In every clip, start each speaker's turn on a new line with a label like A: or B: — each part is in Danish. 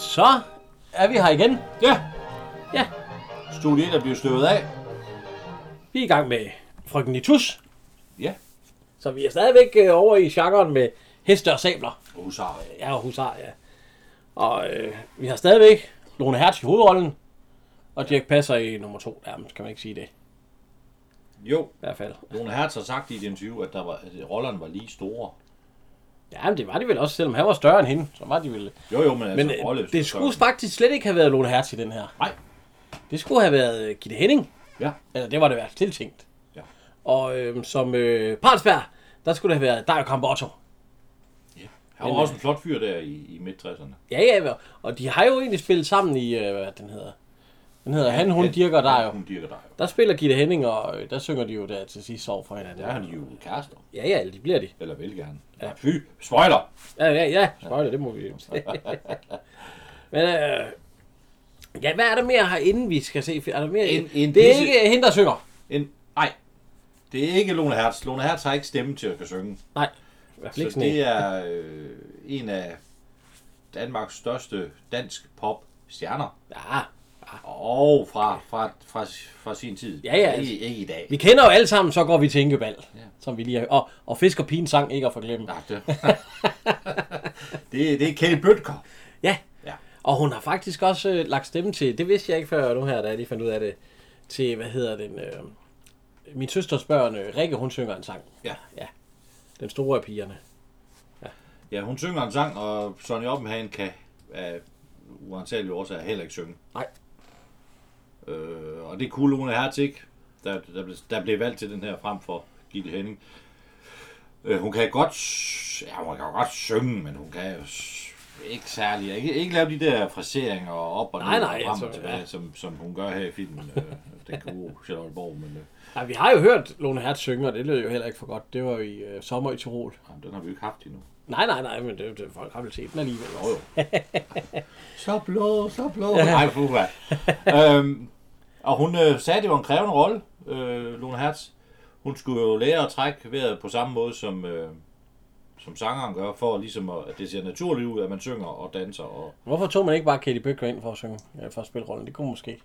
A: Så er vi her igen.
B: Ja,
A: Ja,
B: studie 1 er blevet støvet af.
A: vi er i gang med Frøken Nitus.
B: Ja,
A: Så vi er stadigvæk øh, over i genren med heste og sabler.
B: husar.
A: Ja, og husar, ja. Og øh, vi har stadigvæk Lone Hertz i hovedrollen. Og Dirk Passer i nummer to. Jamen, kan man ikke sige det.
B: Jo,
A: I hvert fald.
B: Lone Hertz har sagt i et interview, at, der var, at rollerne var lige store.
A: Ja, men det var de vel også, selvom han var større end hende. Så var de vel...
B: Jo, jo, men altså,
A: Men øh,
B: rolle-
A: det skulle faktisk slet ikke have været Lone Hertz i den her.
B: Nej,
A: Det skulle have været øh, Gitte Henning.
B: ja,
A: Eller det var det i hvert fald tiltænkt.
B: Ja.
A: Og øh, som øh, Partsberg, der skulle det have været Dario Campotto.
B: han var
A: Men, øh,
B: også en flot fyr der i, i midt-60'erne.
A: Ja, ja, og de har jo egentlig spillet sammen i, øh, hvad den hedder. Den hedder Han, Hun, Dirk og dig jo.
B: Hun dirker dig.
A: Der spiller Gitte Henning, og øh, der synger de jo der til sidst over for hinanden.
B: Der er han jo kærester.
A: Ja, ja, de bliver de.
B: Eller vil gerne. Ja, fy, spoiler!
A: Ja, ja, ja, spoiler, det må vi Men, øh, ja, hvad er der mere herinde, vi skal se? Er der mere?
B: En- en
A: det er
B: pisse-
A: ikke hende, der synger.
B: En, nej, det er ikke Lone Hertz. Lone Hertz har ikke stemme til at kunne synge.
A: Nej, i hvert fald
B: Så
A: ikke sådan en.
B: det er øh, en af Danmarks største dansk pop stjerner.
A: Ja,
B: Og fra, fra, fra, fra sin tid.
A: Ja, ja, altså.
B: Ikke, ikke i dag.
A: vi kender jo alle sammen, så går vi til Inkebal,
B: Ja.
A: som vi lige har Og, og Fisk og Pigen sang, ikke at forglemme.
B: Nej, det... det, det er Kjell Bøtker.
A: Ja,
B: Ja.
A: Og hun har faktisk også øh, lagt stemme til, det vidste jeg ikke før nu her, da jeg lige fandt ud af det, til, hvad hedder den, øh, min søsters børn, øh, Rikke, hun synger en sang.
B: Ja.
A: Ja, den store af pigerne.
B: ja, hun synger en sang, og Sonny Oppenhagen kan af uansagelige årsager heller ikke synge.
A: Nej.
B: Øh, og det kunne Lone Hertz ikke, der, der, blev, der blev valgt til den her frem for Gitte Henning. Øh, hun kan godt, s- ja, hun kan godt synge, men hun kan jo s- ikke særlig, ikke, ikke lave de der fraseringer op og
A: Nej,
B: ned
A: nej,
B: og frem og
A: altså,
B: tilbage,
A: ja.
B: som, som hun gør her i filmen. Øh, den gode Charlotte Borg, men øh,
A: Ja, vi har jo hørt Lone Hertz synge, og det lød jo heller ikke for godt. Det var jo i øh, sommer i Tirol.
B: jamen, den har vi jo ikke haft endnu.
A: Nej, nej, nej, men det, det folk har vel set den alligevel.
B: Jo, jo. så blå, så blå. Nej, puha. øhm, og hun øh, sagde, at det var en krævende rolle, øh, Lone Hertz. Hun skulle jo lære at trække vejret på samme måde, som, øh, som sangeren gør, for ligesom at, at det ser naturligt ud, at man synger og danser. Og,
A: Hvorfor tog man ikke bare Katie Bøcker ind for at synge, øh, for at spille rollen? Det kunne måske.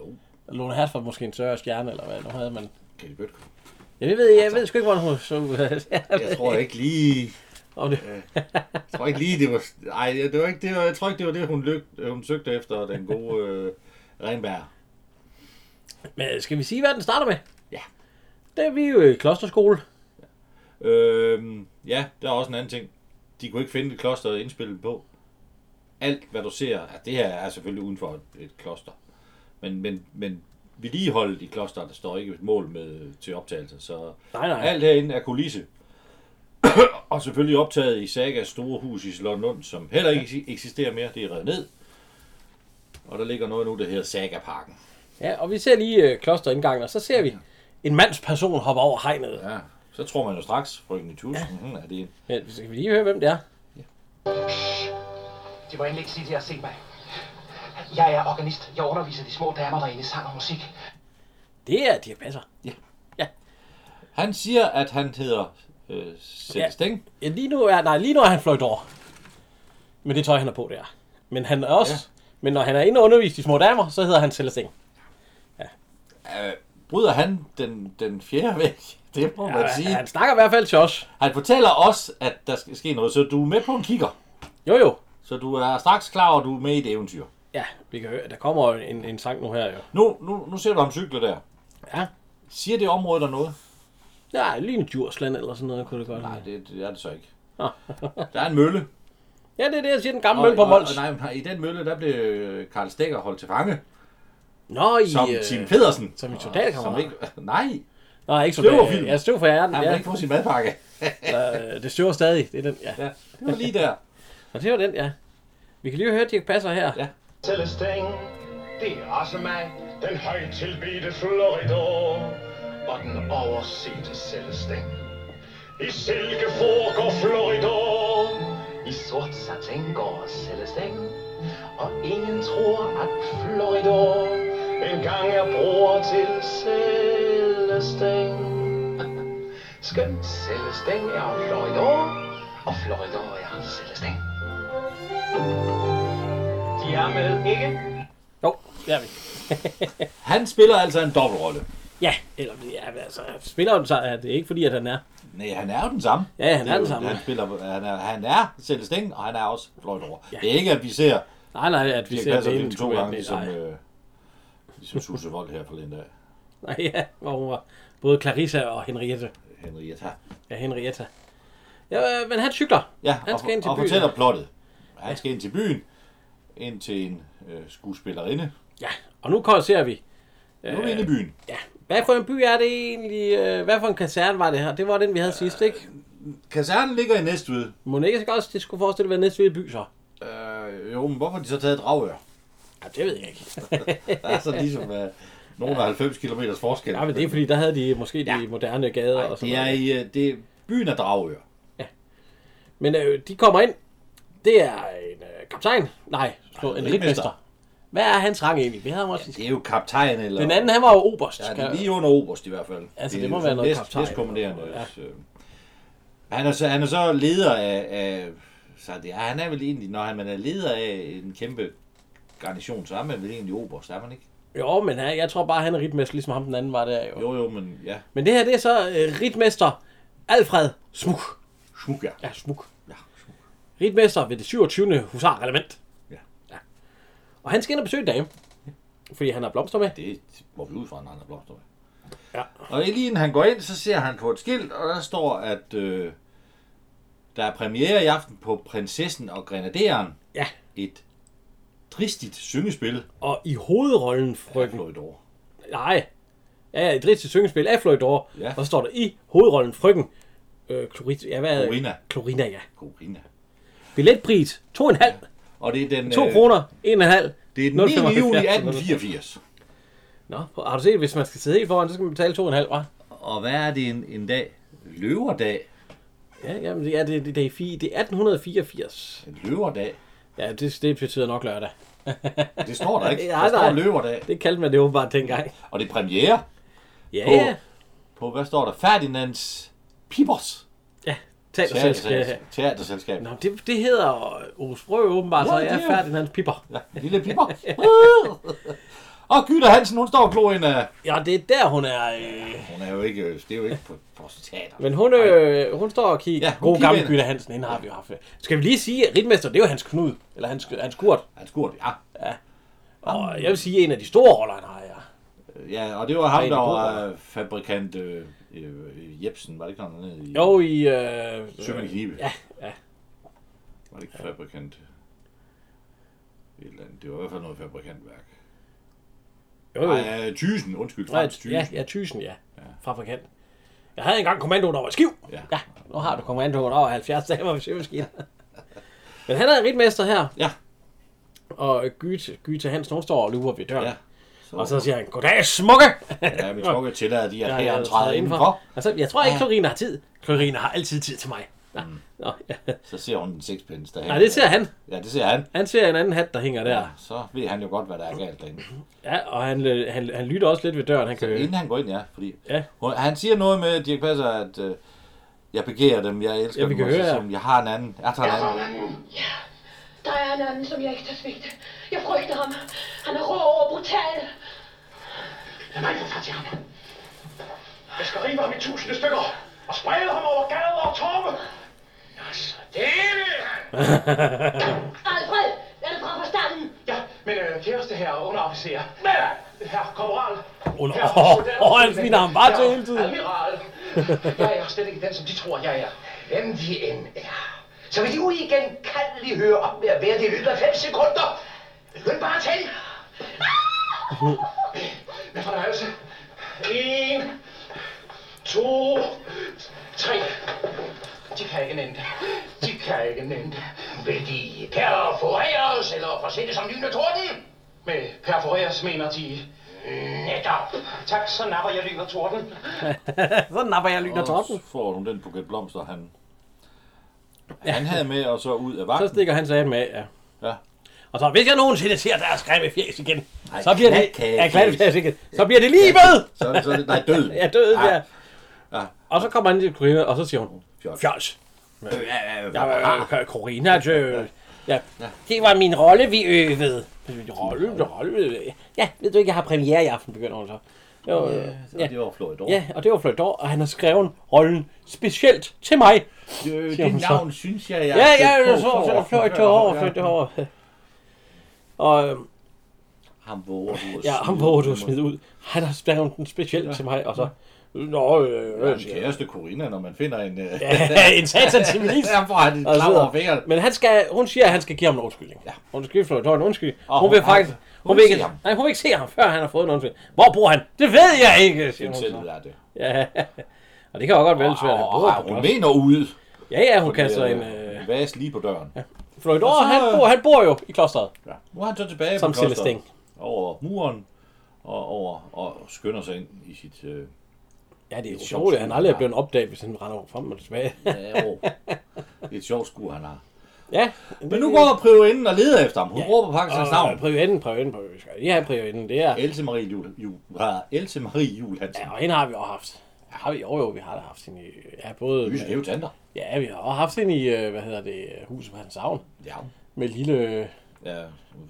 B: Jo.
A: Lone Hertz var måske en større stjerne, eller hvad? Nu havde man...
B: Katie Bøtker.
A: Ja, det ved jeg, jeg
B: Altså.
A: ved sgu ikke, hvordan hun så
B: Jeg tror ikke lige...
A: Om det,
B: Jeg tror ikke lige, det var... Ej, det var ikke, det var, jeg tror ikke, det var det, hun, lyg, hun søgte efter, den gode øh, Renberg.
A: Men skal vi sige, hvad den starter med?
B: Ja.
A: Det er vi jo i klosterskole.
B: Øhm, ja, der er også en anden ting. De kunne ikke finde et kloster at indspille den på. Alt, hvad du ser, altså det her er selvfølgelig uden for et, et kloster. Men, men, men vedligeholdet i klosteret der står ikke et mål med til optagelser. Så
A: Nej, nej.
B: alt herinde er kulisse. og selvfølgelig optaget i Sagas store hus i Slottenlund, som heller ikke eksisterer mere. Det er revet ned. Og der ligger noget nu, der hedder Saga-parken.
A: Ja, og vi ser lige øh, klosterindgangen, og så ser vi en mands person hoppe over hegnet. Ja.
B: Ja, så tror man jo straks, frygten i tusind, ja. er det en
A: Men skal vi lige høre, hvem det er?
C: De må endelig ikke sige, at de har set mig. Jeg er organist. Jeg underviser de små damer derinde i sang og musik.
A: Det er Dirk Passer.
B: Han siger, at han hedder øh, Sætte
A: Ja.
B: Steng.
A: Ja, lige nu er, nej, lige nu er han fløjt over. Men det tøj, han er på, der. Men han er også... Ja. Men når han er inde og undervist i små damer, så hedder han Celestine.
B: Øh, bryder han den, den fjerde væg? Det må ja, man sige.
A: Ja,
B: Han...
A: han snakker i hvert fald til os.
B: han fortæller os, at der skal ske noget, så du er med på en kigger.
A: Jo, jo.
B: Så du er straks klar, og du er med i et eventyr.
A: Ja, vi kan høre, der kommer jo en, en sang nu her, jo.
B: Nu, nu, nu ser du ham cykle der.
A: Ja.
B: Siger det område der noget?
A: Ja, lige en Djursland eller sådan noget, kunne det godt
B: Nej,
A: være.
B: det, det er det så ikke. der er en mølle.
A: Ja, det er det, jeg siger, den gamle mølle på
B: og, og,
A: Mols.
B: nej, nej, i den mølle, der blev øh, Karl Stegger holdt til fange.
A: Nå, i...
B: Som
A: øh,
B: Tim Pedersen.
A: som en
B: Og-
A: soldatkammerat.
B: som ikke- Nej,
A: Nej, ikke
B: Støver
A: soldat.
B: film.
A: Ja, støv for hjernen.
B: Han vil
A: Ja.
B: ikke få sin madpakke.
A: Eller, øh, det støver stadig. Det er den, ja.
B: Ja, det var lige der.
A: Og det var den, ja. Vi kan lige høre Dirk Passer her.
B: Ja.
D: Celestang, det er også mig, den højtilbedte Florida, og den oversete Celestang. I silke foregår Florida, i sort satin går Celestang, og ingen tror, at Florida engang er bror til Celestang. Skønt Celestang er Florida, og Florida er Celestang. De er med, ikke?
A: Jo, der er vi.
B: Han spiller altså en dobbeltrolle.
A: Ja, eller ja, altså, spiller den så, er det ikke fordi, at han er.
B: Nej, han er jo den samme.
A: Ja, han
B: Det
A: er
B: jo-
A: den samme.
B: Han, spiller, han er, han er Celeste Sten, og han er også Floyd over.
A: Ja.
B: Ja. Det er ikke, at vi ser
A: Nej, nej, at vi
B: Dirk
A: ser
B: Passer
A: det
B: film
A: ene
B: to
A: to
B: gange,
A: gange.
B: ligesom,
A: Nej,
B: øh, ligesom Susse Vold her forleden dag.
A: nej, ja, hvor hun var både Clarissa og Henriette.
B: Henrietta.
A: Ja, Henrietta. Ja, øh, men han cykler.
B: Ja,
A: Han
B: og,
A: skal ind til
B: og
A: byen.
B: fortæller plottet. Han skal ind til byen, ind til en øh, skuespillerinde.
A: Ja, og nu kommer, ser vi.
B: Nu er vi inde i byen.
A: Ja, hvad for en by er det egentlig? øh, Hvad for en kaserne var det her? Det var den, vi havde sidst, ikke?
B: Kasernen ligger i Næstved.
A: Må det ikke så godt, det skulle forestille at være næste by, så?
B: Øh, jo, men hvorfor har de så taget Dragør?
A: Ja, det ved jeg ikke.
B: Der er sådan ligesom øh, nogle af 90 km forskel.
A: Nej, men det er fordi, der havde de måske de
B: Ja.
A: moderne gader
B: Ej,
A: og sådan
B: det er
A: noget.
B: i, øh, det er byen af Dragør.
A: Men øh, de kommer ind. Det er en øh, kaptajn. Nej, så en
B: en
A: ritmester. Hvad er hans rang egentlig? Vi havde ham også.
B: Det er jo kaptajn eller...
A: Den anden, han var jo oberst.
B: Ja,
A: Ja,
B: det er lige under oberst i hvert fald.
A: Altså,
B: er
A: det må
B: jo
A: være
B: sådan
A: noget
B: næst-
A: kaptajn.
B: næstkommanderende,
A: Ja.
B: så- Han er, så, han er så leder af... af så det, ja, han er vel egentlig, når han man er leder af en kæmpe garnison, så er man vel egentlig oberst, er man ikke?
A: Jo, men han, jeg tror bare, han er ritmester, ligesom ham den anden var der. Jo.
B: Jo, jo, men ja.
A: Men det her, det er så øh, ritmester Alfred Smuk.
B: Smuk, ja.
A: Ja, Smuk.
B: ja. smuk.
A: Ritmester ved det 27. husarreglement.
B: Ja.
A: ja. Og han skal ind og besøge en dame. Fordi han har blomster med.
B: Det må vi ud fra, når han er blomster.
A: Ja.
B: Og lige inden han går ind, så ser han på et skilt, og der står, at øh, der er premiere i aften på Prinsessen og Grenaderen.
A: Ja.
B: Et tristigt syngespil
A: Og i hovedrollen,
B: af
A: frøken...
B: Floyd Orr.
A: Nej. Ja, ja, et rigtigt syngespil af Floyd Dore.
B: Ja.
A: Og så står der i hovedrollen frøken. Øh, Chlorit, ja, hvad er det?
B: Chlorina.
A: Chlorina, ja.
B: Corina.
A: Billetpris 2,5.
B: Og det er den,
A: 2
B: øh,
A: kroner, 1,5.
B: det er den 9. juli
A: 1804.
B: 1884.
A: Nå, har du set, hvis man skal sidde helt foran, så skal man betale 2,5, hva'?
B: Og hvad er det en, en dag? Løverdag.
A: Ja, jamen, det er, det, det, det, er, fi- det er 1884.
B: En løverdag.
A: Ja, det, det betyder nok lørdag.
B: Det står der ikke.
A: Ja,
B: Der står
A: nej.
B: løverdag.
A: Det kaldte man det åbenbart dengang.
B: Og det er premiere
A: Ja,
B: på,
A: ja.
B: på hvad står der? Ferdinands Pibers
A: ja. Tal og selv skal...
B: Teaterselskab. Teaterselskab.
A: Nå, det, det hedder Aarhus Brø åbenbart,
B: Ja,
A: så
B: det
A: jeg
B: er
A: er
B: jo-
A: færdig med hans piper.
B: Ja, en lille Piber. og Gyda Hansen, hun står og glor ind af...
A: Ja, det er der, hun er... Øh...
B: Hun er jo ikke... øh, Det er jo ikke på, på teater.
A: Men hun, øh, hun står og kigger. Ja,
B: Ja, hun
A: God
B: kigger
A: gammel
B: ind.
A: Gyda Hansen, hende har vi jo haft. Skal vi lige sige, at Ritmester, det er jo hans knud, eller hans, hans kurt.
B: Han skurde, ja.
A: Og jeg vil sige, at en af de store roller, han har, ja.
B: ja. og det var ham,
A: Rigtig
B: der
A: god,
B: var øh, fabrikant øh, øh, Jebsen. Var det ikke noget andet? i-
A: Jo, i... Øh,
B: Sømand i knibe.
A: Ja, ja.
B: Var det ikke fabrikant? øh, Et eller andet. Det var i hvert fald noget fabrikantværk.
A: Jo, jo.
B: Nej, øh, Thysen. Undskyld,
A: Nej,
B: Frans
A: ja,
B: Thysen.
A: ja, tysen, ja. Fra forkant. Jeg havde engang kommandoen over et skiv.
B: Ja.
A: ja. nu har du kommandoen over 70 damer ved sømaskinen. Men han er ritmester her,
B: Ja,
A: og Gyte, Gyte Hansen, hun står og lurer ved døren.
B: ja.
A: Ja. Og så siger han, goddag, smukke!
B: Ja, men tror ikke til, at de
A: Ja,
B: her
A: jeg
B: herren træder indenfor.
A: Altså, jeg tror ikke, Klorina har tid. Klorina har altid tid til mig. Ja. Nå, ja.
B: Så ser hun en sixpence der
A: Nej, det ser han.
B: Ja, det ser han.
A: Han ser en anden hat, der hænger der.
B: Så ved han jo godt, hvad der er galt derinde.
A: Ja, og han, øh, han, han lytter også lidt ved døren. Han kan høre.
B: Inden han går ind, ja. Fordi
A: Ja.
B: hun, han siger noget med Dirk Passer, at øh, jeg begærer dem, jeg elsker
A: Ja, vi
B: dem,
A: kan
B: og så
A: høre,
B: siger
A: ja.
B: hun, jeg har en anden, jeg tager en anden.
E: Ja, der er en anden, som jeg ikke tør svigte. Jeg frygter ham. Han er rå og brutal.
D: Lad mig få fat i ham. Jeg skal rive ham i tusinde stykker og sprede ham over gader og torve. Altså, det vil han.
E: Alfred, er det fra forstanden?
D: Ja, men øh, kæreste her underofficer. Hvad? Herr korporal.
A: Under-
D: Herre
A: Åh,
D: soldat.
A: åh, han sviner ham bare til
D: Herre
A: hele tiden.
D: Admiral. Jeg er slet ikke den, som de tror, jeg er. Hvem de end er. Så vil de uigenkaldeligt høre op med at være det i løbet af fem sekunder. Løb bare til. Med fornøjelse. En,
C: to, tre. De kan ikke nænde. De kan ikke nænde. Vil de perforeres, eller forsvinde som lyn og torden? Med perforeres mener de netop. Tak, så napper jeg lyn og torden.
A: så napper jeg lyn og torden.
B: Og så får hun den buket blomster, han, han havde med, og så ud af
A: Så
B: vagten.
A: stikker han sig af med, ja.
B: Ja.
A: Og så, hvis jeg nogensinde ser deres grimme fjæs igen, Ej, så bliver det,
B: klatkage
A: ja, klatkage
B: fjæs.
A: igen, så bliver det livet!
B: Så, så er det, nej, Ah, død.
A: Ja, død, ja.
B: Ja.
A: Og så kommer han til Corina, og så siger hun,
B: Fjols.
A: fjols.
B: Ja,
A: Ja, øh, Corina, øh, ja. det var min rolle, vi øvede. Rolle, rolle, ja, ved du ikke, jeg har premiere i aften, begynder hun så. Jo, øh, ja,
B: Det var flot over.
A: ja, og det var flot år, og han har skrevet rollen specielt til mig.
B: Øh,
A: Siger hun
B: det
A: så.
B: navn, synes jeg, jeg
A: Ja,
B: har
A: ja,
B: stødt
A: så,
B: på for
A: så,
B: at
A: så, så,
B: forklare.
A: så, så, så, og øhm,
B: Ham våger du at
A: ja,
B: smide
A: ham våger du
B: ud.
A: at smide ud. Han har skrevet den specielt til mig, og så... Nå, øh,
B: Ja,
A: øh,
B: en
A: siger jeg.
B: kæreste Corina, når man finder en... øh,
A: Ja, en satan til min is.
B: Der får han en
A: Og
B: klam
A: sidder-
B: over fingeren.
A: Men han skal, hun siger, at han skal give ham en undskyldning. Ja. Hun skal give ham en undskyldning. Hun, hun,
B: hun
A: vil
B: har-
A: faktisk... Hun,
B: hun
A: vil
B: vil
A: ikke,
B: se ham.
A: nej, hun vil ikke se ham, før han har fået en undskyldning. Hvor bor han? Det ved jeg ikke, siger hun
B: Hun selv
A: så.
B: er det.
A: Ja. Og det kan jo godt være lidt svært. Han bor
B: Og
A: på
B: hun
A: Klods.
B: mener ude.
A: Ja, ja, hun kaster en... Øh,
B: Øh... Vas lige på døren. Ja.
A: Floyd,
B: Og
A: åh,
B: så-
A: han, bor, han bor jo i klosteret.
B: Nu er han så tilbage
A: Som
B: på klosteret.
A: Celestin.
B: Over muren og, over, og skynder sig ind i sit... Øh,
A: Ja, det er
B: jo
A: sjovt, at han
B: sjovt,
A: aldrig er
B: ja.
A: blevet opdaget, hvis han render over frem og tilbage.
B: ja, år. det er et sjovt skue, han har.
A: ja.
B: Men nu går prøveinden og leder efter ham. Hun ja. råber faktisk hans navn.
A: Og prøvenden, prøvenden, prøvenden. Ja, prøvenden, det er...
B: Else Marie Jul, Jul, ah, Else Marie Jul Hansen.
A: Ja, og hende har vi også haft. Har vi, jo, jo, vi har da haft hende i... Ja, både...
B: Lyse hæve tanter.
A: Ja, vi har også haft hende i, øh, hvad hedder det, øh, huset på hans savn.
B: Ja.
A: Med lille... øh,
B: Ja,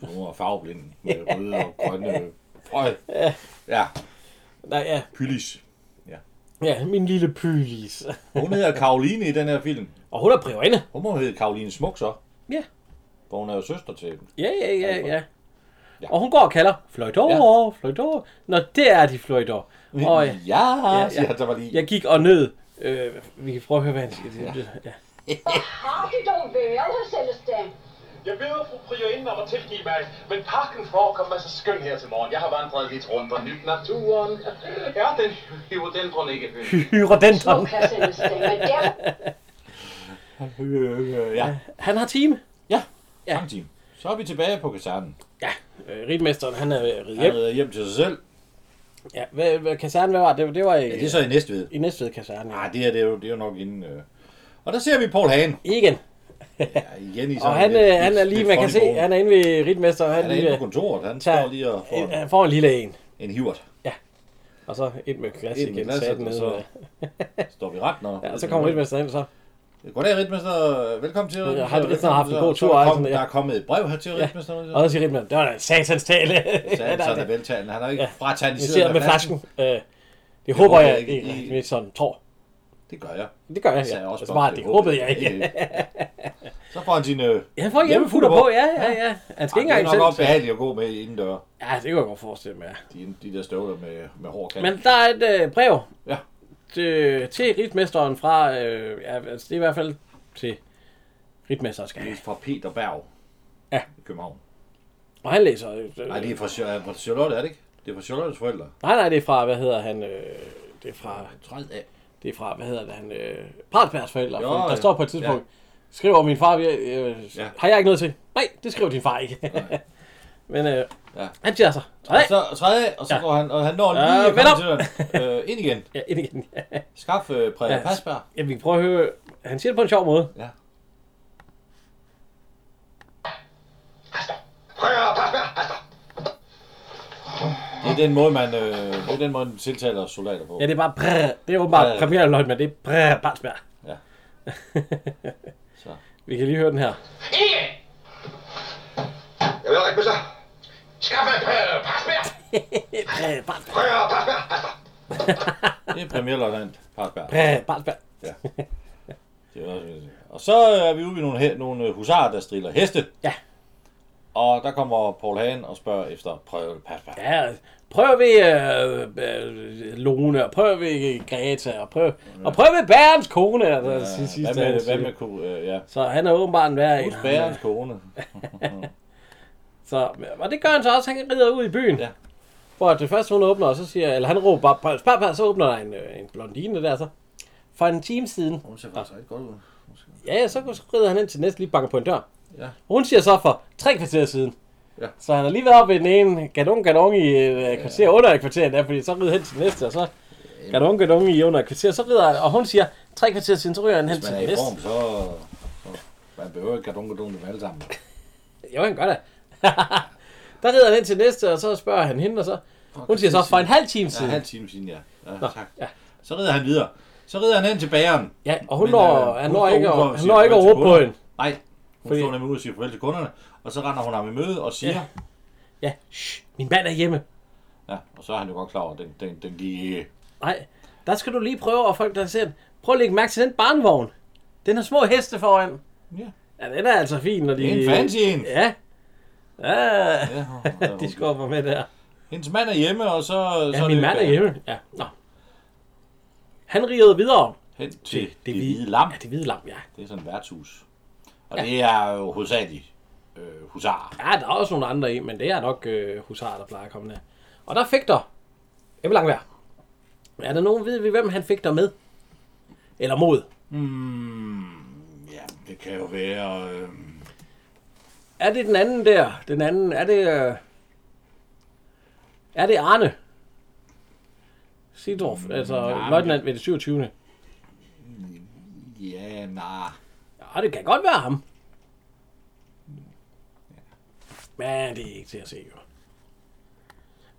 B: hun var farveblind med røde og grønne øh, frø. Ja,
A: Nej, ja,
B: pylis.
A: ja, min lille pylis.
B: Hun hedder Karoline i den her film.
A: og hun er prøvende.
B: Hun må hedde Karoline Smuk så.
A: Ja.
B: For hun er jo søster til dem.
A: Ja, ja, ja, ja.
B: Ja.
A: Og hun går og kalder, fløjtor, ja. fløjtor. Nå, det er de fløjtor. Og øh,
B: ja,
A: ja.
B: ja, siger han så bare lige.
A: jeg gik og nød. Øh, vi kan prøve at høre, hvad han siger. Ja. Ja.
F: Har de dog været her, Celestine?
C: Jeg beder fru Priorinde om at tilgive mig, men parken forekom mig så skøn her til morgen. Jeg har vandret lidt rundt og nyt naturen. Ja, den hyrodendron ikke høj.
A: Hyrodentron.
F: Smuk her, Celestine, men derfor...
B: Øh, Ja,
A: Han har team. Ja.
B: ja. Samtidig. Så er vi tilbage på kasernen.
A: Ja, øh, ritmesteren, han er ved at ride
B: Han
A: hjem.
B: yep. hjem til sig selv.
A: Ja, hvad, hvad kaserne, hvad var det? Det var i,
B: Ja, det er så i næste ved.
A: i Næstved kaserne.
B: Nej, det her det er, jo, det er jo nok inden... Øh. Og der ser vi Paul Hagen.
A: Igen.
B: Ja, igen i sådan
A: Og han,
B: lidt-
A: øh, han er
B: lidt-
A: lige,
B: lidt
A: man kan se,
B: funny mode.
A: han er inde ved ritmesteren. Han,
B: han er
A: lige,
B: inde
A: ved-
B: på kontoret. Han
A: tager-
B: står lige og får
A: en-
B: en,
A: han får en lille en.
B: en hivert.
A: Og så ind med glas
B: Ind med
A: igen.
B: glasset,
A: Glasset,
B: og
A: ned,
B: så-
A: så...
B: Står vi ret, når...
A: Ja, og så kommer ritmesteren ind, og så...
B: Goddag, Ritmester. Velkommen til.
A: har Ritmester
B: Velkommen
A: haft en
B: til-
A: god
B: så er
A: tur,
B: der
A: altså,
B: kommet-
A: ja.
B: Der er kommet et brev her til Ritmester.
A: Og så siger ritmesteren, det var da en satans tale.
B: Så han sådan er veltalende. Han har ikke
A: Vi
B: frataniseret
A: sidder med flasken. Øh, det håber jeg,
B: ikke,
A: ikke,
B: I-
A: ritmesteren tror.
B: Det gør jeg.
A: Det gør jeg,
B: Sagde
A: ja.
B: jeg
A: Også
B: også
A: bare,
B: godt,
A: det håbede jeg ikke.
B: Ja. Så får han sin... Øh,
A: Ja, han får hjemmefutter på, ja, ja, ja. Han skal
B: det
A: ikke
B: er
A: engang
B: nok
A: selv.
B: også behageligt at gå med indendør.
A: Ja, det kan jeg godt forestille mig. ja.
B: De, de der støvler med, med hård kant.
A: Men der er et øh, brev
B: Ja.
A: til, til ritmesteren fra... Øh, ja, altså, det er i hvert fald til ritmesteren skal.
B: Det er fra Peter Berg.
A: Ja.
B: I København.
A: Og han læser... Øh,
B: Nej, det er fra, Char- fra Charlotte, er det ikke? Det er fra Charlottes forældre.
A: nej, nej, det er fra, hvad hedder han... Øh, det er fra...
B: Træd af.
A: Det er fra, hvad hedder det, han, øh, Partsbergs forældre,
B: Jo,
A: jo, der
B: jo.
A: står på et tidspunkt, ja. skriver min far, vi- øh, ja.
B: Ja.
A: har jeg ikke noget til? Nej, det skriver din far ikke. Men øh, ja.
B: Ja.
A: han siger så,
B: Og
A: nej,
B: så træd af, og så
A: Ja.
B: går han, og han når lige
A: Øh,
B: at
A: vend
B: komme
A: op.
B: til døren. Øh, ind igen.
A: ja, ind igen.
B: Skaf øh, Præger
A: Ja.
B: ja. Pasberg.
A: Ja, vi kan prøve at høre, han siger det på en sjov måde.
B: Ja.
C: Prøv, pas med, pas med.
B: Det er den måde, man, øh, det er den måde, man tiltaler soldater på.
A: Ja, det er bare brrr. Det er åbenbart ja.
B: Ja.
A: premierløgn, men det er brrr, Partsberg.
B: Ja. Så.
A: Vi kan lige høre den her.
C: Ikke! Jeg vil ikke med sig. Skaffe prøv, pas med.
A: Brrr, Partsberg.
C: Prøv, pas med, pas med.
B: Det er premierløjtnant Pasberg.
A: Brrr, Partsberg.
B: Det er også, og så er vi ude ved nogle, he- nogle øh, husarer, der striller heste.
A: Ja.
B: Og der kommer Paul Hagen og spørger efter prøve Pasberg. Ja.
A: Ja, prøv ved øh, øh, Lone, og prøv ved Greta, og prøv, og prøv ved Bærens kone. Altså, ja, sidste,
B: Hvad med,
A: han
B: hvad
A: siger.
B: med ku- øh, ja.
A: Så han er åbenbart en værre en.
B: Hos bærens kone.
A: Så, og det gør han så også, han rider ud i byen.
B: Ja.
A: Hvor at det første, hun åbner, og så siger, eller han råber bare, spørg, spørg, så åbner der en, øh, en blondine der, så. For en time siden.
B: Hun ser faktisk rigtig godt ud.
A: Ja, ja, så rider han ind til næste lige banker på en dør.
B: Ja.
A: Hun siger så for tre kvarter siden.
B: Ja.
A: Så han har lige været oppe i den ene gadung gadung i et øh, kvarter, under et kvarter der, fordi så rider han til den næste, og så gadung gadung i under et kvarter, så rider han, og hun siger tre kvarter siden, så ryger han hen
B: Hvis
A: til
B: man er
A: den
B: i
A: næste.
B: form, så... så man behøver ikke kardunkadunke dem alle sammen.
A: Jo, han gør det. der rider han ind til næste, og så spørger han hende, og så... Hun siger så for en halv time
B: Ja, en
A: siden.
B: halv time siden, ja. ja
A: Nå,
B: tak.
A: ja.
B: Så rider han videre. Så rider han hen til bageren.
A: Ja, og hun
B: Men,
A: når,
B: øh,
A: han
B: hun
A: når
B: står
A: ikke,
B: udenfor
A: at-
B: og
A: han
B: siger
A: når ikke at
B: farvel til
A: råbe på
B: kunderne.
A: hende.
B: Nej, hun
A: Fordi-
B: står nemlig ude og siger farvel til kunderne, og så render hun ham i møde og siger, ja,
A: Ja. Ja, shh, min mand er hjemme.
B: ja og så er han jo godt klar over, at den, den, den gik ikke.
A: Nej, der skal du lige prøve, og folk der ser den. Prøv at lægge mærke til den barnvogn. Den har små heste foran.
B: Ja.
A: Ja, den er altså fin, når de...
B: Det er en fancy en.
A: Ja. Ja,
B: Ja,
A: de
B: hun-
A: skubber med der.
B: Hendes mand er hjemme, og så... så
A: Ja,
B: det
A: min mand er hjemme. Ja, nå. Han rigede videre.
B: Hen til det, det hvide lam.
A: Ja, det hvide lam, ja.
B: Det er sådan et værtshus. Og det er jo hovedsageligt øh, husarer.
A: Ja, der er også nogle andre i, men det er nok øh, husarer, der plejer at komme der. Og der fik der Ebbe Langvær. Er der nogen, ved vi, hvem han fik der med? Eller mod?
B: Mm, ja, det kan jo være... Øh,
A: Er det den anden der? Den anden, er det... Øh, er det Arne?
B: Mm,
A: Sidorf, altså
B: nej,
A: løjtnant ved det 27.
B: ja, nej.
A: Ja, det kan godt være ham. Men det er ikke til at se, jo.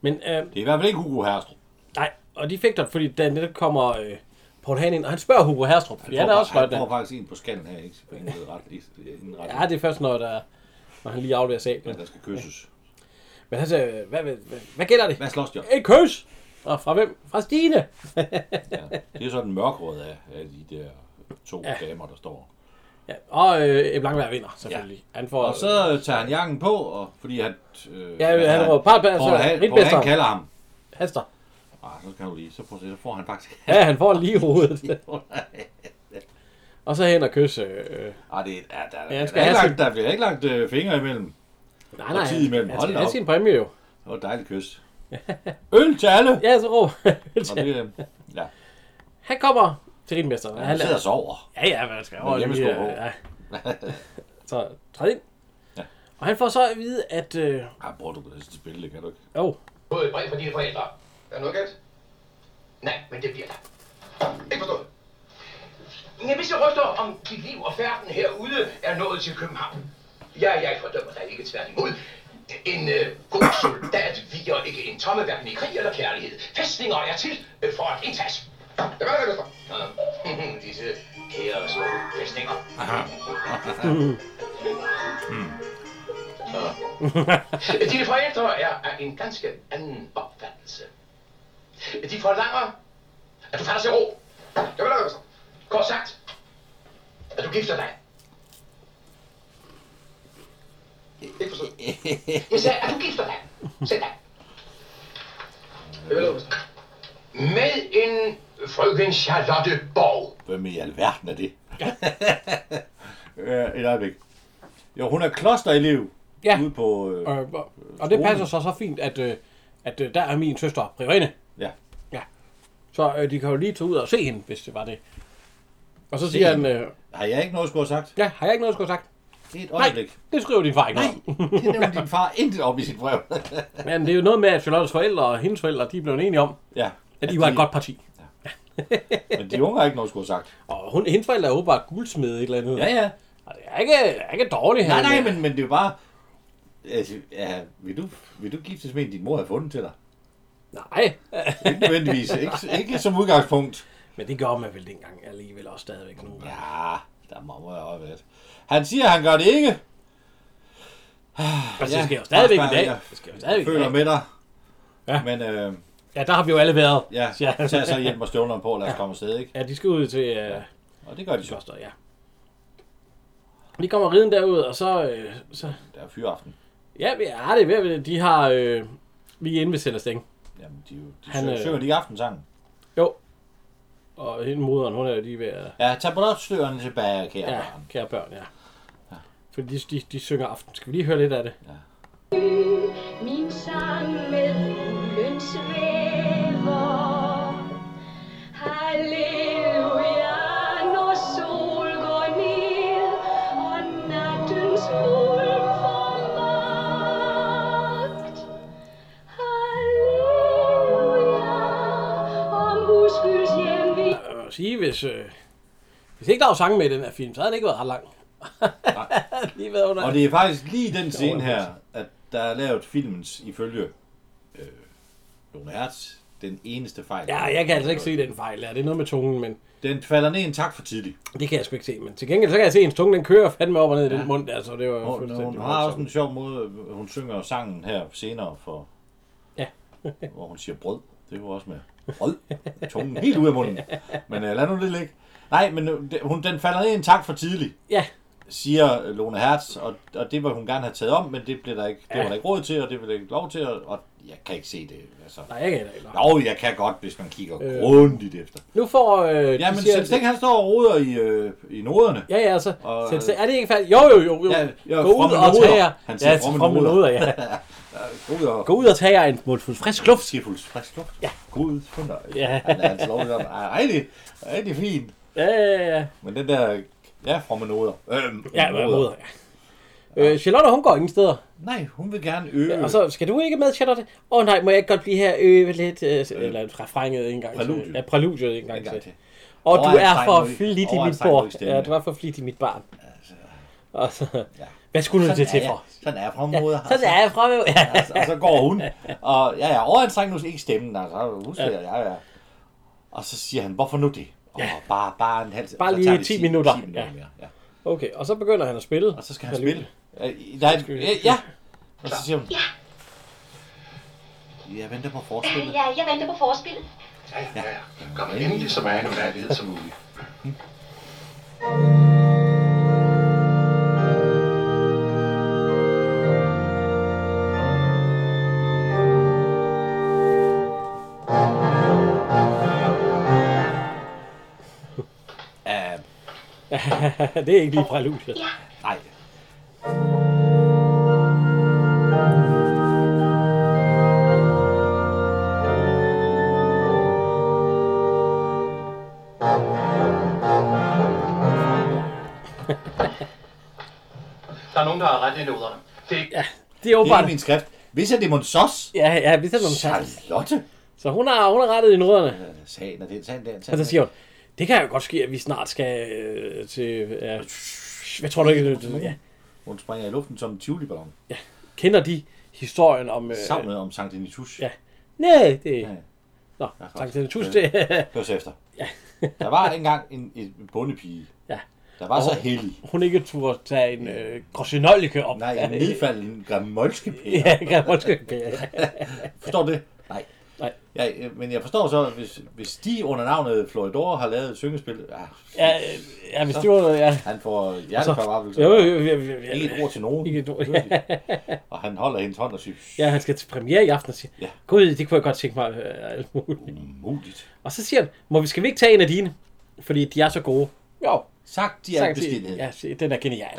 A: Men øh,
B: Det er i hvert fald ikke Hugo Herstrup.
A: nej, og de fik der, fordi der netop kommer øh, Paul Hahn ind, og han spørger Hugo Herstrup, fordi han er
B: Tror
A: også
B: fa- han
A: løjtnant.
B: får faktisk en på skallen her, ikke? På en måde ret, en ret,
A: Ja, det er først, når, der, når han lige afleverer sagen.
B: der skal kysses.
A: Men han siger, øh, hvad, hvad, hvad, hvad gælder det?
B: Hvad slås de om?
A: Et kys! Og fra hvem? Fra Stine!
B: Ja. Det er sådan mørkråd af, af de der to ja. damer, der står.
A: Ja, og øh, Ebbe Langberg vinder, selvfølgelig. Ja. Han får...
B: Og så øh, tager han jakken på, og, fordi han... Øh,
A: Ja, han råber, "Pap, pap", så
B: Paul, han, Paul,
A: Ritmester.
B: han kalder ham.
A: Haster.
B: Ah, så skal du lige, så, prøv at se, så får han faktisk...
A: Ja, han får lige i hovedet. og så hen og kysse... Øh,
B: Ah, det er, ja, der,
A: Ja,
B: ja,
A: han
B: der,
A: skal
B: der, er ikke
A: have
B: lagt, der bliver ikke lagt øh, fingre imellem.
A: nej,
B: Og
A: nej,
B: tid
A: han-
B: imellem.
A: han
B: Hold
A: skal
B: da
A: have
B: op.
A: sin præmie jo.
B: Det var et dejligt kys. Øl til alle!
A: Ja, så råber
B: Og
A: han.
B: det, øh, ja,
A: Han kommer til rimesteren.
B: han sidder og sover.
A: Ja, ja, men han skal
B: Med
A: jo lige...
B: hjemmesko
A: Øh,
B: på.
A: ja. så træd ind.
B: Ja.
A: Og han får så at vide, at... Øh,
B: Ah, bror, du kan næsten spille det, kan du ikke?
A: oh,
D: fået et brev fra dine forældre. Er der noget galt? Nej, men det bliver der. Ikke forstået. Ja, hvis jeg ryster om dit liv og færden herude er nået til København. Ja, jeg fordømmer dig ikke tværtimod. En øh, god soldat viger ikke en tomme hverken i krig eller kærlighed. Fæstninger er til øh, for at indtas. Det var det, Gustav. Ja. Disse kære små fæstninger. Dine forældre er af en ganske anden opfattelse. De forlanger, at du falder til ro. Jeg vil lade så. Kort sagt, at du gifter dig. Ikke forstået. Jeg sagde, at du gifter dig. Sæt dig. Jeg vil lade så. Med en frøken Charlotte Borg.
B: Hvem i alverden er det? Ja. Et øjeblik. Jo, hun er klosterelev
A: Ja.
B: ude på... Øh,
A: og, og, og det passer så så fint, at, øh, at øh, der er min søster, Priorine.
B: ja.
A: Så øh, de kan jo lige tage ud og se hende, hvis det var det. Og så siger han,
B: hende?
A: øh,
B: Har jeg ikke noget at skulle have sagt?
A: ja, har jeg ikke noget at skulle have sagt?
B: Et
A: Nej,
B: øjeblik.
A: det skriver din far ikke
B: Nej,
A: om.
B: det nævnte din far intet om i sit brev.
A: Men det er jo noget med, at Charlottes forældre og hendes forældre, de er blevet enige om,
B: ja. Altså,
A: at de var et godt parti.
B: Men de unge har ikke noget at skulle have sagt.
A: Og hun, hendes forældre er åbenbart guldsmede et eller andet.
B: Ja, ja.
A: Og det er ikke, det er ikke dårligt her.
B: Nej, nej, men, men det er jo bare... Altså, ja, vil, du, vil du giftes med en, din mor har fundet til dig?
A: Nej,
B: Ikke nødvendigvis. ikke, ikke som udgangspunkt.
A: men det gør man vel dengang alligevel også stadigvæk nu. Ja.
B: Ja, der må jeg også være. Han siger, han gør det ikke.
A: Altså, det sker jo stadigvæk i
B: Rasmus,
A: dag.
B: jeg-
A: Det sker jo
B: Jeg
A: stadigvæk i
B: føler
A: dag.
B: med dig.
A: Ja.
B: Men øh,
A: Ja, der har vi jo alle været.
B: ja,
A: siger han.
B: tag så hjælp og støvlerne på, og lad os komme afsted, ikke?
A: Ja, de skal ud til øh,
B: Og det gør de så.
A: Kloster, ja. De kommer riden derud, og så... Øh, så
B: Der er fyraften.
A: ja, vi er det. er ved- De har... Øh, vi er inde ved Sellersteng.
B: Jamen, de, er jo- de
A: Han,
B: han, synger,
A: øh,
B: synger de ikke aftensangen.
A: Jo. Og hende moderen, hun er jo lige ved at...
B: Ja, tag blotstøerne tilbage, kære
A: Ja,
B: ja. barn.
A: kære børn, ja. Fordi de, de, de synger aften. Skal vi lige høre lidt af det?
F: Min sang med fuglen
E: svæver. Halleluja, når sol går ned, og nattens mulm får magt. Halleluja, om uskyld hjem vi
A: Jeg må sige, hvis, øh, hvis ikke der var sang med i den her film, så havde den ikke været ret lang. Lige ved under.
B: Og det er faktisk lige den scene her, at der er lavet filmens, ifølge øh, Lone Hertz, den eneste fejl.
A: Ja, jeg kan altså ikke se den fejl. Ja, det er noget med tungen, men
B: Den falder ned en tak for tidligt.
A: det kan jeg sgu ikke se. Men til gengæld, så kan jeg se, at hendes tunge den kører fandme op og ned i den mund der, så det var jo
B: Hun,
A: fuldstændig
B: hun har også
A: voldsomt.
B: en sjov måde, hun synger sangen her senere for...
A: Ja.
B: hvor hun siger brød. Det var også med brød. Tungen helt ud af munden. Men øh, lad nu det ligge. Nej, men øh, det- hun, den falder ned en tak for tidligt,
A: Ja,
B: siger øh, Lone Hertz, og, og det vil hun gerne have taget om, men det blev der ikke, det var der ikke råd til, og det blev der ikke lov til, og, og jeg kan ikke se det. Altså.
A: nej, jeg kan heller ikke.
B: Jo, jeg kan godt, hvis man kigger øh. grundigt efter.
A: Nu får... Øh,
B: Ja, men
A: siger,
B: Sens han står og roder i, øh, i noderne.
A: Ja, ja, så
B: Og, øh,
A: Selv Sting- er det ikke færdigt? Jo, jo, jo, jo.
B: Ja, ja,
A: Gå ud
B: Fromme
A: og
B: Noder.
A: tag jer.
B: Han siger
A: Ja,
B: Fromme
A: Fromme
B: Noder.
A: Noder, ja.
B: Ud og
A: Gå ud og tag jer en mundfuld frisk luft.
B: skifuldt frisk luft.
A: Ja.
B: God funder.
A: Ja.
B: Han er altså lovlig om. Ej, rigtig, rigtig fint.
A: Ja, ja, ja.
B: Men den der, ja, fra med noder. Øhm,
A: Ja, hvad moder, ja. Øh, Charlotte, hun går ingen steder.
B: Nej, hun vil gerne øge
A: Og så, skal du ikke med, Charlotte? Åh oh, nej, må jeg ikke godt blive her og øve lidt? Øh, eller refrænget en gang til.
B: præludiet.
A: Ja, præludiet en gang,
B: en gang til.
A: Og du
B: Overraskende
A: er for
B: nu ikke-
A: flittig, mit
B: overraskende nu
A: bror.
B: ikke stemme. Altså.
A: Ja, du er for flittig, mit barn. Og så,
B: Ja.
A: hvad skulle du
B: Sådan
A: det til
B: er jeg.
A: for?
B: Sådan er fra
A: Ja,
B: moder.
A: så er jeg fra ja.
B: Og så går hun. Og ja, ja, overanstrengt nu ikke stemmen. Altså, husk, ja. ja, ja. Og så siger han, hvorfor nu det? Og ja. bare, bare en halv
A: Bare
B: så
A: lige
B: tager vi
A: 10 minutter.
B: 10 minutter
A: Ja.
B: mere. Ja.
A: Okay, og så begynder han at spille.
B: Og så skal han spille. Øh, Der er et,
A: Skal vi-
B: ja, ja. Og så siger hun,
E: Ja,
B: jeg venter på forspillet.
E: ja, jeg venter på forspillet.
C: Ja, ja, ja. Kom endelig så meget mærkelighed som muligt.
B: Ja.
A: det er ikke lige præludiet.
B: Nej.
D: Der er nogen, der har ret i noderne. Det er ikke... Ja.
A: Det er
B: Det er
A: åbenbart...
B: ikke min skrift. Hvis jeg det mon sos,
A: Ja, ja, vi tager nogle
B: Charlotte.
A: Så hun har, hun har rettet i noderne.
B: Øh, Sagen er den, sagen er den,
A: Og
B: sagen
A: så
B: er
A: siger hun, det kan jo godt ske, at vi snart skal øh, til... Ja, hvad tror du ikke? det- det- Ja.
B: den. Hun springer i luften som en tivoli-ballon.
A: Kender de historien om... Øh,
B: Savnet om Sankt Denitus.
A: Ja. Nej, det er...
B: Ja.
A: Nå, tak til den tus,
B: Ja.
A: det
B: Hør så efter. Ja. der var engang en, en bondepige,
A: Ja.
B: der var så
A: Og-
B: heldig.
A: Hun ikke turde tage en øh, grosinolike op.
B: Nej, en nedfald i en gramolskepille.
A: Ja, jeg kan måske ja.
B: Forstår du det? Nej.
A: Nej.
B: Ja, øh, men jeg forstår så, at hvis, hvis de under navnet Floridor har lavet et syngespil, ja,
A: Ja, øh, ja, hvis du var noget, ja.
B: han får
A: Jo,
B: hjerteparabelse.
A: jo, jo, jo, jo, jo.
B: Ikke et ord til nogen.
A: Ikke et ord,
B: Og han holder hendes hånd og siger,
A: Ja, han skal til premiere i aften og siger,
B: Ja.
A: gud, det kunne jeg godt tænke mig øh, alt muligt.
B: umuligt.
A: Og så siger han, må vi, skal vi ikke tage en af dine? Fordi de er så gode. Jo,
B: Sagt i al
A: Sagt i-
B: beskedenhed.
A: Ja, se, den er genial.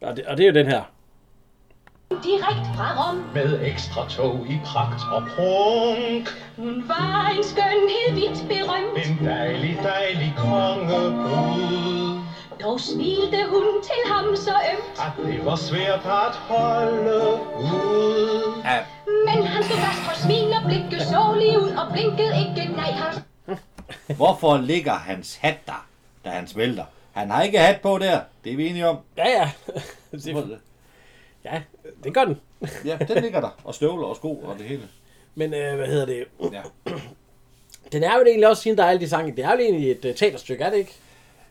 A: og, det, og det er jo den her.
E: Direkt fra Rom.
C: Med ekstra tog i pragt og prunk.
E: Hun var en skønhed vidt berømt.
C: En dejlig, dejlig kongebrud.
E: Dog smilte hun til ham så ømt.
C: At det var svært at holde ud.
B: Ja,
E: Men han stod fast for smil og blikket så lige ud og blinkede ikke. Nej, han
B: Hvorfor ligger hans hat der, da han smelter? Han har ikke hat på der. Det er vi enige om.
A: Ja, ja. Det, ja, det gør den.
B: Ja, den ligger der. Og støvler og sko og det hele.
A: Men øh, hvad hedder det?
B: Ja.
A: Den er jo egentlig også, siden der er alle de sange, det er jo egentlig et uh, teaterstykke, er det ikke?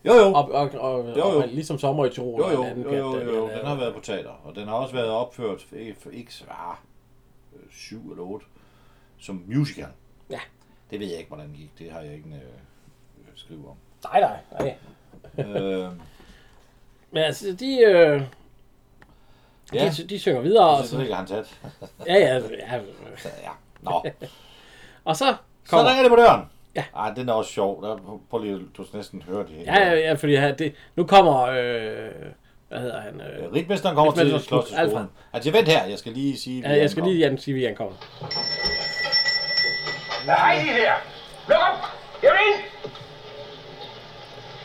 B: Jo, jo.
A: Og, og, og,
B: Jo, jo.
A: og ligesom Sommer i Tirol.
B: Jo,
A: og
B: jo,
A: en anden
B: jo,
A: pjat, øh,
B: jo,
A: der,
B: jo, jo.
A: der,
B: Den har været på teater, og den har også været opført for ikke, for ikke svar, øh, syv eller otte, som musical.
A: Ja.
B: Det ved jeg ikke, hvordan det gik. Det har jeg ikke en øh, øh, skrive om.
A: Nej, nej, nej.
B: øh,
A: Men altså, de, øh,
B: ja,
A: de, de synger videre. Og
B: så
A: så,
B: ligger hans hat.
A: ja, ja, ja.
B: Ja, nå.
A: Og så
B: Så
A: kommer...
B: ringer det på døren.
A: Ja.
B: Ej, den er også sjov. Der, prøv lige, du skal næsten høre det hele.
A: Ja, ja, ja, fordi her, det, nu kommer øh, Hvad hedder han? Øh,
B: Ritmesteren kommer
A: Ritmesteren
B: til slot til
A: Alfred.
B: skolen. Altså, vent her, jeg skal lige sige...
A: ja, jeg skal lige jamen, sige, at han kommer.
D: Hej, I der. Luk op. Jeg vil ind.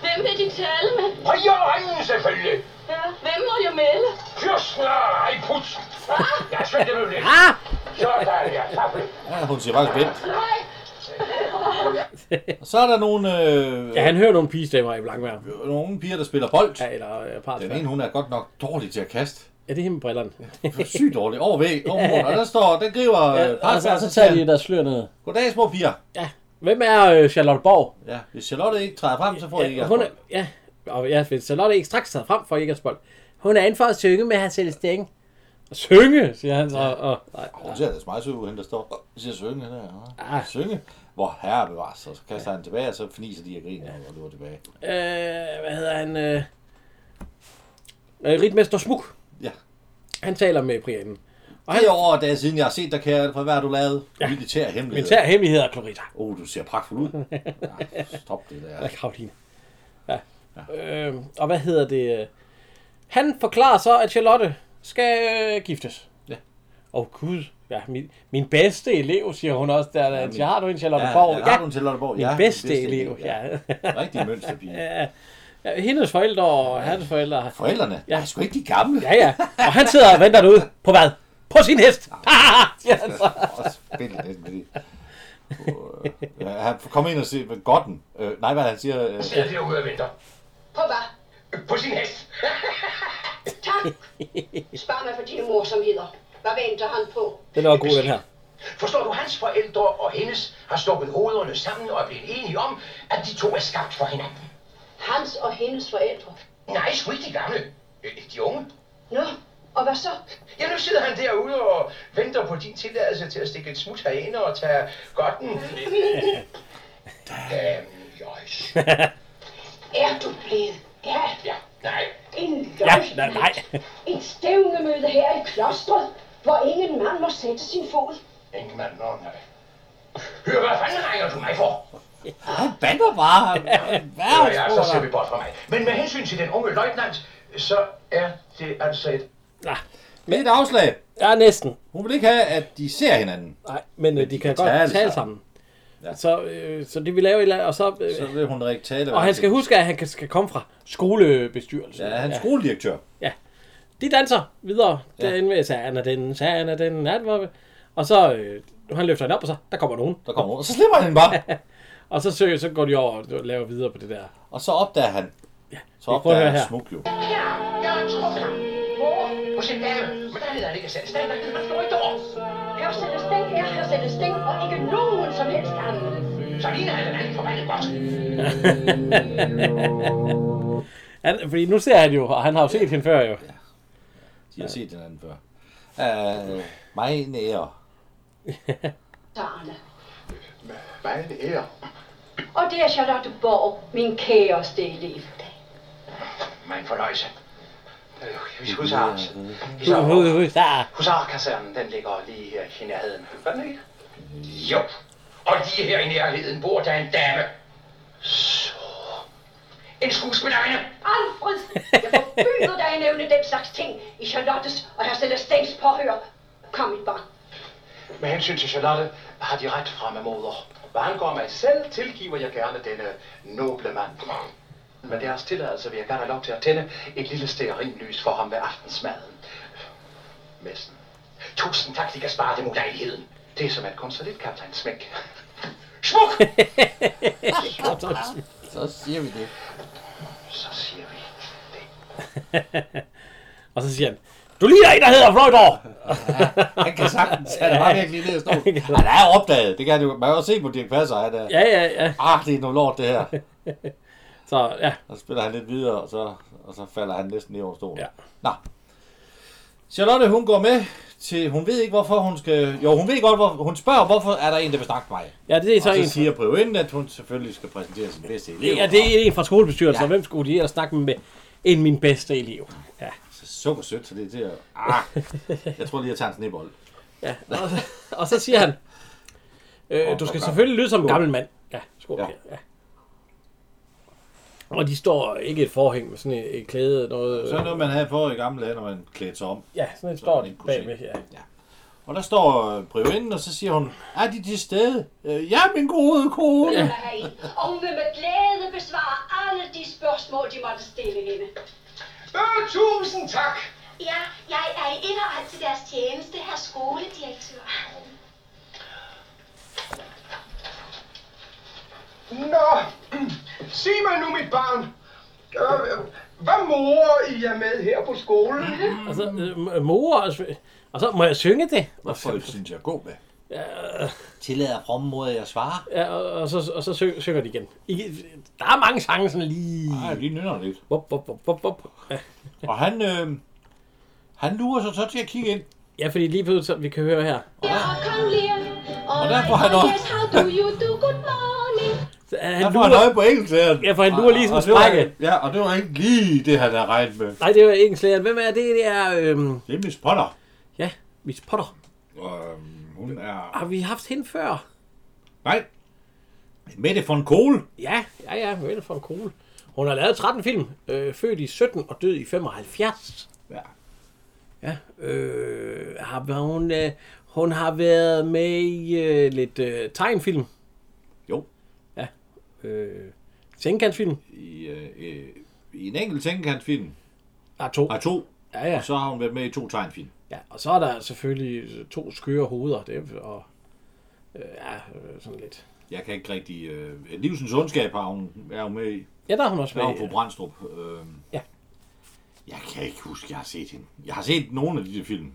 E: Hvem vil de tale med?
D: Og i øjnene, selvfølgelig.
E: Ja. Hvem må jeg melde?
D: Fyrsten og ej, put. Jeg er svendt dem lidt.
A: Ah!
D: Så er der, ja. Tak for det.
B: Ja, hun siger faktisk vent.
E: Nej.
B: Og så er der nogle, øh,
A: Ja, han hører nogle pigestemmer i Blankvær.
B: nogle piger, der spiller bold.
A: Ja, eller øh, part.
B: Den ene, hun er godt nok dårlig til at kaste.
A: Ja, det er hende med brillerne.
B: Sygt dårlig. Over væg, over munden. Og der står, den griber...
A: Ja,
B: Øh,
A: og så, og så tager de der slør ned.
B: Goddag, små piger.
A: Ja. Hvem er øh, Charlotte Borg?
B: Ja, hvis Charlotte ikke træder frem, så får jeg ikke
A: Ja,
B: jeres
A: hun er,
B: bold.
A: ja, og ja, hvis Charlotte ikke straks taget frem for ikke at spille. Hun er inde for at synge med hans Celestine. Synge, siger han så. Og, nej,
B: Hun ser det meget sød ud, hende der står og siger synge hende her.
A: Ah.
B: Ah. Synge. Hvor herre bevares, så kaster han tilbage, og så fniser de og griner og løber tilbage.
A: øh, hvad hedder han? Øh, øh, Ritmester Smuk.
B: Ja.
A: Han taler med Brianen. Og han
B: Det er over og dage siden, jeg har set dig, kære, for hvad har du lavet? Ja. Militær hemmelighed.
A: militær hemmeligheder, Clarita.
B: Åh, oh, du ser pragtfuld ud. Ja, stop det der.
A: Eller Karoline. Ja. ja. Øh, og hvad hedder det? øh, Han forklarer så, at Charlotte skal øh, giftes.
B: Ja.
A: Åh oh, gud, ja, min, min bedste elev, siger hun også der. Ja,
B: min-
A: min, har du en Charlotte
B: Ja,
A: Borg?
B: ja, har du en til Lotteborg?
A: Min
B: Ja,
A: bedste, elev, ja.
B: Rigtig mønsterpige.
A: ja. Hendes forældre og hans forældre.
B: Forældrene? Ja.
A: Ja.
B: Er sgu ikke de gamle?
A: Ja, ja. Og han sidder og venter derude. På hvad? På sin hest! Ah, siger han så.
B: Og spille lidt med det. Uh, ja, han kom ind og se med Godden. Øh, nej, hvad er det, han siger? Øh,
D: Sidder derude og venter.
F: På hvad?
D: På sin hest.
F: Tak. Spar mig for dine morsomheder. Hvad venter han på?
A: Den er også god, den her.
D: Forstår du, hans forældre og hendes har stukket hovederne sammen og er blevet enige om, at de to er skabt for hinanden.
F: Hans og hendes forældre.
D: Nej, sgu ikke de gamle. Øh, De unge.
F: Nå, og hvad så?
D: Ja, nu sidder han derude og venter på din tilladelse til at stikke et smut herind og tage godten. Damn, jøjs.
F: Er du blevet gal?
D: Ja, nej.
F: En
A: Ja,
F: løgnat.
A: nej, nej.
F: En stævnemøde her i klostret, hvor ingen mand må sætte sin fod.
D: Ingen mand, nå nej. Hør, hvad fanden ringer du mig for?
B: Han bander bare.
D: Ja, ja, så ser vi bort fra mig. Men med hensyn til den unge løjtnant, så er det altså et...
B: Med et afslag.
A: Ja, næsten.
B: Hun vil ikke have, at de ser hinanden.
A: Nej, men øh, de kan
B: kan
A: godt
B: tale
A: tale,
B: sammen.
A: sammen.
B: Ja.
A: Ja. Så, øh, så det vi laver, et eller andet, og så... Øh,
B: Så vil hun ikke tale.
A: Og han skal huske, at han kan- skal komme fra skolebestyrelsen.
B: Ja, han er skoledirektør.
A: De danser videre
B: Ja.
A: ja. derinde ved Sand den, Sand den, nat, hvor- Og så, øh, han løfter den op, og så, der kommer nogen.
B: Der kommer hun, og så slipper han hende bare.
A: Og så, så, så går de over og laver videre på det der.
B: Og så opdager han. Så
A: vi prøver at
B: opdager
A: høre
B: han
A: her.
B: smuk jo.
D: Ja, jeg har truffet ham. Hvor? Hos en dame. Men der hedder han ikke selv. Stadig, han slår ikke over.
F: Her sættes den her, her sættes den, og ikke nogen som helst anden.
D: Så ligner han en anden forbandet godt.
A: Han, fordi nu ser han jo, og han har jo set hende før jo.
B: De har set hinanden før. Uh, mig nære.
F: Sarne.
D: Hvad er det her?
F: Og det er Charlotte Borg, min kæreste elev.
D: Mig en fornøjelse. Øh, Husar.
A: Hu- hu- hu- der.
D: Husarkasernen, den ligger lige her i nærheden. Gør den ikke? Jo. Og lige her i nærheden bor der en dame. Så. En skuespillerinde.
F: Alfred, jeg forbyder dig at nævne den slags ting i Charlottes og her sættes dens påhør. Kom, mit barn.
D: Med hensyn til Charlotte har de ret fremme moder. Hvad angår mig selv, tilgiver jeg gerne denne noble mand. Med deres tilladelse vil jeg gerne have lov til at tænde et lille stearinlys for ham ved aftensmaden. Messen. Tusind tak, de kan spare dem ulejligheden. Det er som at konsulere kaptajn Smæk. Smuk!
B: Så siger vi det.
D: Så siger vi det.
A: Og så siger han, du ligner en, der hedder Fløjdor!
B: Han kan sagtens. Han er bare virkelig nede at stå. Han er opdaget. Det kan han jo. Man kan jo se på Dirk Passer. Han er,
A: Ja, ja, ja.
B: ah, det er noget lort det her.
A: Så ja,
B: Og så spiller han lidt videre, og så, og så falder han næsten ned over stolen.
A: Ja.
B: Nå. Charlotte, hun går med til, hun ved ikke, hvorfor hun skal... Jo, hun ved godt, hvor, hun spørger, hvorfor er der en, der vil snakke med mig?
A: ja det er så,
B: og
A: en.
B: så siger Privinden, at hun selvfølgelig skal præsentere sin bedste elev.
A: ja, det er en fra skolebestyrelsen, ja.
B: Ja.
A: og hvem skulle de ellers snakke med end min bedste elev? Ja.
B: Så sukker sødt, så det er til at... Ah, jeg tror lige, jeg tager en snebold.
A: Ja, og, og så siger han, øh, du skal selvfølgelig lyde som en gammel mand. Ja, skål.
B: Ja.
A: Ja. ja. Og de står ikke et forhæng med sådan et, et klæde. Noget,
B: Så er noget, man havde for i gamle dage, når man klædte sig om.
A: Ja, sådan et
B: Så man
A: står
B: ikke kunne se.
A: bagved. Ja.
B: Og der står øh, priorinden, og så siger hun, er de til stede? Øh, ja, min gode kone. Ja.
F: heri, og hun vil med glæde besvare alle de spørgsmål, de måtte stille hende.
D: Øh, tusind tak.
E: Ja, jeg er i inderhold til deres tjeneste, herr skoledirektør.
D: Nå, sig mig nu, mit barn. Øh, hvad mor I er med her på skolen?
A: Og så øh, mor og, sv- og så må jeg synge det. Og
B: Folk synes, jeg er god med.
G: Tillader frommod at svare?
A: Ja, og, og, så, og så syng, synger de igen. I, der er mange sange sådan lige...
B: Nej, de nynner lidt.
A: Bop, bop, bop, bop, bop. Ja.
B: Og han, øh, han lurer sig så til at kigge ind.
A: Ja, fordi lige pludselig, som vi kan høre her,
E: Ja, og kong Lear.
B: Og der får han også-
E: Yes, how do you do? Good morning.
A: så er
B: Han
A: han
B: får han
A: lurer,
B: øje på engelsklæren.
A: ja, for han lurer lige sådan en
B: det var,
A: sprække.
B: ja, og det var ikke lige det, han havde regnet med.
A: Nej, det var ikke en slæger. Hvem er det? Det er, øhm,
B: Det er Miss Potter.
A: ja, Miss Potter.
B: Og, øhm, hun er...
A: Har vi haft hende før?
B: Nej. Mette von Kohl.
A: Ja, ja, ja, Mette fra Kohl. Hun har lavet 13 film, øh, født i 17 og død i 75.
B: Ja.
A: Ja, øh, har været- hun, øh, hun har været med i øh, lidt øh, tegnfilm.
B: Jo.
A: Ja, øh, sengkantsfilm.
B: I, øh, øh, i en enkelt tænkekantsfilm.
A: Der er to.
B: Har to.
A: Ja, ja.
B: Og så har hun været med i to tegnfilm.
A: Ja, og så er der selvfølgelig to skøre hoveder. Det er, og, øh, ja, øh, sådan lidt.
B: Jeg kan ikke rigtig... Øh, Livsens ondskab har hun, er hun med i.
A: Ja, der er hun også
B: Der er hun på
A: med.
B: Brandstrup. Øh,
A: Ja.
B: Jeg kan ikke huske, jeg har set hende. Jeg har set nogle af de der film.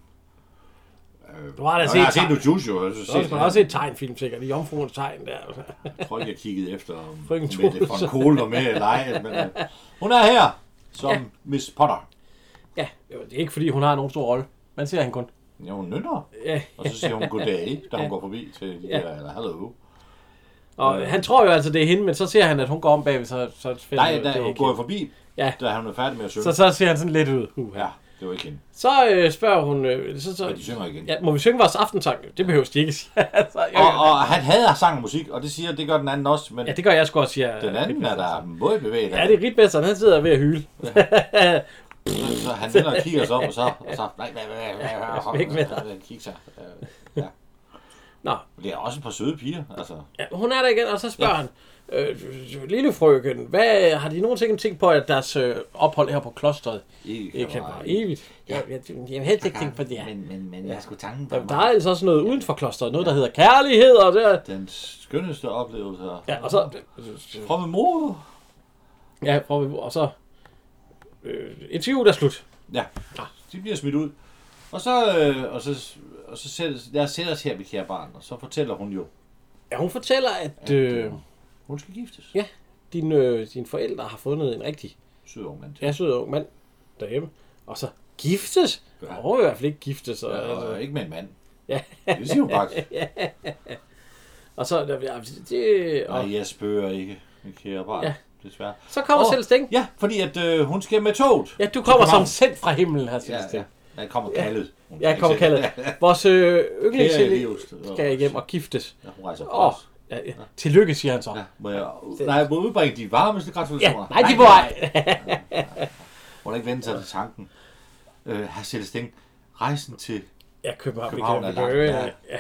A: Du har da
B: Nå,
A: set,
B: jeg har set
A: tegn-
B: Nojusho. og Så
A: så har
B: set,
A: man også set tegnfilm, sikkert. I Jomfruens tegn der. altså.
B: jeg tror ikke, jeg kiggede efter, om om
A: Frøken
B: Mette
A: Troelsen.
B: von Kohl var med eller ej. Men, øh, hun er her som
A: Ja.
B: ja. Miss Potter.
A: Ja, jo, det er ikke fordi, hun har nogen stor rolle. Man ser hende kun.
B: Ja, hun nynner.
A: Ja.
B: Og så siger hun goddag, da hun går forbi til de der, eller hallo.
A: Og øh, han tror jo altså, det er hende, men så ser han, at hun går om bagved, så, så finder
B: Nej,
A: han, det
B: da
A: er
B: hun
A: ikke
B: går jo
A: hende.
B: forbi,
A: Ja.
B: da han er færdig med at synge.
A: Så, så ser han sådan lidt ud. Uh,
B: Ja, det var ikke hende.
A: Så øh, spørger hun... Øh, så, så,
B: Og de synger igen.
A: Ja, må vi synge vores aftensang? Det behøver de ikke sige. altså,
B: Og,
A: jeg,
B: og han hader sang og musik, og det siger, det gør den anden også, men
A: ja, det gør jeg sgu også, siger
B: den anden er der måde bevæget.
A: Ja, det er Ritbesteren, han sidder ved at hyle.
B: Så han vender og kigger sig om, og så, og så nej, nej, nej, nej, nej,
A: Væk med
B: nej, kigger sig. Øh, Ja.
A: Nå,
B: Men Det er også et par søde piger, altså.
A: ja, hun er der igen, og så spørger ja. han, øh, lille frøken, hvad, har de nogensinde tænkt på, at deres øh, ophold her på klosteret
B: Ikke
A: ikke kan
B: vare
A: være
B: evigt.
A: evigt? Ja. Jeg, jeg, jeg, vil helst ikke tænke på det her.
G: Men, men, men jeg skulle tanken på
A: Jamen, der er altså også noget uden for klosteret, noget der hedder kærlighed, og det er-
B: Den skønneste oplevelse her.
A: Ja, og så...
B: Fra min mor.
A: Ja, prøver vi, og så... Øh, interviewet er slut.
B: Ja, de bliver smidt ud. Og så, øh, og så, og så sættes, jeg sætter os her ved kære barn, og så fortæller hun jo,
A: Ja, hun fortæller, at øh,
B: hun skal giftes.
A: ja, dine, øh, dine forældre har fundet en rigtig
B: Sød ung mand.
A: ja, sød ung mand derhjemme, og så giftes? Ja.
B: Ja.
A: Og hun vil i hvert fald ikke giftes. Og,
B: Ja,
A: ja,
B: og
A: altså,
B: ikke med en mand.
A: Ja.
B: Det siger hun faktisk.
A: og så... Ja, altså, det, og,
B: Nej, jeg spørger ikke, min kære barn.
A: Ja.
B: Ja. Desværre.
A: så kommer
B: Åh,
A: oh, selv Sting.
B: Ja, fordi at øh, hun skal med toget.
A: Ja, du kommer
B: Til København.
A: som sendt fra himlen her,
B: Ja,
A: Sels
B: ja.
A: Sting.
B: Jeg kommer kaldet. Hun skal
A: Jeg kommer
B: ikke selv.
A: kaldet. Vores øh, yndlings
B: Kære Elius.
A: skal hjem og giftes.
B: Ja, hun rejser
A: Åh,
B: oh.
A: ja, ja. tillykke, siger han så.
B: Ja, må jeg, nej, jeg må udbringe de varmeste
A: Ja,
B: gratulationer.
A: nej, de bor ej.
B: Må da ikke vende sig til tanken. Øh, herr Celestin, rejsen til...
A: Ja, København.
B: København
A: vi
B: er
A: kan, vi
B: langt,
A: kan,
B: ja.
A: ja. Ja,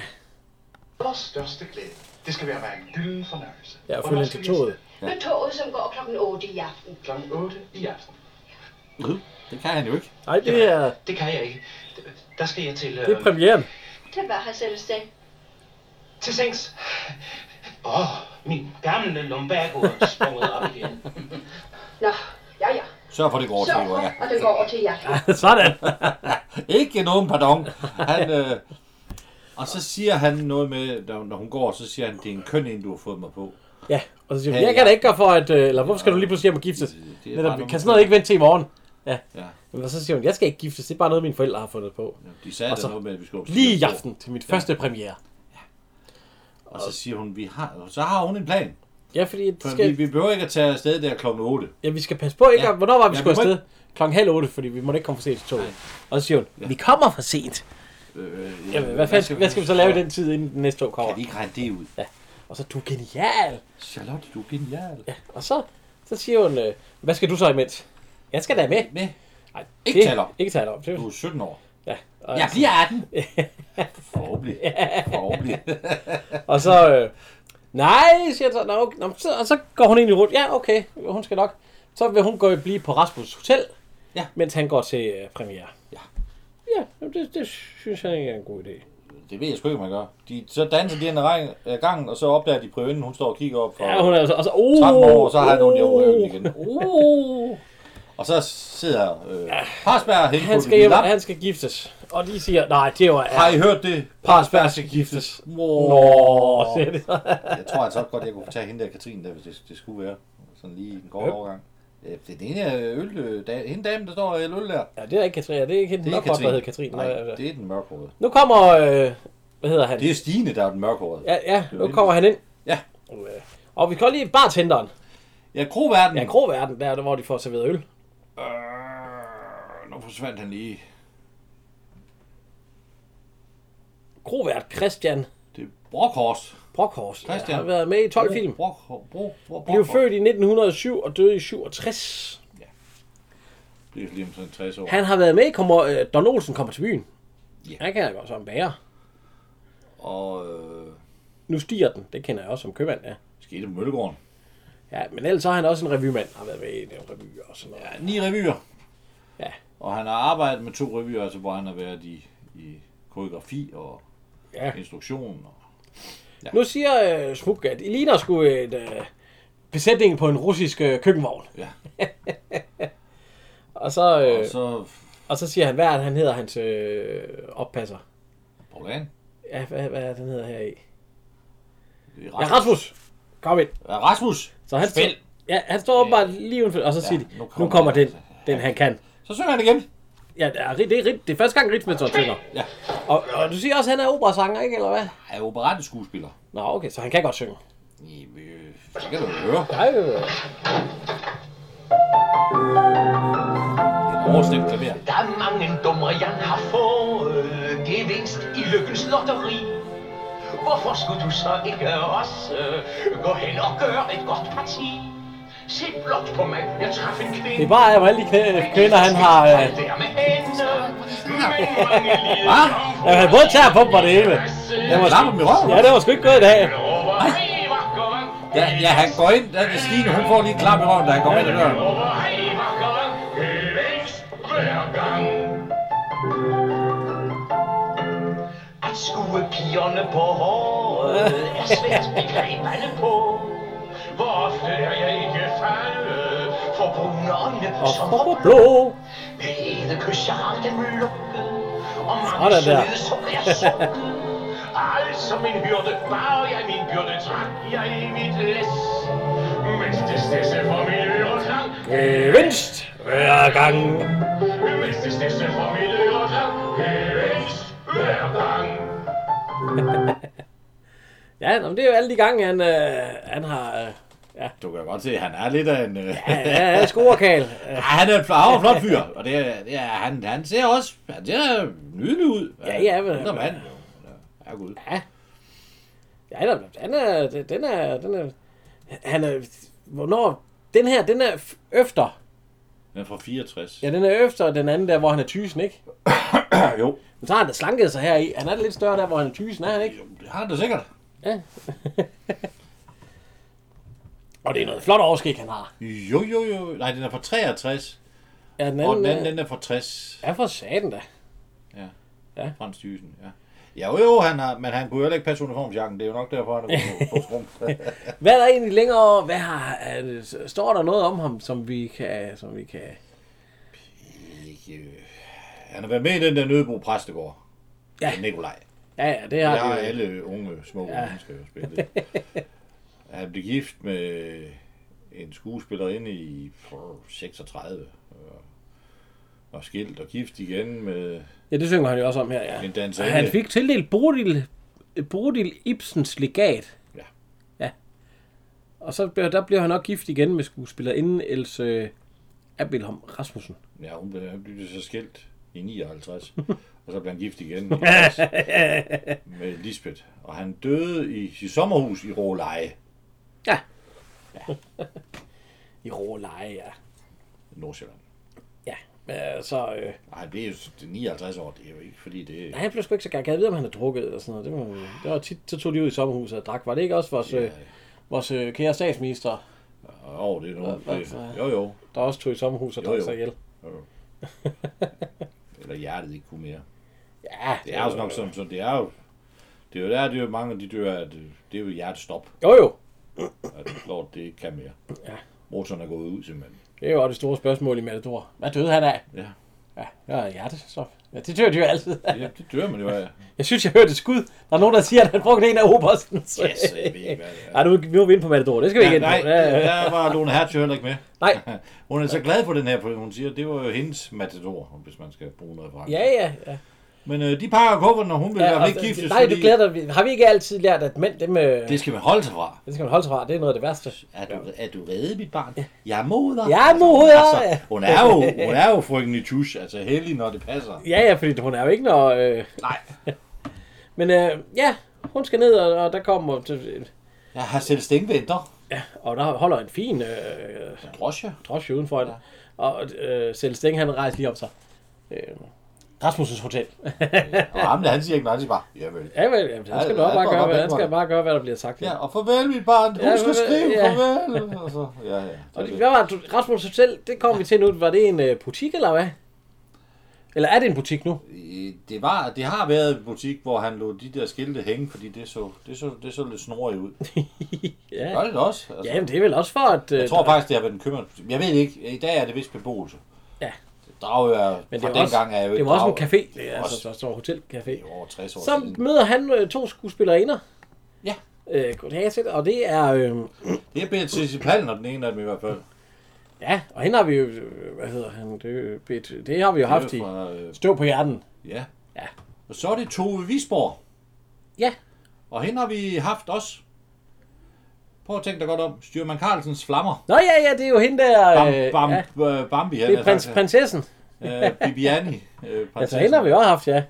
D: Vores største glæde. Det skal være en gylden fornøjelse.
A: ja og
D: Hvornår
A: følge hende
D: skal
A: til
D: vi
A: toget.
F: Med toget, som går klokken 8 i aften.
D: afsted? Klokken 8 i aften.
B: Øh, det kan han jo ikke.
A: Nej, det er,
D: Det kan jeg ikke. Der skal jeg til... øh,
A: det er premieren.
F: Det var her selv sted.
D: Til sengs. Åh, oh, min gamle lumbago er sprunget op igen.
F: Nå, ja ja.
B: Sørg for, det går over
F: Så,
B: til, ja.
F: og den går over til jer.
A: Sådan.
B: Ikke nogen pardon. Han, øh, og så siger han noget med, når når hun går, så siger han, det er en køn en, du har fået mig på.
A: Ja, og så siger hun,
B: Ja,
A: jeg kan
B: ja.
A: da ikke gøre for, at... øh, Eller hvorfor skal du lige pludselig hjem og giftes?
B: Det er bare
A: Netop,
B: nogle-
A: kan sådan noget ikke vente til i morgen? Ja.
B: Ja.
A: Men så siger hun, jeg skal ikke giftes, det er bare noget, mine forældre har fundet på.
B: De sagde
A: Og
B: der
A: så-
B: noget med, at vi skulle op til
A: Lige i
B: Singapore.
A: aften til mit første premiere.
B: Og så siger hun, vi har, så har hun en plan.
A: Ja, fordi det
B: For
A: skal,
B: vi, vi behøver ikke at tage afsted der kl. 8.
A: ja, vi skal passe på, ikke?
B: Ja.
A: Og Hvornår var vi
B: Ja,
A: skulle
B: vi må
A: afsted? Klokken halv otte, fordi vi måtte ikke komme for sent til toget. Og så siger hun, vi kommer for sent.
B: Øh,
A: Jamen, hvad, fanden, hvad skal vi så lave i den tid, inden den næste tog
B: Kan vi
A: kommer?
B: ikke regne det ud?
A: Og så, du er genial!
B: Charlotte, du er genial.
A: Og så, Så siger hun, øh, hvad skal du så imens? Jeg skal da med.
B: Med.
A: Nej,
B: Ikke
A: det-
B: tale om.
A: Ikke tale om. Det,
B: Du er 17 år.
A: ja. Og, altså-
G: Jeg bliver 18.
B: Forhåbentlig. Forhåbentlig.
A: og så, øh, nej, siger jeg så. Nå, okay. Nå, så, og så går hun egentlig rundt. Ja, okay, hun skal nok. Så vil hun gå blive på Rasmus Hotel,
G: Ja.
A: mens han går til øh, premiere.
G: Ja.
A: Ja, jamen, det, det synes jeg ikke er en god idé.
B: Det ved jeg sgu ikke, man gør. De, så danser de ind ad regn- ad gangen, og så opdager de prøven, hun står og kigger op for
A: Ja, hun er altså, og så, oh,
B: 13 år, og så har han ondt i
A: Uh.
B: røven igen.
A: Oh,
B: Og så sidder øh, Parsberg helt
A: han,
B: på
A: skal hjem,
B: lap.
A: han skal giftes. Og de siger, nej, det var...
B: Har I hørt det?
A: Parsberg skal giftes.
B: Nå.
A: Åh, siger de så.
B: Jeg tror altså godt, jeg kunne tage hende der Katrine, der, hvis det, det skulle være. Sådan lige en kort
A: Yep.
B: overgang. Øh, Det er den ene øh, øl, øh, da, hende dame, der står og øl, øl der.
A: Ja, det er ikke Katrine. Det er ikke hende
B: Det er
A: nok
B: ikke
A: godt, der
B: Katrine.
A: hedder Katrine.
B: Nej,
A: Nej, altså.
B: det er den mørkhårede.
A: Nu kommer... Øh, hvad hedder han?
B: Det er Stine, der er den mørkhårede.
A: Ja, ja, nu kommer han ind.
B: Ja.
A: Øh, Og vi kan godt lide bartenderen.
B: Ja, Kroverden.
A: Ja, Gråverden, der er der, hvor de får serveret øl.
B: Øh, nu forsvandt han lige.
A: Gråvert Christian
B: Det er Brockhorst.
A: Brockhorst. Ja,
B: Christian.
A: har været med i 12 film.
B: Brock, Brock, Brock, Brock,
A: Blev født i 1907 og døde i 67.
B: Det er lige om sådan 60 år.
A: Han har været med i kommer, øh, Don Olsen kommer til byen.
B: Ja.
A: Han kan jeg godt som bager.
B: Og øh,
A: Nu stiger den. Det kender jeg også som købmand, ja.
B: skete på Møllegården.
A: Ja, men ellers så er han også en revymand. Har været med i en revy og sådan noget.
B: Ja, ni revyer.
A: Ja.
B: Og han har arbejdet med to revyer, altså hvor han har været i, i koreografi og
A: Ja.
B: instruktion. Og,
A: Nu siger øh, Smuk, at I ligner sgu et øh, besætning på en russisk øh, køkkenvogn.
B: Ja.
A: og, så, øh,
B: og så
A: og så siger han, hvad er det, han hedder, hans øh, oppasser?
B: Paul Hahn.
A: Ja, hvad, hvad er det, han hedder her i?
B: Det er
A: Ja, Rasmus! Kom ind.
B: Ja, Rasmus.
A: Så han,
B: Spil.
A: ja, han står åbenbart lige udenfor, og så siger de,
B: nu
A: nu
B: kommer
A: kommer, nu kommer
B: den."
A: den, den han kan.
B: Så synger han igen.
A: Ja, det er, det er, det er, det er første gang, Ritzmann står til
B: Ja.
A: og, og du siger også, at han er operasanger, ikke? Eller hvad?
B: Han er operette skuespiller.
A: Nå, okay, så han kan godt synge.
B: I, øh, det kan du jo høre.
A: Nej,
B: Overstemt klaver.
D: Der er mange dummer, jeg har fået gevinst i lykkens lotteri. Hvorfor skulle du så ikke også øh, gå hen og gøre et godt parti? Se blot på mig, jeg traf en kvinde.
A: det er bare af alle de kv- kvinder, han har... Øh,
D: Hvad?
A: ja, han både tager på mig det hele.
B: Jeg
A: var sgu-
B: klapper dem i røven.
A: Ja, det var sgu ikke gået i dag.
B: Ja, ja, han går ind. Der er Stine, hun får lige et klap i røven, da han kommer ind ad døren.
D: At skue pigerne på håret er svært begriberne på. Hvor ofte er jeg ikke faldet for brune øjne
A: Og
D: som
A: hopper
D: var blå.
A: blå.
D: Med ede kys jeg har dem lukket, og mange
A: Sådan der.
D: søde sukker jeg sukket. Altså min hyrde bar jeg min byrde, trak jeg i mit læs. Mens det stedse for min øre klang,
A: Gevinst hver gang.
D: mens det stedse for min øre klang, helst hver gang.
A: Ja, nå, men det er jo alle de gange, han, øh, han har... Øh,
B: Du kan godt se, han er lidt af en... Øh,
A: ja, ja, skorekal.
B: Ja, han er en fl- han er en flot fyr, og det er, det er, han, han ser også, han ser nydelig ud.
A: Ja, ja, men-
B: Han er mand, jo. Ja, gud.
A: Ja, han er, han er, den er, den er, han er, hvornår, den her, den er f- efter,
B: Men fra 64.
A: ja, den er efter den anden der, hvor han er tysen, ikke?
B: jo.
A: Men så har han da slanket sig her i, han er lidt større der, hvor han er tysen, er han ikke?
B: jo. Det har han da sikkert.
A: Og det er noget flot overskæg, han har.
B: Jo, jo, jo. Nej, den er fra 63,
A: Ja, den
B: og
A: anden,
B: den anden,
A: øh,
B: den er fra 60.
A: ja, for satan da.
B: Ja.
A: Ja.
B: Frans Thyssen, ja. Ja, jo, jo, han har, men han kunne jo heller ikke passe uniformsjakken. Det er jo nok derfor, han er på, på skrum.
A: Hvad er der egentlig længere, hvad har, er det- står der noget om ham, som vi kan, som vi kan,
B: Ikke, øh, han har været med i den der Nødebo Præstegård.
A: Ja.
B: Ja. Nikolaj.
A: ja, ja, det har
B: Det
A: ja,
B: har
A: det, jo.
B: alle unge, små ja. mennesker jo spillet. Han blev gift med en skuespillerinde i 36. og- Og skilt og gift igen med
A: ja, det synger han jo også om her, ja.
B: en danser.
A: Og han fik tildelt Bodil, Bodil Ibsens legat.
B: Ja.
A: Ja. Og så blev, der blev han nok gift igen med skuespillerinden Else Abelholm Rasmussen.
B: Ja, hun blev, han blev så skilt i 59. og så blev han gift igen i 60 med Lisbeth. Og han døde i sit sommerhus i Råleje.
A: Ja. I rå leje, ja.
B: Nordsjælland.
A: Ja, øh, så... Øh,
B: Nej, det er jo det er 59 år, det er jo ikke, fordi det...
A: nej, han blev sgu ikke så gammel. Kan jeg vide, om han har drukket eller sådan noget? Det var, det var tit, så tog de ud i sommerhuset og drak. Var det ikke også vores, øh, vores øh, kære statsminister,
B: Åh, oh, det er nogen...
A: Hvad- hvad-
B: Det, jo, jo.
A: der også tog i sommerhuset og
B: Jo,
A: drak
B: jo.
A: sig ihjel?
B: jo. Eller hjertet ikke kunne mere.
A: Ja,
B: Det er jo sådan nok sådan, så det er jo... Det er jo der, det er jo mange af de dør, at øh, det er jo hjertestop,
A: Jo jo,
B: at lort, det ikke kan mere.
A: Ja.
B: Motoren er gået ud simpelthen.
A: det var det store spørgsmål i Matador. Hvad døde han af?
B: Ja.
A: Ja, det var hjertestop. Ja, det dør de jo altid.
B: Ja, det dør man jo af.
A: Jeg synes, jeg hørte et skud. Der er nogen, der siger, at han brugte en af oberstens.
B: Yes, jeg ved ikke, hvad det er.
A: Ej, nu, nu er vi inde på Matador. Det skal vi
B: Ja,
A: ikke
B: nej,
A: ind på. Ja, ja.
B: der var Lone Hertz jo heller ikke med.
A: Nej.
B: Hun er så glad for den her, for hun siger, at det var jo hendes matador, hvis man skal bruge noget fra.
A: Ja, ja, ja.
B: Men øh, de pakker kufferten, og hun vil i
A: ja
B: hvert
A: og,
B: fald ikke giftes,
A: nej, du glæder dig. Har vi ikke altid lært, at mænd, dem, øh,
B: det skal man holde sig fra.
A: det skal man holde sig fra. Det er noget af det værste.
B: Er du, er du redde, mit barn? Jeg er moder.
A: Jeg er moder.
B: Altså, hun er jo, hun er jo frygten i tusch, altså heldig, når det passer.
A: Ja, ja, fordi hun er jo ikke når... Øh...
B: Nej.
A: Men øh, ja, hun skal ned, og, og der kommer... Til,
B: Jeg har selv stængventer.
A: og der holder en fin øh,
B: Drosje.
A: drosje udenfor hende. Og øh, Selv Steng, han rejser lige op så. Øh, Rasmussens Hotel.
B: Og ham, der, han siger ikke noget, han siger bare, ja vel.
A: Ja, men, jamen, han skal
B: Ja,
A: nok
B: han
A: bare
B: går
A: gøre,
B: nok
A: hvad,
B: væk
A: han
B: fra
A: skal
B: det.
A: bare gøre, hvad der bliver sagt.
B: Ja, og farvel, mit barn. Husk
A: Ja,
B: at
A: farvel,
B: skrive
A: ja.
B: farvel. Og så, ja, ja.
A: Og det, hvad var det? Rasmus Hotel, det kom vi til nu. Var det en øh, butik, eller hvad? Eller er det en butik nu?
B: Øh, det, var, det har været en butik, hvor han lå de der skilte hænge, fordi det så, det så, det så lidt snorigt ud.
A: Ja.
B: Gør det da også? Altså,
A: Ja, men det er vel også for, at... Øh,
B: jeg tror faktisk, det har været en købmandsbutik. Jeg ved det ikke. I dag er det vist beboelse.
A: Ja.
B: Dragør
A: men det
B: fra
A: er også,
B: dengang er jo
A: det
B: ikke
A: var også en
B: Dragør.
A: café. Det
B: Det
A: er
B: er
A: altså så
B: også-
A: stor hotelcafé.
B: Det er jo over 60 år
A: Så
B: siden.
A: møder han øh, to skuespillerinder.
B: Ja.
A: Øh, goddag, Sid, og det er... Øh,
B: Det er Beatrice Palner, den ene af dem i hvert fald.
A: ja, og hende har vi jo... øh, Hvad hedder han? Det, er jo Bit- det har vi jo haft
B: Det
A: i
B: er fra, øh,
A: Støv på hjerten.
B: ja.
A: Ja.
B: Og så er det Tove Visborg.
A: Ja.
B: Og hende har vi haft også. Prøv at tænke dig godt om. Styrman Carlsens flammer.
A: Nå ja, ja, det er jo hende der...
B: Bam,
A: øh,
B: bam,
A: Ja,
B: øh, Bambi.
A: det er prins, prinsessen.
B: Øh, Bibiani. Øh,
A: Altså, hende har vi også haft, ja.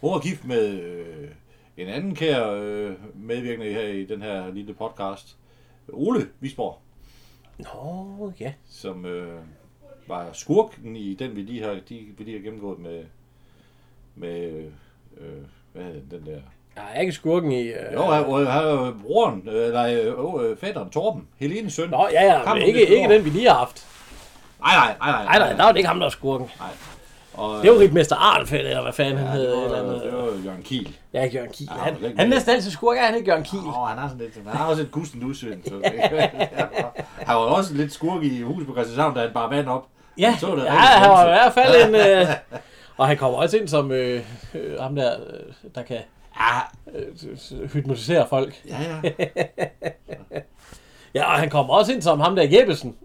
B: Hun er gift med øh, en anden kære øh, medvirkende her i den her lille podcast. Ole Visborg,
A: Nå, ja.
B: som øh, var skurken i den, vi lige har, de, vi lige har gennemgået med, med øh, hvad hedder den der?
A: Jeg er ikke skurken i... Øh,
B: Jo, han øh, han er øh, broren, øh, nej, øh, øh, fætteren Torben, Helenes søn.
A: Nå, ja, ja,
B: Ham,
A: men
B: hun
A: ikke,
B: er stor.
A: ikke den, vi lige har haft.
B: Nej, nej, nej,
A: Nej, nej, der var det ikke ham, der var skurken.
B: Og, øh,
A: Det var Ritmester Arnfeldt, eller hvad fanden han
B: ja,
A: hed.
B: det,
A: Eller
B: var,
A: andet.
B: det var Jørgen Kiel.
A: Ja, Jørgen Kiel.
B: Ja,
A: Han,
B: det var ikke
A: han er
B: det.
A: næsten altid skurk, er han ikke Jørgen Kiel?
B: Åh, oh, han har sådan lidt, han har også et gusten udsving. Så det, han var også lidt skurk i huset på Christianshavn, da han bare vand op.
A: Ja,
B: Han så det
A: ja
B: rigtig
A: han var i
B: grumt.
A: hvert fald en... Øh, og han kommer også ind som øh, øh, ham der, øh, der kan
B: Ja,
A: øh, hypnotisere folk.
B: ja, ja.
A: Ja, og han kommer også ind som ham der Jeppesen,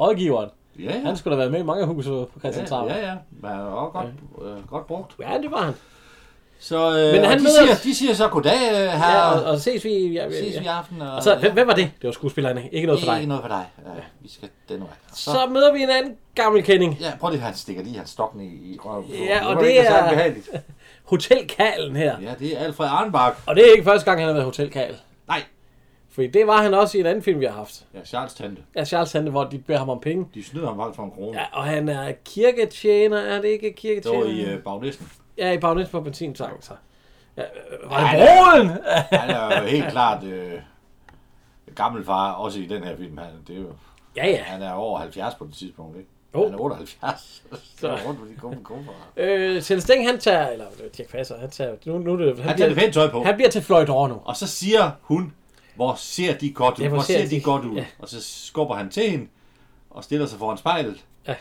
A: rådgiveren.
B: Ja, ja.
A: Han skulle da have været med i mange hus på Christianshavn.
B: Ja, ja, ja. Men han var også godt, øh, godt brugt.
A: ja, det var han.
B: Så, øh,
A: Men
B: Men
A: han
B: han de,
A: møder-
B: siger, de siger så goddag, øh, her.
A: Ja,
B: Ja,
A: og, og ses vi... Ja, ja,
B: ses vi i
A: ja.
B: aften.
A: Og så, hvem, hvem var det? Det var skuespillerne. Ikke noget for dig.
B: Ikke noget for dig. Ja, vi skal den vej. Og Så,
A: Så møder vi en anden gammel kending.
B: ja, prøv lige, han stikker lige hans stok ned i røven. på.
A: Ja, og
B: var
A: det
B: ikke så
A: er-
B: behageligt.
A: Hotelkalen her.
B: Ja, det er Alfred Arnbach.
A: Og det er ikke første gang, han har været hotelkal.
B: Nej.
A: Fordi det var han også i en anden film, vi har haft.
B: Ja, Charles Tante.
A: Ja, Charles Hante, hvor de beder ham om penge.
B: De snyder ham faktisk for en krone.
A: Ja, og han er kirketjener, er det ikke
B: Det var
A: kirketjener?
B: i øh, Bagnæsten.
A: Ja, i Bagnet på benzintanken, så. Ja, øh, var det broen?
B: Han er jo helt klart øh, gammel far, også i den her film. Han, det er jo,
A: Ja, ja.
B: han er over 70 på det tidspunkt, ikke?
A: Jo.
B: Han er 78. Så er rundt med de gode kuffer.
A: Øh, Sjæl Steng, han tager, eller det var Dirk Passer, han tager, nu, nu er det, han,
B: Han tager det pænt tøj på.
A: han bliver til Floyd Orr nu.
B: Og så siger hun, hvor ser de godt ud,
A: Ja,
B: hvor, ser, de, godt ud.
A: ja.
B: Og så skubber han til hende, og stiller sig foran spejlet.
A: Ja.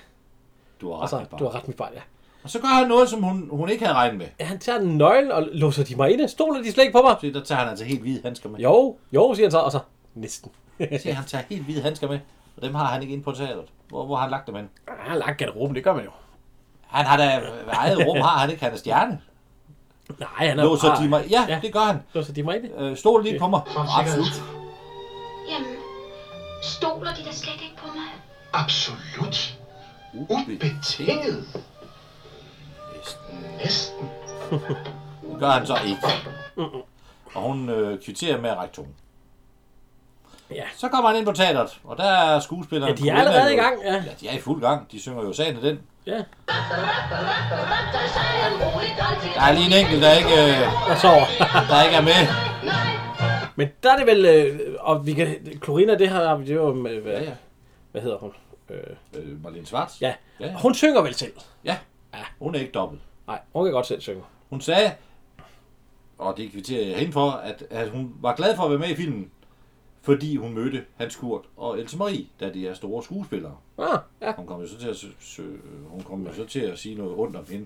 B: Du har
A: Og
B: ret,
A: så,
B: altså,
A: du har ret mit barn, ja.
B: Og så gør han noget, som hun, hun ikke havde regnet med.
A: ja. han tager en nøgle, og låser de mig inde. Stoler de slet ikke på mig?
B: Så der tager han altså helt hvide handsker med.
A: Jo, jo, siger han så, og så næsten.
B: Se, han tager helt hvide handsker med, og dem har han ikke inde på teateret. Hvor, hvor har han lagt dem hen?
A: Ah, Han har lagt garderoben, det gør man jo.
B: Han har da øh, eget rum, har han ikke? Han er stjerne.
A: Nej, han er
B: Låser
A: bare-
B: de mig? Ja,
A: Ja.
B: det gør han.
A: Låser de mig inde?
B: Øh, stol lige på mig. Absolut.
E: Jamen, stoler de da slet ikke på mig?
C: Absolut. Ubetinget. Næsten.
B: Det gør han så ikke. Og hun øh, kvitterer med at række tungen.
A: Ja.
B: Så kommer han ind på teateret, og der er skuespilleren...
A: Ja, de er
B: Corina
A: allerede
B: jo-
A: i gang, ja.
B: Ja, de er i fuld gang. De synger jo sagen af den.
A: Ja.
B: Der er lige en enkelt, der ikke, øh,
A: Jeg sover.
B: der ikke er med.
A: Men der er det vel... Øh, og vi kan... Corina, det her... Det var, øh, hvad,
B: Ja, ja.
A: hvad hedder hun? Øh,
B: Øh, Marlene Svarts.
A: ja.
B: Ja.
A: Hun synger vel selv?
B: ja. Hun er ikke dobbelt.
A: Nej, hun kan godt selv synge.
B: Hun sagde, og det kvitterer jeg hende for, at, at hun var glad for at være med i filmen, fordi hun mødte Hans Kurt og Else Marie, da de er store skuespillere.
A: Ah, ja.
B: Hun kom jo så til at, sø- sø- hun kom jo så til at sige noget ondt om hende.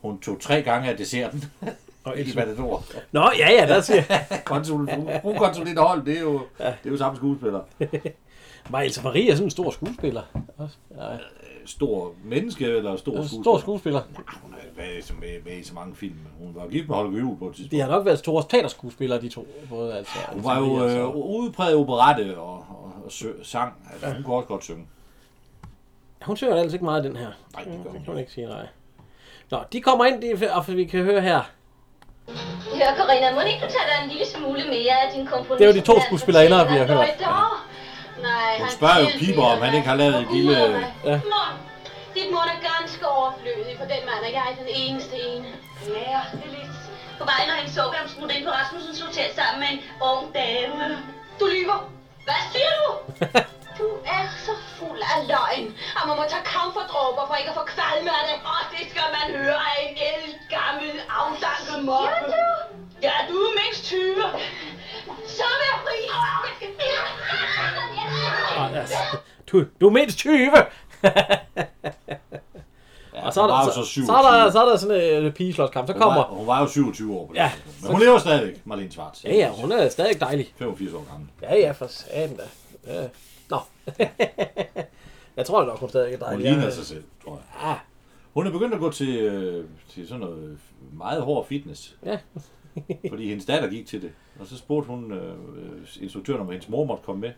B: Hun tog tre gange af desserten
A: Og
B: i Matador.
A: Nå, ja, ja, der siger
B: Konsul, hun konsulent hold, det er jo, det er jo samme skuespiller.
A: Var Elsa Marie er sådan en stor skuespiller. Også. Ja,
B: Stor menneske eller stor skuespiller? Ah,
A: stor skuespiller.
B: Hun har været med, med, med i så mange film. Hun var gift med Holger Juhl på et tidspunkt.
A: De har nok været store teaterskuespillere, de to. Både, altså,
B: Hun var jo øh, udpræget operette og, og, og sø, sang. Altså, hun kunne også godt synge.
A: Hun søger altså ikke meget, den her.
B: Nej, det gør hun
A: Kan man ikke sige nej. Nå, de kommer ind, de, og vi kan høre her.
E: Hør, Corinna, må ikke du tage dig en lille smule mere af din komponist?
A: Det er jo de to skuespillerinder, vi har hørt.
E: Nej,
B: Hun
E: han
B: spørger jo
E: tilbyder
B: Piber, om han
E: mig
B: ikke har lavet
E: og
B: et lille-
E: uder mig.
A: Ja.
E: Mor, dit mund er ganske overflødig, for den mand er jeg den eneste ene. Ja, det er lidt. På vejen, når han så, hvem smutte ind på Rasmussens Hotel sammen med en ung dame. Du lyver. Hvad siger du? Du er så fuld af løgn, og man må tage kamferdråber for ikke at få kvalme af det. Og det skal man høre af en elgammel, afdanket mobbe. Ja, du. Ja, du er mindst 20. Så vil jeg fri.
A: Og, altså, du, du er mindst 20!
B: Ja,
A: og så er,
B: hun var
A: der,
B: jo
A: så,
B: så
A: så,
B: 27.
A: er der, så er der sådan en øh, pigeslåskamp. Så
B: Hun var,
A: kommer...
B: hun var jo 27 år på det.
A: Ja.
B: tidspunkt. Men hun lever stadigvæk, Marlene Svarts.
A: Ja, ja, hun er stadig dejlig.
B: 85 år gammel.
A: Ja, ja, for satan da. Ja. Nå. jeg tror nok, hun stadig er Ah.
B: Hun
A: dejlig.
B: ligner
A: Jeg-
B: sig selv, tror jeg.
A: Ja,
B: Hun er begyndt at gå til, øh, til sådan noget meget hård fitness.
A: Ja.
B: fordi hendes datter gik til det. Og så spurgte hun øh, øh, instruktøren, om hendes mor måtte komme med.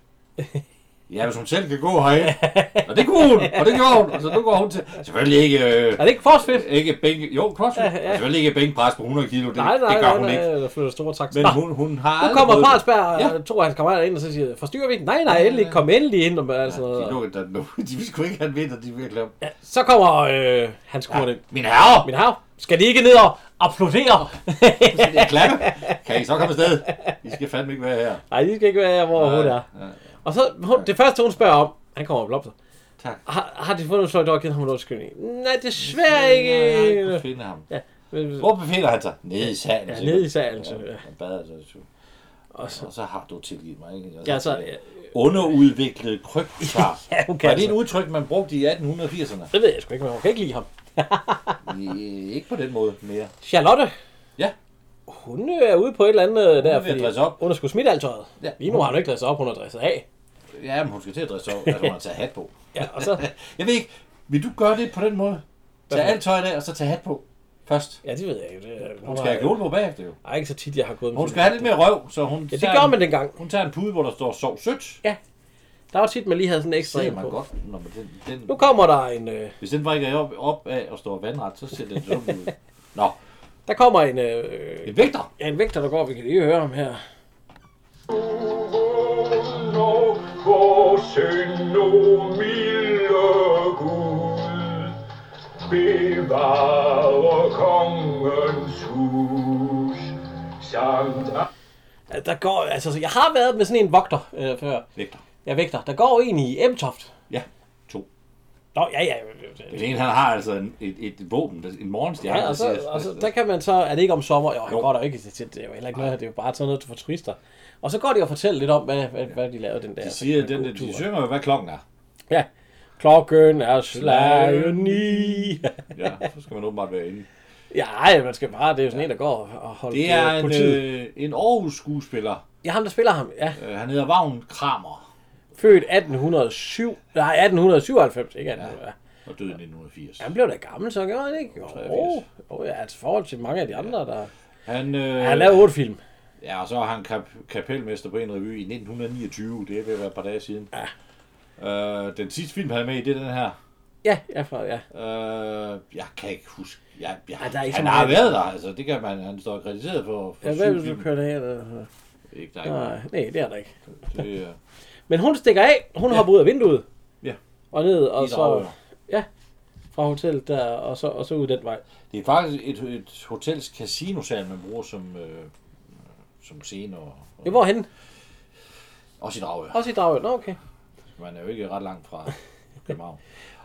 B: Ja, hvis hun selv kan gå herind. Og det kunne hun, og det gjorde hun. Og så nu går hun til... Selvfølgelig ikke... Øh,
A: er det ikke crossfit?
B: ikke bænk... Jo, crossfit. Ja, ja. Selvfølgelig ikke bænkpres på 100 kilo. Det,
A: Nej, nej,
B: det gør
A: nej,
B: hun
A: nej,
B: ikke.
A: der flytter store tak.
B: Men
A: Nå,
B: hun, hun har
A: nu
B: aldrig
A: kommer
B: fået-
A: Parsberg og
B: Ja.
A: to af hans kammerater ind, og så siger, forstyrrer vi? ikke?" Nej, nej, endelig, kom endelig ind. Og, altså,
B: De
A: ja,
B: lukkede den nu. De ville sgu ikke have den vinter, de ville have ja.
A: så kommer øh, hans kurt ind.
B: Min herre!
A: Min hav, skal de ikke ned og applaudere?
B: Jeg klappe. Kan I så komme afsted? I skal fandme ikke være her.
A: nej, de skal ikke være her, hvor hun er.
B: Ja.
A: Og så, hun, det første, hun spørger om, han kommer og blomster.
B: Tak.
A: Har, har de fundet Floyd og givet ham en undskyldning? Nej, desværre ikke.
B: Jeg har ikke kunnet finde ham.
A: Men-
B: Hvor befinder han sig? Nede i salen.
A: Ja,
B: sikkert.
A: nede i salen, så, ja.
B: Han bader sig. så.
A: Og så,
B: Og så har du tilgivet mig, ikke? Altså,
A: ja, så, ja,
B: Underudviklet krybsar.
A: ja, hun kan
B: Var det et
A: altså.
B: udtryk, man brugte i 1880'erne?
A: Det ved jeg sgu ikke, men hun kan ikke lide ham.
B: I- Ikke på den måde mere.
A: Charlotte.
B: Ja.
A: Hun øh, er ude på et eller andet øh, der,
B: ved at dresse op.
A: hun har sgu smidt alt tøjet.
B: Ja.
A: Lige nu har hun ikke dresset op, hun har dresset af.
B: Ja, men hun skal til at dresse op, at hun har taget hat på.
A: Ja, og så,
B: Jeg ved ikke, vil du gøre det på den måde? Tag
A: for-
B: alt tøjet af, og så tag hat på først.
A: ja, det ved jeg ikke. Det,
B: Hun skal have kjole på bagefter jo.
A: Ej, ikke så tit, jeg har gået med
B: Hun
A: sådan
B: skal have lidt mere røv, så hun...
A: Ja, det
B: tager
A: gjorde
B: en-
A: man dengang.
B: Hun tager en pude, hvor der står sov sødt.
A: Der var tit, man lige havde sådan en
B: Det
A: ekstra
B: ser
A: en
B: man
A: på.
B: godt, når man den, den,
A: Nu kommer der en, øh,
B: Hvis den vrikker op, op af og står vandret, så ser den sådan ud. Nå,
A: der kommer en, øh,
B: en vægter.
A: ja, en vægter, der går, vi kan lige høre ham her.
C: Vågn og synd, o milde Gud, bevare kongens hus, samt
A: Ja, Der går, altså, så jeg har været med sådan en vogter øh, før.
B: Vægter.
A: Ja, vægter. Der går en i Emtoft.
B: Ja, to.
A: Nå, ja, ja. øh, øh, øh.
B: Den ene, han har altså en, et, et våben, der- en morgenstjerne.
A: Ja, og
B: der
A: så,
B: siger-
A: og så, der kan man så, er det ikke om sommer? Jo, han
B: Jo.
A: går der jo ikke til, det er jo heller ikke noget, det er jo bare sådan noget for turister. Og så går de og fortæller lidt om, hvad, hvad, hvad de lavede den der.
B: De siger, den, der, de synger jo, hvad klokken er.
A: Ja. Klokken er slaget ni.
B: Ja, så skal man åbenbart være inde.
A: ja, ej, man skal bare, det er jo sådan en, der går og holder
B: Det er en,
A: politiet.
B: øh, en Aarhus skuespiller.
A: Ja, ham der spiller ham, ja.
B: Øh, han hedder Vagn Kramer
A: Født 1807, nej, 1897, ikke 1800. Ja.
B: og døde i 1980.
A: Han blev da gammel, så gjorde han ikke? Jo,
B: 83.
A: jo, ja, altså i forhold til mange af de andre, der...
B: Han, øh,
A: Han lavede otte film.
B: Ja, og så har han kap- kapelmester på en revy i 1929. Det er ved at være et par dage siden. Ja. Øh, den sidste film, han er med i, det er den her.
A: Ja, ja, fra, ja.
B: Øh, jeg kan ikke huske. Jeg, jeg,
A: Ej, der er ikke så
B: han
A: meget.
B: har været der, altså. Det kan man. Han står krediteret for, for
A: ja
B: ja,
A: hvad
B: syv
A: vil du
B: film.
A: køre det her?
B: Ikke dig.
A: Nej, nej, det er der ikke.
B: Det er
A: Men hun stikker af, hun ja. hopper ud af vinduet.
B: Ja.
A: Og ned, og
B: I drager.
A: så fra hotellet der, og så, og så ud den vej.
B: Det er faktisk et, et hotels casinosal, man bruger som, øh, som scene og,
A: Ja,
B: og
A: hvorhen?
B: også i Dragør.
A: Også i Dragør. Nå, okay.
B: Man er jo ikke ret langt fra København.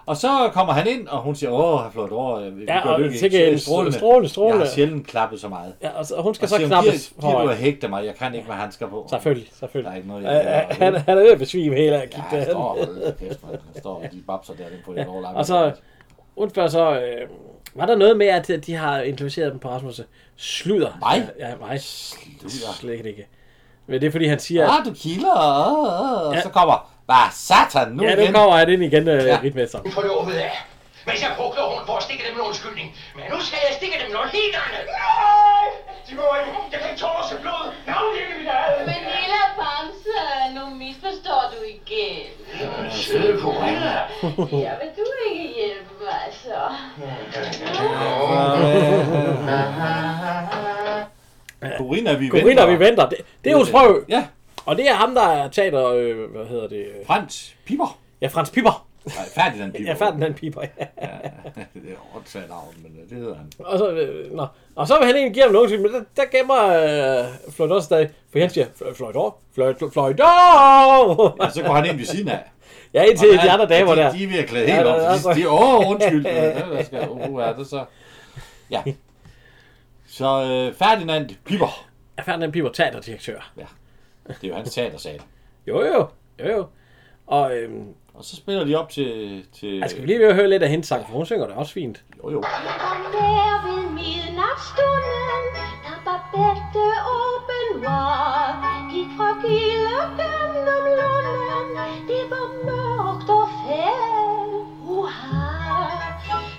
B: Og så kommer han ind, og hun siger, åh, herr Flodor, øh, vi
A: Ja,
B: gør
A: og
B: lykke.
A: sikke en strålende, strålende.
B: Jeg har sjældent klappet så meget.
A: Ja, og, så, og hun skal
B: Og
A: så
B: siger,
A: knappes
B: giver, giver du at hægte mig, jeg kan ikke med handsker på.
A: Selvfølgelig,
B: Der er
A: selvfølgelig.
B: ikke noget, jeg
A: Ja,
B: kan
A: han, han er ved at besvime hele og kigge
B: Ja,
A: ja,
B: han står, hold da kæft, mand. han står og de babser der, den på ja, overlap.
A: Og så, hun spørger så, øh, var der noget med, at de har introduceret dem på Rasmus? Sluder.
B: Mig?
A: Ja, ja mig. Sluder. Slet ikke. Men det er fordi, han siger,
B: Ah, du kilder, ah, ah, og så kommer, hvad satan nu
A: ja,
B: igen.
A: nu kommer han ind igen, øh, ja.
B: Ja.
A: ritmesteren.
D: Få det åbnet af. Mens jeg brugte hånden for at stikke dem en undskyldning. Men nu skal jeg stikke dem noget helt andet. Nej! De må ikke. Jeg kan ikke tåle sig blod. Navn ikke mit eget.
E: Men lille Bamse, nu misforstår du igen.
D: Søde Corinna.
E: Ja, vil du ikke altså. hjælpe mig så?
B: Corinna, vi venter.
A: Gorilla, vi venter. Det, det er jo prøv.
B: Ja,
A: Og det er ham, der er teater, øh, hvad hedder det? øh,
B: Frans Piper.
A: Ja, Frans Piper.
B: Nej, Ferdinand Piper.
A: Ja, Ferdinand Piper, ja.
B: det er åndssvagt navn, men øh, det hedder han.
A: Og så, øh, nå. og så vil han egentlig give ham en undskyld, men der, der gemmer øh, Floyd også stadig, for han siger, "Fl- Floyd Orr, Floyd, Floyd Orr!
B: Ja, så går han ind ved siden af.
A: Ja, indtil
B: Og
A: de andre damer
B: de,
A: der.
B: De er ved at klæde
A: Ja,
B: helt
A: der-
B: op.
A: der-
B: De, de, åh, undskyld. Ja, Hvad skal uh, er det så? Ja. Så øh, Ferdinand Piper.
A: Er Ferdinand Piper teaterdirektør?
B: Det er jo hans teatersal.
A: Jo, jo, jo, jo. Og øhm,
B: Og så spiller de op til... til
A: jeg skal vi lige ved at høre lidt af hendes sang, for hun synger det også fint.
B: jo, jo.
E: Og der ved midnatsstunden, der var bedte åben var, gik fra gilde gennem lunden, det var mørkt og fæld. Uha,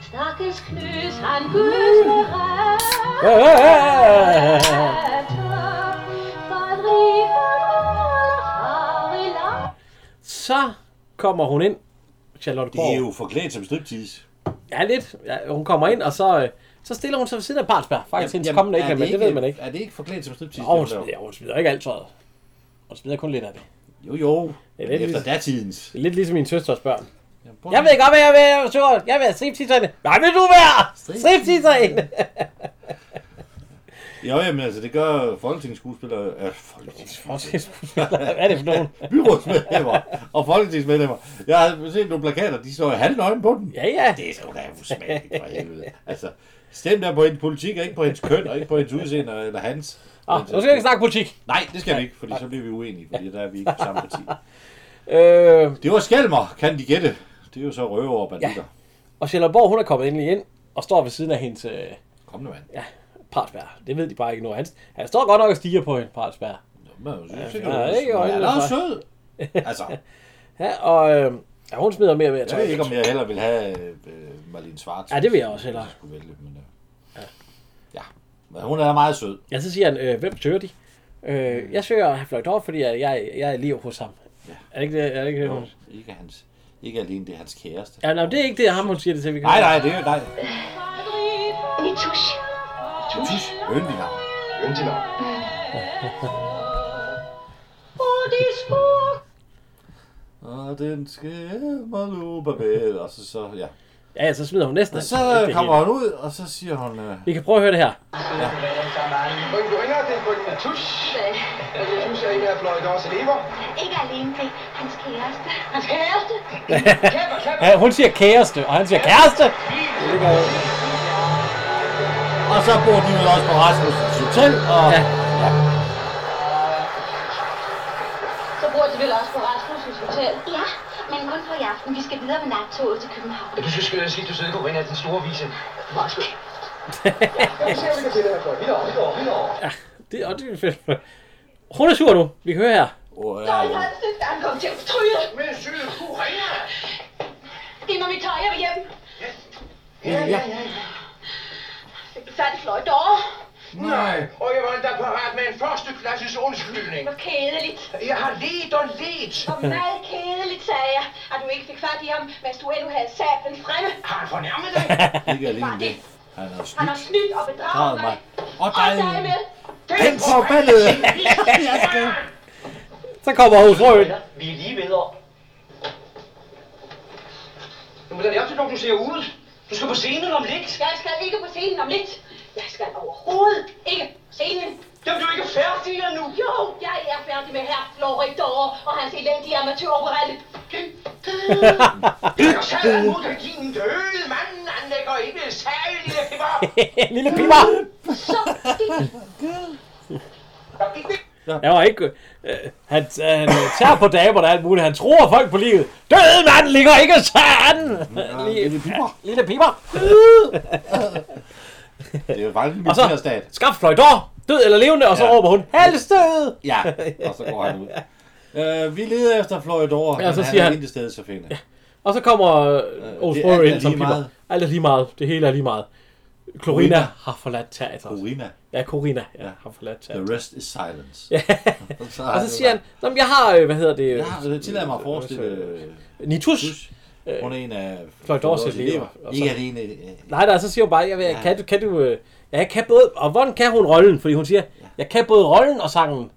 E: stakkels knøs, han gøs med ret.
A: Ja, ja, ja, ja.
E: For at rive alle har i land.
A: Så kommer hun ind, Charlotte
B: Det
A: Borg.
B: er jo forklædt som striptease.
A: Ja, lidt. Ja, hun kommer ind, og så, øh, så stiller hun sig ved siden af Partsberg. Faktisk hendes kommende ikke,
B: er
A: men det ved man ikke.
B: Er det ikke forklædt som striptease?
A: Og hun
B: det hun laver?
A: smider, hun smider ikke alt tøjet. Hun smider kun lidt af det.
B: Jo, jo.
A: Ja,
B: Ja,
A: det er
B: Efter
A: lige-
B: datidens.
A: Det er lidt ligesom min søsters børn.
B: Jamen, prøv
A: Jeg
B: lige-
A: ved godt, hvad jeg vil, jeg vil, jeg vil stripteaserinde. Hvad vil du være? Stripteaserinde.
B: Jo, jamen, altså, det gør folketingsskuespillere... Ja, folketingsskuespillere.
A: hvad er det for nogen?
B: byrådsmedlemmer og folketingsmedlemmer. Jeg har set nogle plakater, de står halvnøgne på den.
A: Ja, ja.
B: Det er sgu da usmageligt for helvede. Altså, stem der på hendes politik, og ikke på hendes køn, og ikke på hendes udseende, eller hans.
A: Nå, nu skal vi ikke snakke politik.
B: Nej, det skal vi ikke, fordi så bliver vi uenige, fordi der er vi ikke på samme parti.
A: Øh,
B: Det var Skalmer, kan de gætte. Det er jo så røver og banditter.
A: og Charlotte Borg, hun er kommet endelig ind og står ved siden af hendes øh,
B: Kom nu, mand.
A: Partsberg. Det ved de bare ikke nu. Han, han står godt nok og stiger på hende, Partsberg.
B: Nå, men jeg synes,
A: ja,
B: det
A: ikke
B: ikke
A: øjnene
B: øjnene. Han
A: for-
B: er sød. Altså,
A: Ja, og øh, ja, hun smider mere og mere
B: jeg
A: tøj.
B: ved ikke, om jeg heller vil have øh, Marlene Svarts.
A: Ja, det vil jeg også hellere.
B: Jeg skulle vælge, men, øh, ja. Men hun er meget sød.
A: Ja, så siger han, øh, hvem søger de? Øh, jeg søger Herr Floyd Dorf, fordi jeg, jeg, jeg er lige hos ham. Ja. Er det ikke det? Er det ikke det? hun-
B: Ikke, hans, ikke alene, det er hans kæreste.
A: Ja, nej, det er ikke det, ham hun siger det til. Vi kan
B: Nej, nej, det er jo dig.
F: Mit tusch.
B: Tus, yndig navn.
C: Øndig navn.
E: Og de smuk
B: Og den skæmmer nu, Babel. Og så, så, ja.
A: Ja, ja, så smider hun næsten.
B: Og
A: alt.
B: så
A: Ikke det
B: kommer
A: hele.
B: han ud, og så siger hun... Øh,
A: Vi kan prøve at høre det her.
C: Frøken Corinna, det er frøken Tusch. Jeg synes, at I er fløjt også lever.
E: Ikke alene det, hans kæreste.
F: Hans kæreste.
C: Klapper, klapper.
A: Ja, hun siger kæreste, og han siger kæreste.
B: og så bor de vel også på Rasmus' Hotel, og...
A: Ja.
B: Ja.
E: Så bor de vel også på Rasmussens Hotel? Ja, men kun for i aften. Vi skal videre med nattoget til København.
D: Du synes, jeg skal du sidde, Corinna, den store vise.
C: Nu ser vi, hvad det er for. Vi når, vi når, vi når.
A: Det, og det er fedt. Hun er sur nu. Vi kan høre her.
B: Og, ja, ja.
F: Han kom til at fortryde.
D: Men søde Corinna.
E: Giv mig mit tøj, jeg vil hjem.
D: Ja, ja, ja.
E: Færdig fløjt over.
D: Nej, og jeg var endda parat med en førsteklasses undskyldning.
E: Hvor kedeligt.
D: Jeg har let og let.
E: Hvor meget kedeligt, sagde jeg, at du ikke fik fat i ham, mens du endnu havde sat den fremme.
D: Har han fornærmet dig?
B: Ikke alene det. Han er
E: Han har
B: snydt.
E: snydt og
B: Draget
E: bedraget mig.
B: mig. Og dig.
E: Og dig med.
H: Den forbandede!
A: Så kommer husfrøen.
D: Vi er lige videre. Men hvordan er det, når du ser ud? Du skal på scenen om lidt.
E: Jeg skal ikke på scenen om lidt. Jeg skal overhovedet ikke på scenen.
D: Jamen, du er ikke færdig endnu.
E: Jo, jeg er færdig med herr Floridor og hans elendige amatøroperette.
D: Jeg sad og mod din døde mand, anlægger ikke særlig pipper.
A: Lille piber!
E: Så gik
D: Der gik vi.
A: Han var ikke... Øh, han, han tager på damerne og alt muligt. Han tror folk på livet. Døde mand ligger ikke sådan! Lille piber. Lille piber.
B: Det er jo faktisk en
A: Og så-
B: militærstat.
A: Skaf fløjdor. Død eller levende. Og så
B: Ja.
A: råber hun. Halvstød!
B: Ja, og så går han ud. Øh, vi leder efter Floridor,
A: Ja,
B: ja,
A: så
B: men han
A: siger
B: er
A: han-
B: intet sted at finde.
A: Og så kommer øh, Aarhus
B: det er
A: Brøger
B: alt er
A: ind som
B: lige
A: piber.
B: meget.
A: Alt er lige meget. Det hele er lige meget. Corina
B: Corina.
A: har forladt teateret.
B: Corina,
A: Ja, Corina ja,
B: Ja.
A: har forladt
B: the
A: teateret.
B: rest is silence. så
A: Og så siger han, Nå, men jeg har, øh, hvad hedder det?
B: Ja, så tillad mig at forestille, øh,
A: Nitus.
B: hun er en af
A: Floridors
B: Floridors
A: elever. Og så-
B: Ikke alene. øh,
A: Nej, nej, så siger hun bare, jeg ved, ja.
B: Ja.
A: kan, du, kan du, øh, ja, jeg kan både, og hvordan kan hun rollen? Fordi hun siger, jeg kan både rollen og sangen.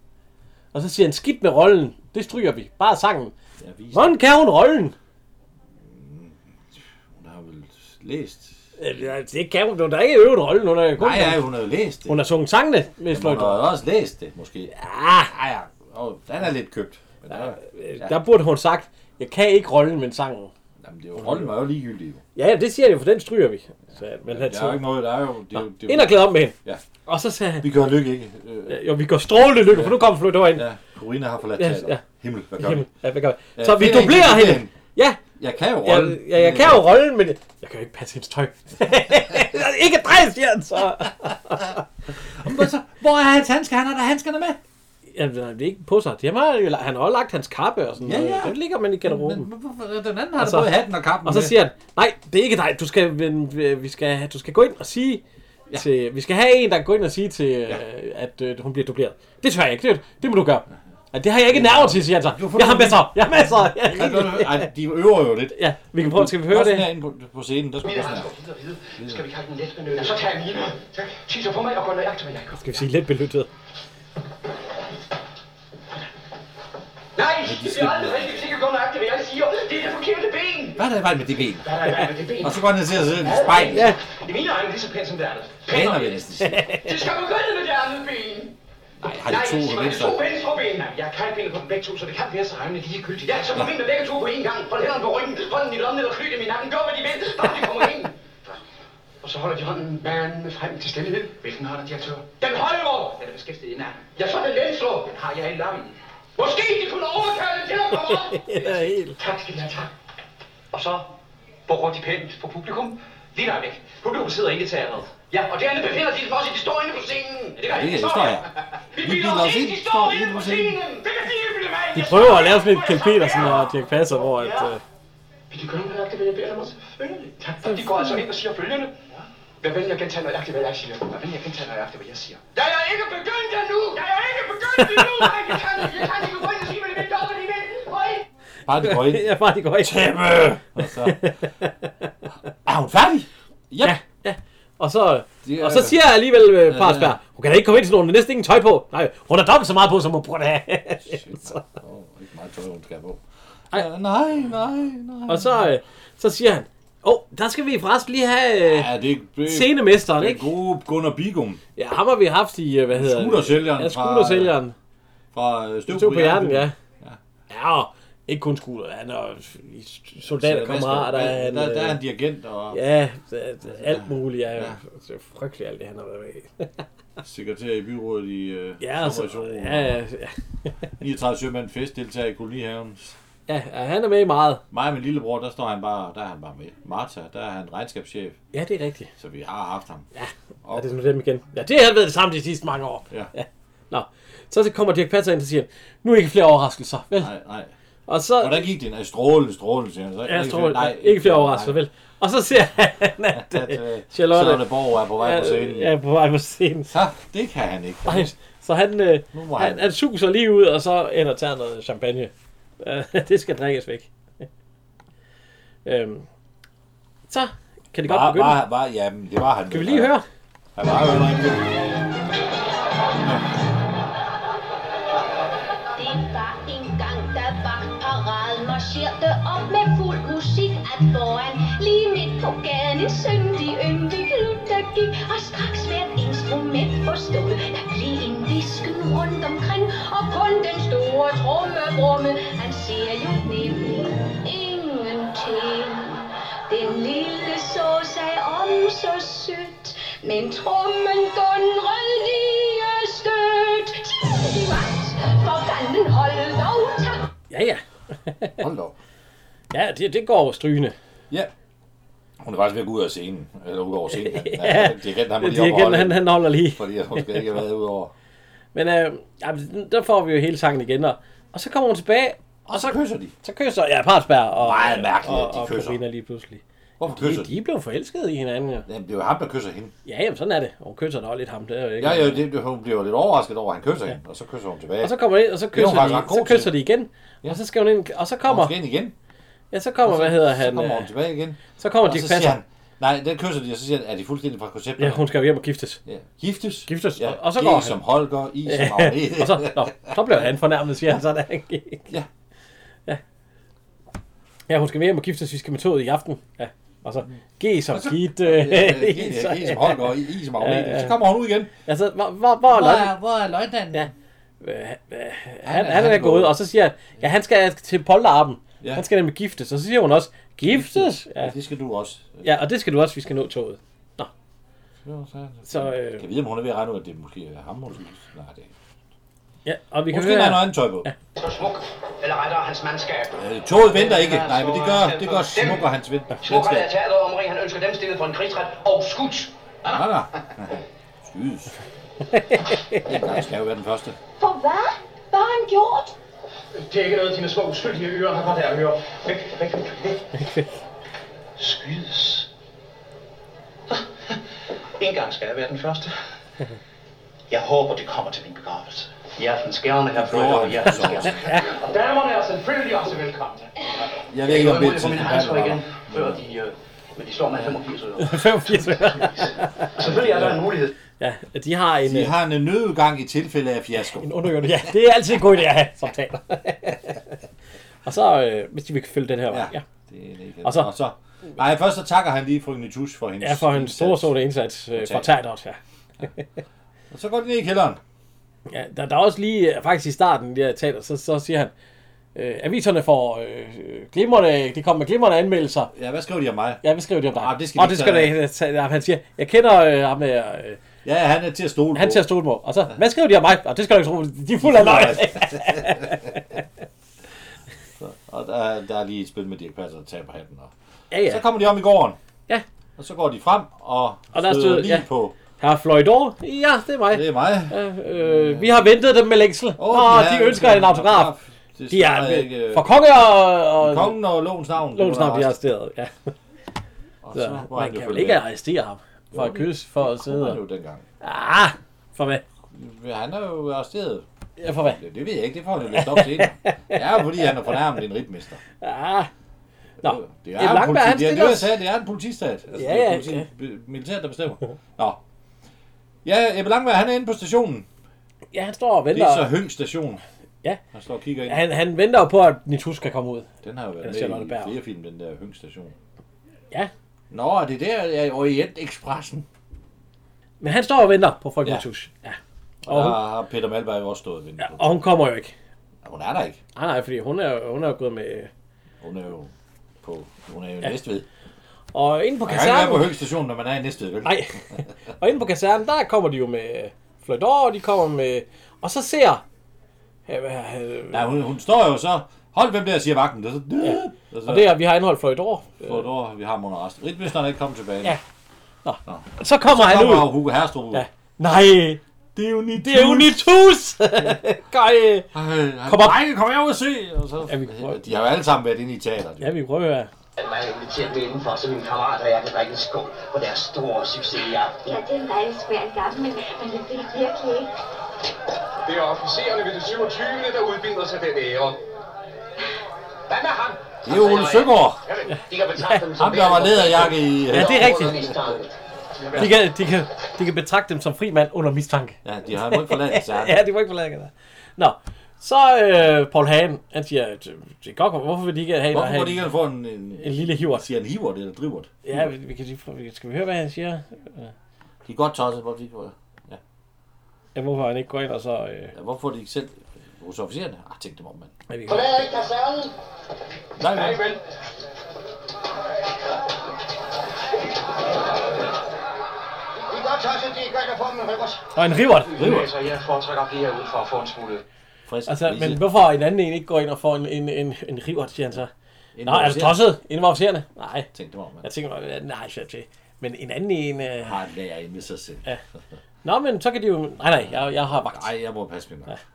A: Og så siger han, skidt med rollen, det stryger vi, bare sangen.
B: avis.
A: Hvordan kan hun rollen?
B: Hun har vel læst.
A: Øh, ja, Det kan hun, hun har ikke øvet rollen, hun har kun,
B: Nej, ja, hun har jo læst det.
A: hun har sunget sangene med
B: Hun
A: Floyd.
B: har jo også læst det, måske.
A: Ah,
B: Nej, ja. Og den er lidt købt. Men der, ja.
A: øh, der burde hun sagt, jeg kan ikke rollen, men sangen.
B: Jamen, det er jo, rollen var jo ligegyldig. Jo.
A: Ja, ja, det siger jeg, for den stryger vi. Så, men han
B: Der er jo
A: så,
B: ikke noget, der er jo... Det, er jo- det, er jo-
A: ind og klæder om med hende.
B: Ja.
A: Og så sagde han,
B: Vi gør lykke, ikke? Øh,
A: jo, vi går strålende lykke, for nu kommer Floyd ind.
B: Ja, Corina har forladt
A: Ja,
B: teater.
A: ja.
B: Himmel, hvad gør vi?
A: Himmel, Ja, hvad gør vi?
B: Ja,
A: Så vi
B: finder en,
A: dublerer
B: der kan
A: hende.
B: hende.
A: Ja,
B: Jeg kan jo
A: Jeg,
B: rollen.
A: jeg, jeg kan jo rollen, men jeg, jeg kan jo ikke passe hendes tøj. ikke drej, siger han så.
G: Hvad så? Hvor er hans handsker? Han har da handskerne med.
A: Jamen, det er ikke på sig. Det har, jo la- han har også lagt hans kappe og sådan
G: Ja,
A: noget.
G: ja.
A: Den ligger man i garderoben.
G: Men hvorfor- den anden har
A: Oh. Og
G: da
A: så-
G: både hatten og kappen
A: og så
G: med.
A: siger han, nej, det er ikke dig. Du skal, men, øh, vi skal, du skal gå ind og sige... Ja. Til, vi skal have en, der går ind og sige til, ja. at øh, hun bliver dubleret. Det tør jeg ikke. Det, det må du gøre. Ja, det har jeg ikke nerver til, siger han så.
B: får
A: Jeg har
B: du-
A: masser. Jeg har masser. Jeg
B: Ej,
A: har rigeligt."
B: ej, de øver jo lidt.
A: Ja, vi kan prøve. Skal vi høre
B: Først
A: det?
B: herinde på, på scenen, der skulle jeg
D: Mine
B: sådan
D: har
B: her.
D: videre, videre. Skal vi ikke have den let benøttet? Så tag mine. Tiser på mig og gå nøjagtigt, hvad jeg gør.
A: Skal vi sige lidt beløttet?
D: Nej, det er aldrig rigtigt. Ikke gå nøjagtigt, hvad jeg siger. Det er det forkerte ben.
B: Hvad er der i vejen med det ben?
D: Hvad er der i vejen med det ben?
B: Og så går han ned til at sidde i et spejl.
A: Ja.
D: I mine øjne er lige så pænt som det andet.
B: Pæner vil jeg næsten sige.
D: Du skal begynde med det andet ben.
B: Nej, har de to
D: sig mig, det er
B: venstre?
D: to venstre ben. Nej, Jeg kan ikke binde på dem begge to, så det kan være så remmende ligegyldigt. Ja, så kom ind med begge to på én gang. Hold hænderne på ryggen, hånden i lommen eller knyt i min nakken. Gør, hvad de vil, bare de kommer ind. Og så holder de hånden bærende frem til stillhed. Hvilken hånd er direktør? Den højre! Den er beskæftiget i nakken. Ja, så den venstre. Den har jeg i lommen. Måske de kunne overkalde til at komme op.
A: Ja, helt.
D: Tak skal I have, tak. Og så borger de pænt på publikum. Lige der væk. Publikum sidder inde i teateret. Ja, og derinde befinder de sig også, de står inde på scenen. Det gør
B: Ja,
D: de,
B: det
D: de
B: står her.
D: Vi bilder os ind, de står inde på scenen. Det kan de ikke, mand.
A: De
D: Jeg
A: prøver
D: står
A: at lave
D: her.
A: sådan et Kjeld Petersen øh, og Dirk Passer, hvor at...
D: Ja.
A: Øh,
D: Vil de kunne nøjagtigt, hvad jeg beder dem om? Selvfølgelig. Tak. De går altså ind og siger følgende. Hvad vil jeg gentage nøjagtigt, hvad jeg siger? Hvad vil jeg gentage nøjagtigt, hvad jeg siger? Jeg er ikke begyndt endnu! Jeg er ikke begyndt endnu! Nej, jeg kan ikke, jeg kan ikke gå ind og sige, hvad de vil, gøre, hvad de vil. Gå
B: Bare de går
D: ind!
B: ind.
A: ja, bare de går ind.
B: Tæmme! Og så... Er hun færdig? Yep.
A: Ja, ja. Og så,
B: Det er-
A: og så siger jeg alligevel, øh, Parsberg,
B: ja.
A: hun kan da ikke komme ind til nogen, hun har næsten ingen tøj på. Nej, hun har dobbelt så meget på, som hun burde have.
B: Shit, nej. Åh, ikke meget tøj, hun skal have på. Ej, nej, nej, nej.
A: og så, øh, så siger han, åh, oh, der skal vi forresten lige have øh,
B: Ja, det, det,
A: scenemesteren,
B: det er
A: ikke?
B: gode Gunnar Bigum
A: Ja, ham har vi haft i, øh, hvad hedder
B: Scootersælgeren
A: Ja,
B: fra-
A: scootersælgeren.
B: fra øh, Støv,
A: Stod på hjerten, ja. Ja, og ikke kun skuter, han er soldaterkammerater.
B: Der,
A: han,
B: der, der er
A: øh,
B: en dirigent og
A: Ja, det- det- alt muligt. Ja. Det er frygteligt, alt det han har været med i.
B: sekretær i byrådet i øh,
A: Ja, så, ja,
B: ja.
A: ja, ja.
B: 39 sømand fest, deltager i kolonihaven.
A: ja, ja, han er med i meget.
B: Mig og min lillebror, der står han bare, der er han bare med. Martha, der er han regnskabschef,
A: Ja, det er rigtigt.
B: så vi har haft ham. Ja.
A: Ja, det er nu dem igen. Ja, det har været det samme de sidste mange år.
B: ja.
A: Nå, så, så kommer Dirk Passer ind og siger, nu er ikke flere overraskelser, vel?
B: Nej, nej.
A: Og så,
B: Hvordan gik det? Nej, strålende, strålende, siger han. Så,
A: ja, strål, nej, ikke flere overraskelser, vel? Og så ser han, at
B: At,
A: øh,
B: øh,
A: Charlotte
B: Charlotte. Charlotte Borg er på vej på scenen.
A: er på vej på scenen.
B: Så, det kan han ikke.
A: Nej, Så han, øh,
B: Nu må
A: han,
B: han-
A: han suser lige ud, og så ender og tager noget champagne. Øh, det skal drikkes væk. Øhm, så kan det godt
B: Var,
A: begynde.
B: var, var, jamen, det var han.
A: Kan vi lige høre?
B: Han var jo ikke. Nå.
E: Det var en gang, der var parade marcherte op med fuld musik at foran. Lige midt på gaden en syndig yndig klub, der gik, og straks hvert instrument forstod. Der blev en visken rundt omkring, og kun den store tromme brumme, han siger jo nemlig ingenting. Den lille så sig om så sødt, men trommen dundrede lige stødt. Tidlig vagt, for fanden hold dog tak.
A: Ja, ja.
B: Hold da op.
A: Ja, det, det går over strygende.
B: Ja. Hun er faktisk ved at gå ud af scenen. Eller ud over scenen. ja. Det er igen, han må
A: Det
B: lige
A: er igen,
B: opholde.
A: han, han holder lige.
B: Fordi at hun skal ikke have været ud over.
A: Men øh, ja, men der får vi jo hele sangen igen. Og, og så kommer hun tilbage,
B: Og så kysser de.
A: så kysser ja, Parsberg og,
B: Meget mærkeligt,
A: og,
B: at de
A: og
B: kysser.
A: Corina lige pludselig.
B: Hvorfor
A: De,
B: kysser de?
A: de er blevet forelskede i hinanden, ja.
B: Jamen, det er jo ham, der kysser hende.
A: Ja, jamen, sådan er det. Og hun kysser da også lidt ham, det er jo ikke.
B: Ja, ja, det, hun bliver jo lidt overrasket over, at han kysser hende. Og så kysser hun tilbage.
A: Og så kommer de, og så kysser,
B: faktisk ret
A: de,
B: god
A: så
B: til.
A: kysser de igen. Og så skal hun ind, og så
B: kommer.
A: kommer,
B: Hun skal ind igen.
A: ja, så kommer, hvad hedder han,
B: Så kommer hun
A: øh,
B: tilbage igen.
A: så kommer
B: Og
A: Dirk
B: så
A: Passer.
B: siger han, nej, den kysser de, og så siger han, er de fuldstændig fra konceptet?
A: Ja, hun skal jo hjem og giftes.
B: Ja. Giftes?
A: Giftes,
B: Ja.
A: og- og så går
B: I
A: han.
B: som Holger, I som Agnete.
A: og så, nå, så blev han fornærmet, siger han så, da han gik.
B: Ja.
A: ja. Ja, hun skal med hjem og giftes, vi skal med toget i aften. Ja. Og så, G som Kit. øh,
B: Ja, ja, I,
A: så-
B: I som Holger, I, I som Agnete. Så kommer hun ud igen.
A: Altså, hvor, hvor,
G: Hvor
A: hvor, hvor
G: er, hvor er løgnanden?
A: Ja.
G: Ja.
A: han, han, er gået, og så siger han, ja, han skal altså til Polterarben.
B: Ja.
A: Han skal nemlig giftes, og så siger hun også, giftes?
B: Ja,
A: Ja,
B: det skal du også.
A: ja og det skal du også, vi skal nå toget. Så, øh,
B: Kan vi vide, om hun er ved at regne ud, at det måske er ham, hun skal gifte? Nej, det er ikke.
A: ja, og vi kan
B: Måske har
A: høre,
B: han noget andet tøj på.
D: Så smuk, eller rettere hans mandskab.
B: Øh, Toget venter ikke. Nej, men det gør, det gør Smuk og hans ven.
D: Smuk har
B: venskab.
D: lavet teateret omring, han ønsker dem stillet for en krigsret og skudt.
B: Nej, nej. Skydes. Jeg skal jo være den første.
E: For hvad? Hvad har han gjort?
D: Det er ikke noget, dine små uskyldige ører har fra der at høre. Væk, væk, væk, væk. Skydes. En gang skal jeg være den første. Jeg håber, det kommer til min begravelse. Hjertens gerne, herr Fløjter. Hjertens gerne. Og damerne er selvfølgelig også velkomne.
B: Jeg ved
D: Jeg
B: ikke,
D: går
B: om det
D: imod
B: er
D: for min
B: til
D: hansker igen, før de... Øh, men de slår mig 85 øre.
A: 85 øre.
D: Selvfølgelig er der en mulighed.
A: Ja, de har en,
B: Vi
A: øh,
B: har en nødudgang i tilfælde af fiasko.
A: en undergørende. Ja, det er altid en god idé at have som taler. og så, øh, hvis de vil følge den her vej. Ja.
B: Det er det ikke.
A: Og så-
B: Og så... Nej, først så takker han lige frøken Nitus for hendes
A: Ja, for en
B: indsats.
A: stor, stor indsats øh, for
B: Teater.
A: Tejdot, ja.
B: Og så går de ned i kælderen.
A: ja der, der er også lige, øh, faktisk i starten, der teater, så, så siger han, øh, aviserne får øh, øh, glimrende, de kommer med glimrende anmeldelser.
B: Ja, hvad skriver de om mig?
A: Ja, vi skriver det om dig.
B: Ah, det skal
A: og
B: vi
A: det
B: ikke
A: skal
B: tage
A: det, tage, han siger, jeg kender øh, ham der, øh,
B: Ja, han er til at stole
A: han
B: på.
A: til at stole på. Og så, hvad skriver de om mig? Og det skal du ikke tro, de er fuld af løgn.
B: Og der, der er lige et spil med Dirk Passer, der taber hatten. Og...
A: Ja,
B: Så
A: ja.
B: kommer de om i gården.
A: Ja.
B: Og så går de frem og,
A: Og der
B: støder
A: stod-
B: lige
A: ja.
B: på.
A: Herre Fløjdor, ja, det er mig.
B: Det er mig.
A: Øh, vi har ventet dem med længsel. Åh,
B: Åh,
A: oh,
B: ja,
A: de ønsker en autograf.
B: Det
A: De er
B: står ikke, øh,
A: for konge og, og
B: kongen og lovens navn.
A: lovens navn, de har
B: også.
A: arresteret. Ja.
B: Og
A: Så,
B: var han
A: man
B: jo
A: kan vel
B: følge
A: ikke
B: med.
A: arrestere ham for at kysse, for at
B: Det
A: sidde
B: var han
A: og...
B: jo dengang.
A: Ah, for hvad?
B: Han er jo arresteret.
A: Ja, for hvad?
B: Det, det ved jeg ikke, det får han jo løst op senere. Det er jo fordi, han har fornærmet en ritmester.
A: Ah, Nå,
B: det
A: Ebbe
B: er, en
A: Langberg,
B: politi-
A: han
B: det, er, det,
A: stiller
B: var jeg
A: os-
B: sagde, det er en politistat. Altså,
A: Ja,
B: det er
A: ja,
B: politi- b- militæret, der bestemmer. Nå. Ja, Ebbe Langberg, han er inde på stationen.
A: ja, han står og
B: Det er så
A: venter.
B: Høng station.
A: Ja.
B: Han står og kigger ind.
A: Han, han venter jo på, at Nitus skal komme ud.
B: Den har jo været
A: Eller
B: med
A: Charlotte
B: i
A: Berg.
B: flere film, den der Høng station.
A: Ja,
B: Nå, er det der er Orient Expressen.
A: men han står og venter på frøken
B: Ja.
A: Nitus. Ja.
B: Og
A: Og
B: der
A: hun,
B: har Peter Malberg jo også stået og ventet
A: ja,
B: på.
A: og hun kommer jo ikke.
B: Hun er der ikke.
A: Nej, nej, fordi hun er, hun er jo gået med...
B: Hun er jo på, hun er jo i Næstved.
A: Og inde på
B: Man kan ikke være på
A: kasernen...
B: Høng station, når man er i Næstved, vel?
A: Altså, Nej, og inde på kasernen, der kommer de jo med Fløjdor, og de kommer med... Og så ser... Ja, hvad-
B: Nej, hun, hun står jo så, hold hvem der siger vagten. Og, så, og, så,
A: Og det er, vi har anholdt Fløjdor.
B: For et år, vi har Mona Rast. Ritmesteren er ikke kommet tilbage.
A: Ja. Så kommer han
B: Nu
A: ud.
B: er Hugo Herstrup ud.
A: Ja. Nej,
B: Det er jo nyt.
A: det er jo Nitus! Gør, øh,
B: Kom
A: Kom
B: op.
A: op.
B: Drenge, kom herude og se. Og så,
A: Ja, vi kan prøve.
B: de har jo alle sammen været inde i teateret.
A: Ja, vi prøver at høre.
D: At man er inviteret med indenfor, så min kammerat og jeg kan drikke en skål på deres store succes i aften.
E: Ja, det er mig, jeg spørger gammel, men, men jeg vil virkelig ikke.
D: Det er officererne ved det 27. der udbinder sig den ære. Hvad med ham?
B: Det er jo Ole Søgaard.
D: Jamen, de kan betragte dem som
B: Ham, der var læderjakke i...
A: Ja, det er rigtigt.
D: undermistanke.
A: De kan, de, kan, de kan betragte dem som fri mand under mistanke.
B: Ja, de har jo ikke forladt sig.
A: Ja, de var ikke forladt der. Nå, Så øh, Paul Hagen, han siger, at øh, det er godt, hvorfor vil de ikke have, en-
B: Hvorfor
A: have
B: må de ikke få en, en,
A: en
B: en
A: lille hivert?
B: siger en hivert eller drivert?
A: Ja, vi, vi kan lige prøve- skal vi høre, hvad han siger?
B: De er godt tosset, hvorfor de ikke, får-
A: Ja, hvorfor han ikke går ind og så... Øh,
B: ja, hvorfor de ikke selv hos officererne? Ah, tænk dem om, mand.
A: at vi-
D: Forlad ikke kasernen.
B: Nej,
D: Nej,
B: nej.
D: vel. I er godt tosset, det er godt at få dem med røvers.
A: og en rivert!
D: Altså, jeg foretrækker flere ud for at få en smule.
B: Frisk.
A: Altså,
B: Lise.
A: men hvorfor en anden en ikke går ind og får en, en, en, en rivert, siger han så.
B: Inden
A: Nå, er du
B: officererne.
A: tosset? Inden for officererne? Nej.
B: Tænk dem om, mand.
A: Jeg tænker mig, nej, jeg til. Men en anden en... Øh...
B: Har et lager inde i sig selv.
A: Ja. Nå, men så kan de jo... Nej, nej, jeg, jeg har vagt.
B: Ej, jeg må passe min magt.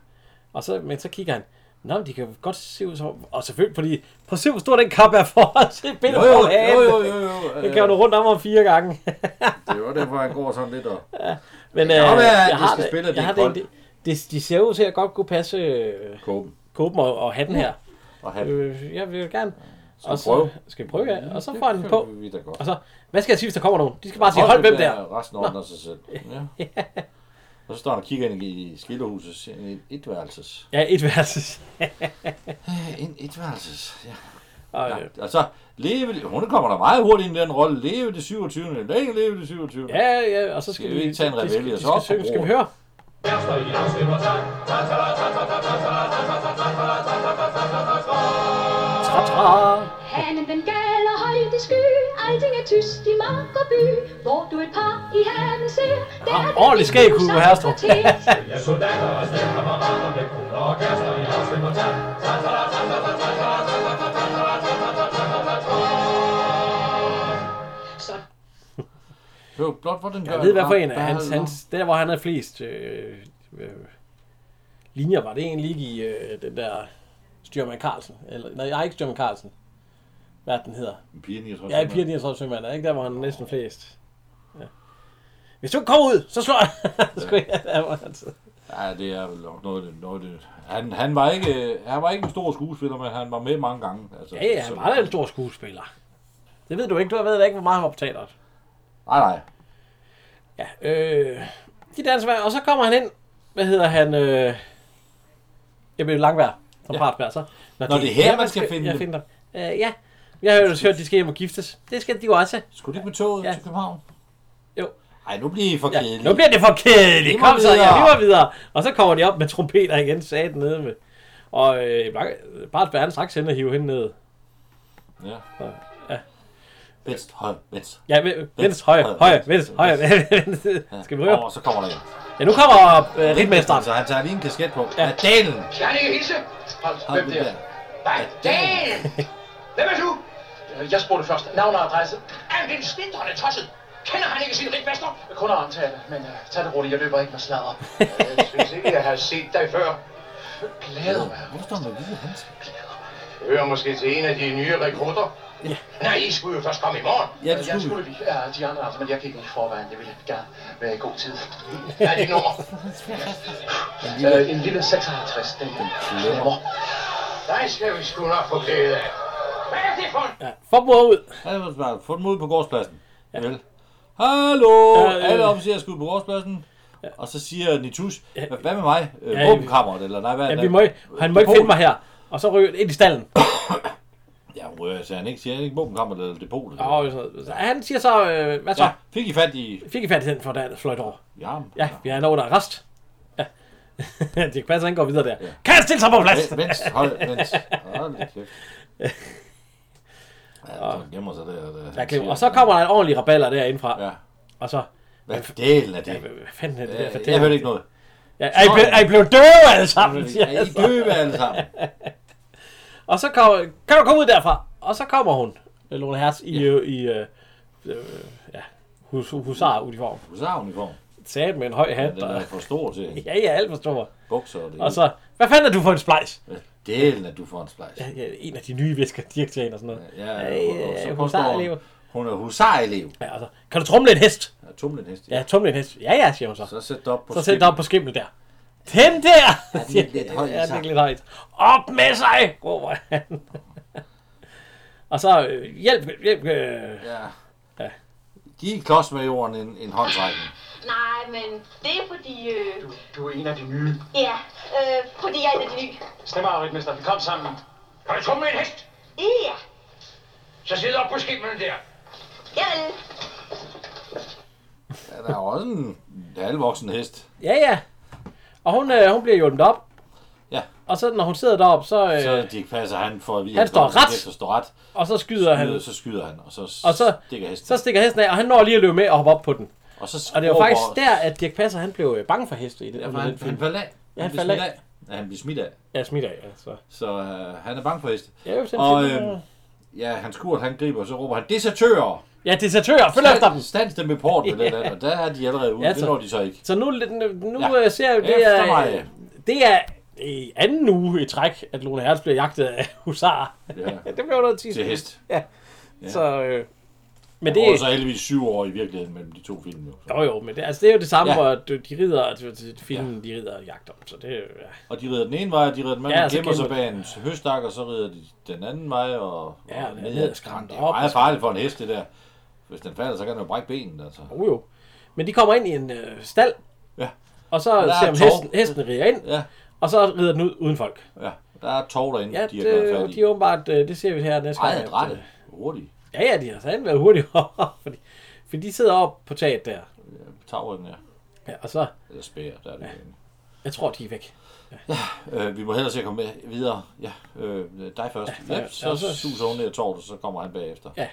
A: Og så, men så kigger han. Nå, men de kan jo godt se ud som... Og selvfølgelig, fordi... Prøv at se, hvor stor den kap er for os. Se
B: Jo,
A: billedet
B: jo,
A: for
B: jo, jo,
A: hagen.
B: jo, jo.
A: Den kan jo nå rundt om om fire gange.
B: Det er jo derfor, han går sådan lidt og...
A: men øh,
B: kan godt være, at
A: jeg
B: vi
A: har
B: skal spille,
A: det.
B: at det
A: Jeg
B: er
A: har det,
B: koldt.
A: det, det, de ser ud til at godt kunne passe øh,
B: Kåben
A: kåben og, og hatten her.
B: og hat.
A: Øh, jeg vil gerne.
B: Skal vi prøve?
A: Skal vi prøve, ja. Og så får han den på.
B: Det kan vi da godt.
A: Og så, hvad skal jeg sige, hvis der kommer nogen? De skal bare sige, hold hvem der.
B: Resten ordner sig selv. Ja. Og så står han og kigger ind i skilderhuset. En etværelses.
A: Ja, et værelse.
B: En etværelses, ja.
A: Og, øh,
B: ja. Altså, leve, hun kommer da meget hurtigt ind i den rolle. Leve det 27. Længe leve det 27.
A: ja, ja, og så skal,
B: Skal vi ikke tage en
A: de- de
B: Ravelli,
A: skal-
B: og
A: de
B: så op
A: skal synge.
B: på
A: Skal vi
B: broen?
A: høre? Tra-tra.
E: Hanen den galer højt i sky, alting er tyst i mark og by, hvor du et par i haven ser. Der
A: Ah, ordentligt skæg, Hugo Herstrup.
B: Det er jo blot, hvor den gør.
A: Jeg ved hvad for en af
B: Bare-
A: hans, hans, der hvor han havde flest øh, øh, linjer, var det egentlig ikke i øh, den der Styrman Carlsen? Eller, nej, nej, ikke Styrman Carlsen. Hvad den hedder?
B: Pigerne, jeg tror,
A: Ja, i Piger 39 Sømand, er ikke der, hvor han er næsten flest? Ja. Hvis du ikke kommer ud, så slår jeg. altså. Sgu ja, der var han. så.
B: Ja, det er vel nok noget, af det- noget af det. Han, han, var ikke, øh, han var ikke en stor skuespiller, men han var med mange gange. Altså,
A: Ja, ja, han var da en stor skuespiller. Det ved du ikke, du ved da ikke, hvor meget han var på teateret.
B: Nej, nej.
A: Ja, øh, de danser hver, og så kommer han ind, hvad hedder han, øh, jeg blev langvær, som ja. partbær, så.
B: Nå, det er her, man skal finde
A: jeg
B: dem.
A: finder dem. Øh, ja, jeg har jo hørt, de skal hjem og giftes. Det skal de jo også.
B: Skulle det med toget
A: Ja.
B: ja. til København?
A: Jo.
B: Ej, nu bliver I for
A: Ja,
B: kedelige.
A: nu bliver det for kedeligt.
B: Vi må
A: Kom så, ja,
B: videre.
A: vi var videre. Og så kommer de op med trompeter igen, sagde den nede med. Og øh, Blank- Bart Bern straks hen og hive hende ned.
B: Ja.
A: Ja.
B: Vest, høj, vest.
A: Ja, ve- venstre, højre,
B: højre,
A: højre, venstre,
B: venstre,
A: højre, venstre. Skal vi høre?
B: Og så kommer der en.
A: Ja, nu kommer øh, ritmesteren.
B: Så han tager lige en kasket på.
A: Ja.
B: Ja. Dalen!
D: Skal han ikke hilse? Hold,
B: Hold
D: hvem
B: nu
D: det er?
B: der.
D: Nej, Dan! Hvem er du? Øh, Jeg spurgte først. Navn og adresse. Er den stindrende tosset? Kender han ikke Øh, sin rigmester? Jeg kunne antale, men uh, tag det roligt, jeg løber ikke med sladder. Øh, Jeg synes ikke, jeg har set dig før. Glæder mig.
B: Hvor står han med hvide hans?
D: Hører måske til en af de nye rekrutter.
A: Ja.
D: Nej, I skulle jo først komme i morgen.
B: Ja, det
D: jeg
B: skulle
D: skulle vi. Ja, de andre aften, men jeg kan ikke i forvejen. Jeg ville gerne være i god tid. Ja, det nummer. øh, en lille 56, den nummer. Nej, skal vi sgu nok få glæde af. Hvad er det for en
A: Ja, få mor ud.
B: Han har bare fået dem ud på gårdspladsen. Ja. Vel. Hallo!
A: Ja, øh.
B: Alle officerer skulle på gårdspladsen. Og så siger Nitus, "Hva- hvad med mig? Øh,
A: Ja,
B: Våbenkammeret, eller nej, hvad
A: Ja,
B: nej.
A: vi må, ikke- han må ikke
B: Depot.
A: finde mig her. Og så ryger ind i stallen.
B: Ja, hun rører sig. Han ikke siger han ikke våbenkammeret eller depotet. eller-
A: Og så, så han siger så, øh, hvad så?
B: Ja, fik I fat i
A: Fik I fat i den for der fløjt over?
B: Jamen.
A: Ja, vi har en under arrest. Ja. det kan passe, at han går videre der. Kan jeg stille sig på plads?
B: Vent, vent, hold, vent. Hold da kæft. Ja, så gemmer sig der. der.
A: Jeg glemmer. Og så kommer der en ordentlig raballer derindefra.
B: Ja.
A: Og så,
B: Hvad delen er det?
A: hvad hvad fanden er det der for
B: Øh, Jeg hørte ikke noget.
A: Ja, er, I ble, er I blevet døve alle sammen? siger
B: Er
A: jeg
B: I
A: så.
B: døve alle sammen?
A: Og så kommer, kan du komme ud derfra? Og så kommer hun, øh, Lone Hertz, i, ja. i øh, øh, ja, hus, husaruniform.
B: Husaruniform.
A: Sat med en høj
B: Ja,
A: hat.
B: den er
A: Og,
B: for stor til
A: ja, ja, alt for stor.
B: bukser og det.
A: Og så, hvad fanden er du for en splejs?
B: Hvad delen er du for en splejs?
A: Ja, ja, en af de nye visker, Dirk Jane og sådan noget.
B: Ja,
A: ja,
B: og så
A: ja,
B: påstår
A: husarelev.
B: hun, hun er husarelev.
A: Ja, og så, kan du trumle en hest?
B: Ja, tumlen hest.
A: Ja, trumle en hest. Ja, ja, siger hun så.
B: Så sæt dig op på
A: Så sæt dig op på skimlen der. Den der!
B: Er den ikke lidt høj,
A: Ja, den er
B: så?
A: ikke lidt højt. Op med sig, råber han. og så, øh, hjælp, hjælp, øh,
B: Ja.
A: Ja.
B: Giv klodsmajoren en, en håndtrækning.
E: Nej, men det er fordi... Øh,
C: Du, du er en af de nye.
E: ja, øh, fordi jeg er en af de nye.
C: Stemmer, Aritmester. Vi kom sammen.
D: Kan du trumme med en hest?
E: Ja,
D: Så sidder op på skimmelen der.
E: jeg vil.
B: Ja, der er jo også en halvvoksen hest.
A: Ja, ja. Og hun, øh, hun bliver hjulpet op.
B: Ja.
A: Og så når hun sidder deroppe, så, øh,
B: Så Dirk Passer, han får at vide,
A: Han
B: at
A: står
B: kommer
A: ret.
B: til at stå ret.
A: og så skyder han.
B: Så skyder han, og så,
A: Og så-
B: stikker hesten.
A: Så stikker hesten af, og han når lige at løbe med og hoppe op på den.
B: og, så
A: Og det var
B: råber-
A: faktisk der, at Dirk Passer han blev øh, bange for heste i den,
B: Ja,
A: ja,
B: for han,
A: den
B: han
A: film.
B: faldt af.
A: Ja, han
B: blev
A: faldt
B: smidt
A: af.
B: Ja, han blev smidt af.
A: Ja, smidt af, ja. Så.
B: Så øh, han er bange for heste.
A: Ja, jo,
B: Og,
A: og,
B: øhm, Ja, han skurt, han griber, og så råber han, desertører!
A: ja, desertører, følg efter dem!
B: Stans dem i porten, eller yeah. og der er de allerede ude.
A: Ja,
B: Ja, det
A: så-
B: når de så ikke.
A: Så nu, nu
B: Ja.
A: ja. ser jeg jo, det
B: Efter
A: er,
B: mig.
A: det er i anden uge i træk, at Lone Hertz bliver jagtet af husarer.
B: Ja,
A: Ja, det blev noget tit.
B: til hest.
A: Så, øh, men
B: Det
A: det,
B: er så heldigvis syv år i virkeligheden mellem de to film. Jo.
A: jo, jo, men det, altså, det er jo det samme,
B: Ja.
A: ja. hvor du- de rider, og filmen, ja. de rider og jagter dem, så det er jo- ja.
B: Og de rider den ene vej, og de rider den anden,
A: Ja, altså
B: ja,
A: så
B: gemmer sig
A: gemmer-
B: bag en høstak, og så rider de den anden vej, og,
A: Ja,
B: og
A: ned ad
B: ad
A: skrænt
B: skrænt. Det er
A: op.
B: meget farligt for en hest, det der. Hvis den falder, så kan den jo brække benet, altså.
A: Jo, jo. Men de kommer ind i en øh, stald,
B: Ja.
A: og så
B: der er
A: ser man
B: tov.
A: hesten, hesten rider ind,
B: Ja,
A: og så rider den ud uden folk.
B: ja. Der er tov derinde,
A: Ja,
B: de har gjort fat
A: det,
B: i.
A: de er åbenbart, øh, det ser vi her næste gang.
B: Meget
A: at,
B: rette.
A: øh,
B: Hurtigt.
A: Ja, ja, de har sandt været hurtige over, fordi, fordi de sidder op på taget der.
B: Tavren, ja.
A: Ja, og så,
B: Eller spæger, der er det. Ja.
A: jeg tror, de er væk.
B: Øh, vi må hellere se at komme med videre. Ja, øh, dig først. Ja,
A: der-
B: ja, så,
A: ja,
B: så
A: så-
B: suser hun ned ad torvet, og så kommer han bagefter.
A: Ja,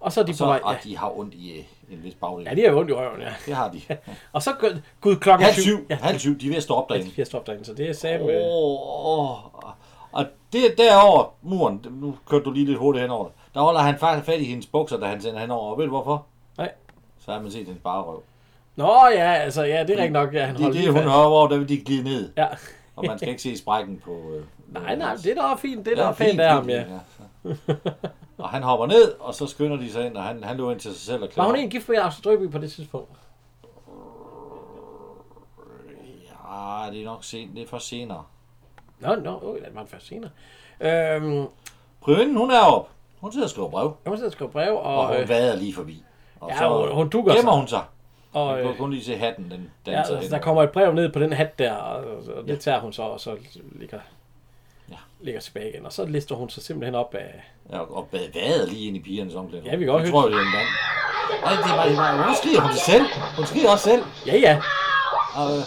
A: Og så er de
B: så,
A: på vej.
B: og
A: Ja.
B: de har ondt i øh, en vis bagdel.
A: ja, de har jo ondt i røven, ja.
B: Det har de.
A: Og så går- gud klokken
B: Halv syv,
A: Ja,
B: halv syv, de er ved at stå op derinde.
A: de har stoppet derinde, så det er samme...
B: Åh,
A: Oh.
B: åh. Og det derovre, muren, nu kørte du lige lidt hurtigt henover det, der holder han faktisk fat i hendes bukser, da han sender henover. Og ved du hvorfor?
A: Nej.
B: Så har man set hendes bare røv.
A: Nå ja, altså ja, det er rigtigt nok, ja, han
B: Det er
A: holder lige
B: det, hun
A: fast.
B: har over, der vil de glide ned.
A: Ja.
B: Og man skal ikke se sprækken på... Øh,
A: Nej, nej, det er da fint, det er
B: Ja,
A: da pænt af ham, ja.
B: og han hopper ned, og så skynder de sig ind, og han, han løber ind til sig selv og
A: Var
B: klæder.
A: hun egentlig gift med Axel Drøby på det tidspunkt?
B: Ja, Ah, det er nok sent. Det er for senere.
A: Nå, nå, øh, det var den først senere. Øhm,
B: Prøvinden, hun er op. Hun sidder og skriver brev,
A: jeg må sidde og skrive brev, og, øh,
B: og
A: og,
B: hun vader lige forbi. Og
A: Ja, hun- hun dukker
B: gemmer
A: sig.
B: hun sig.
A: og
B: Man
A: øh,
B: kan kun lige se hatten, den
A: ja,
B: danser
A: altså,
B: hen.
A: der kommer et brev ned på den hat der, og, og det tager hun så, og så ligger,
B: Ja.
A: ligger tilbage igen. Og så lister hun sig simpelthen op af...
B: Ja, og bad- vader lige ind i pigernes omklæde.
A: Ja, vi kan godt
B: Jeg tror, det er en mand. Nej, det var, det var, hun skriger hun selv. Hun skriger også selv.
A: Ja, ja,
B: Og, øh,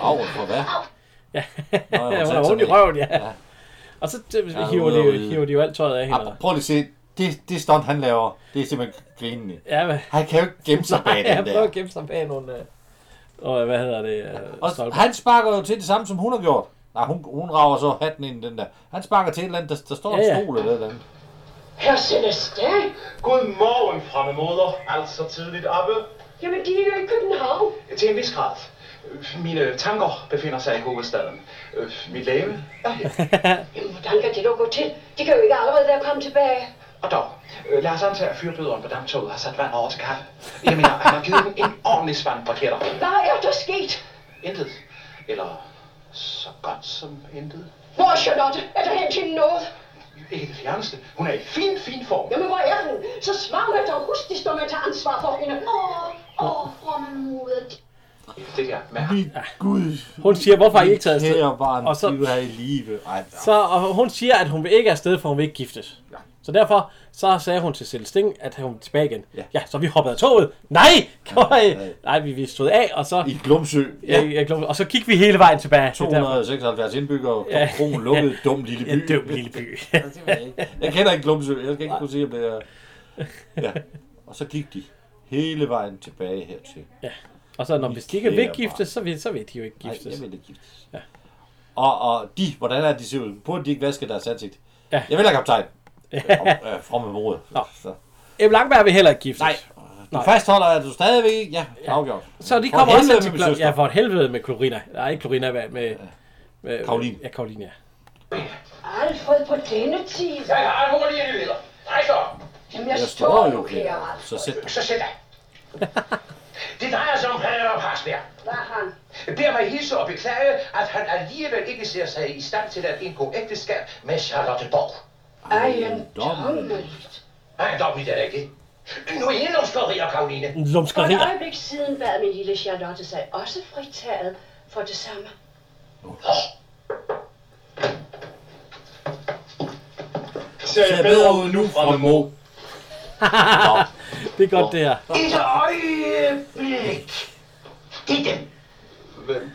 B: au, for hvad?
A: ja.
B: Nå, ja, hun
A: hun
B: satte
A: har
B: sig
A: ondt i
B: ned.
A: røven, ja. ja. Og så t-
B: Ja,
A: hiver,
B: ude
A: de,
B: og
A: jo-
B: ude.
A: hiver de jo alt tøjet af hende. og-
B: Ah, prøv lige at se. Det, det stunt, han laver, det er simpelthen grinende.
A: Ja, men,
B: Han kan jo ikke gemme sig bag
A: ja,
B: den
A: prøver
B: der.
A: at gemme sig bag nogle... øh, Og hvad hedder det?
B: Og
A: Øh, stolper.
B: han sparker jo til det samme, som hun har gjort. Nej, hun, hun rager så hatten ind i den der. Han sparker til et eller andet, der, der
A: Ja,
B: står en
A: ja.
B: stol eller et eller andet.
C: Herr Celestin! Godmorgen, fremme moder. Altså tidligt oppe.
F: Jamen, de er jo i København.
C: Til en vis grad. Øh, Mine tanker befinder sig i hovedstaden. Øh, Mit læge er her.
F: Jamen, hvordan kan det dog gå til? De kan jo ikke allerede være kommet tilbage.
C: Og dog, øh, lad os antage, at fyrbøderen på damptoget har sat vand over til kaffe. Jeg mener, han har givet den en ordentlig svand raketter.
F: Hvad er der sket?
C: Intet. Eller så godt som intet.
F: Hvor er Charlotte? Er der hent hende noget?
C: Ikke det fjerneste. Hun er i fin, fin form.
F: Jamen, hvor er hun? Så svar mig dog. Husk, de står med at tage ansvar for hende.
E: Åh, åh, frommemoder.
C: Det der med
B: Min Gud.
A: Hun siger, hvorfor har I ikke taget afsted?
B: Kære barn,
A: Og
B: og
A: så-
B: så... du er i live. Ej,
A: Så og hun siger, at hun vil ikke afsted, for hun vil ikke giftes. Ja. Så derfor så sagde hun til Celestin, at hun var tilbage igen.
B: Ja.
A: Ja. ja, så vi hoppede af toget. Nej! Nej, nej vi, vi stod af, og så,
B: I Glumsø.
A: ja. jeg, jeg, glemte- og så gik vi hele vejen tilbage. Det er derfor-
B: 276 indbyggere, ja. kronen lukket, dum lille by.
A: Ja, det er jo en lille by.
B: Jeg kender ikke Glumsø, jeg skal ikke kunne sige, om det er... Ja. Og så gik de hele vejen tilbage hertil.
A: og så når hvis de ikke vil giftes, så vil, så vil de jo ikke
B: Nej, jeg
A: giftes.
B: vil ikke giftes. Ja. Og, og de, hvordan er de ser ud? Burde de ikke vaske deres ansigt?
A: Ja.
B: Jeg vil have kaptajn. Ja. Øh, fromme mod.
A: Nå.
B: Så.
A: Ebbe Langberg vil heller ikke giftes.
B: Nej, du
A: Nej.
B: fastholder, at du stadigvæk ikke... Ja, ja. afgjort.
A: Så de
B: For
A: kommer også
B: helvede
A: ind til
B: med
A: Klo-
B: min søster.
A: Ja, for et helvede med Klorina. Nej, ikke Klorina, med, med, med
B: Caroline.
A: Ja, Karoline, ja.
F: Alfred, på denne tid.
D: Jeg har hurtige nyheder. Hej så.
F: Jamen, jeg,
B: Jeg
F: står jo, altså. kære
B: her. Så
F: Alfred.
B: sæt dig.
D: Så sæt dig. Det drejer sig om Palle og Parsberg.
F: Hvad er han?
D: Bær mig hilse og beklage, at han alligevel ikke ser sig i stand til at indgå ægteskab med Charlotte Borg.
F: Ej, en
B: dom.
F: tommeligt.
D: Nej, dog vil jeg ikke. Nu er indenomskårier, Karoline.
F: For et
A: Lumskerier.
F: øjeblik siden bad min lille Charlotte sig også fritaget for det samme.
B: Ser bedre ud nu fra Mo.
A: Det er godt, det her.
D: Et øjeblik. Det er dem. Hvem?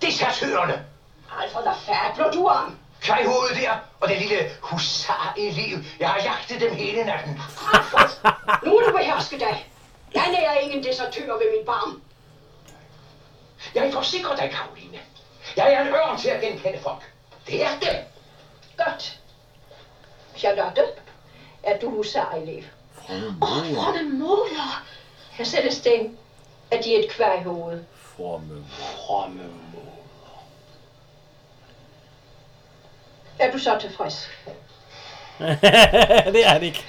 D: Det er satørerne.
F: Alfred, hvad fabler du om?
D: Kaj hovedet der, og den lille husar-elev. Jeg har jagtet dem hele natten.
F: Alfred, nu er du behersket dig. Jeg nærer ingen desertør ved min barm.
D: Jeg forsikrer dig, Karoline. Jeg er en ørn til at genkende folk. Det er dem.
F: Godt. Charlotte, er du husarelev? Åh, oh, frømme moler! Herr Celestin, er de et kværhoved?
B: Fromme.
D: Fromme Mo.
F: Er du så tilfreds?
A: det er det ikke.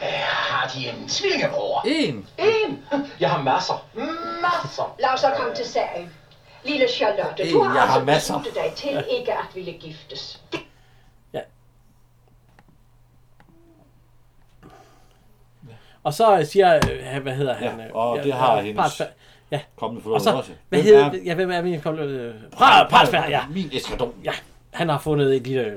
D: Her har de en tvillingebror.
B: En.
D: En. Jeg har masser. Masser.
F: Lad os så komme til sagen. Lille Charlotte, du
B: Øh, jeg
F: har
B: har
F: altså
B: masser.
F: besluttet dig til ikke at ville giftes.
A: Og så øh, siger, øh, han- hvad hedder han?
B: Ja,
A: øh,
B: og det har
A: øh,
B: hendes
A: Partsberg. Ja,
B: Kommende for
A: og så,
B: også.
A: Altså, hvad
B: Hvem
A: hedder,
B: er-
A: ja, hvem er min kommende? øh, Par- Partsberg, ja.
B: Min eskadron.
A: Ja, han har fundet et lille, øh,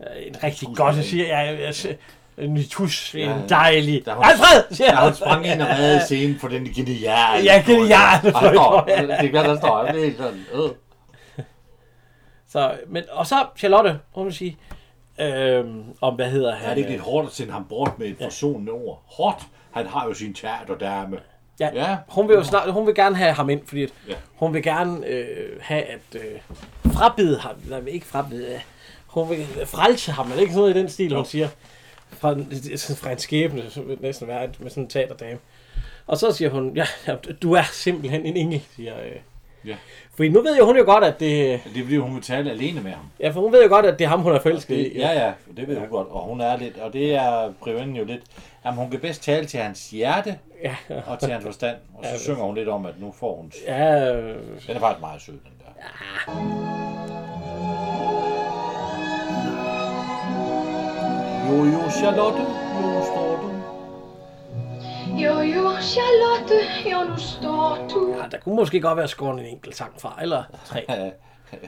A: øh, en rigtig
B: Tus,
A: godt,
B: ja.
A: siger jeg, øh, øh, en tus,
B: Ja,
A: en
B: ja.
A: dejlig.
B: Da hun-
A: Alfred, siger
B: Ja, han
A: han.
B: sprang ind og reddede scenen på den geniale.
A: Ja, geniale
B: Og han står,
A: fløjte.
B: det er klart, han står. Han er helt sådan, øh.
A: Så, men, og så Charlotte, hun vil sige, øhm, om hvad hedder han?
B: Er det ikke
A: øh,
B: lidt hårdt at sende ham bort med et forsonende ord? Hårdt? Han har jo sin teaterdame.
A: Ja,
B: Ja.
A: Hun vil jo snart, hun vil gerne have ham ind, fordi at
B: Ja.
A: hun vil gerne øh, have at øh, frabide ham, nej, ikke frabide, øh, hun vil frelse ham, er det ikke sådan noget i den stil, hun siger? Fra, en- sådan fra en skæbne, så vil det næsten være at- med sådan en teaterdame. Og så siger hun, ja, ja, du er simpelthen en engel, siger øh.
B: Ja.
A: Fordi nu ved jo hun jo godt, at det,
B: Det er fordi, hun vil tale alene med ham.
A: ja, for hun ved jo godt, at det er ham, hun er forelsket i.
B: Ja, ja, det ved hun godt. Og hun er lidt, og det er Privinden jo lidt. Jamen, hun kan bedst tale til hans hjerte
A: ja.
B: og til hans forstand. Og så synger hun lidt om, at nu får hun...
A: Ja, øh,
B: Den er faktisk meget sød, den der. Jo, jo, Charlotte, jo, står du.
F: Jo, jo, Charlotte, jo, nu står du.
A: ja, der kunne måske godt være skåret en enkelt sang fra, eller tre.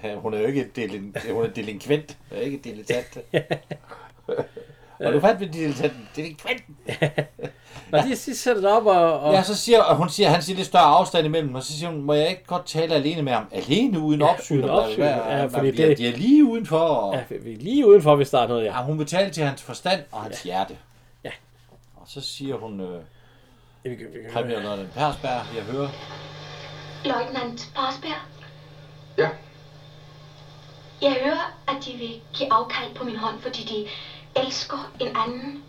B: Ja, hun er jo ikke delin, hun er delinkvent, hun er ikke dilettant. og du fandt ved dilettanten, delinkvent.
A: Men de, de sætter det op, og, og
B: Ja, så siger og hun siger, han siger lidt større afstand imellem, og så siger hun, må jeg ikke godt tale alene med ham? Alene uden opsyn?
A: uden
B: og bla,
A: opsyn,
B: bla, bla.
A: ja,
B: Man
A: fordi
B: bliver-
A: det-
B: De er lige udenfor, og
A: Ja, vi er lige udenfor, hvis der er noget, ja.
B: ja, hun vil tale til hans forstand og hans hjerte. Ja. Og så siger hun, øh,
A: Ja, vi kan, vi kan.
B: Premier London Persberg, jeg hører.
E: Løjtnant Parsberg,
D: Ja.
E: jeg hører, at de vil give afkald på min hånd, fordi de elsker en anden.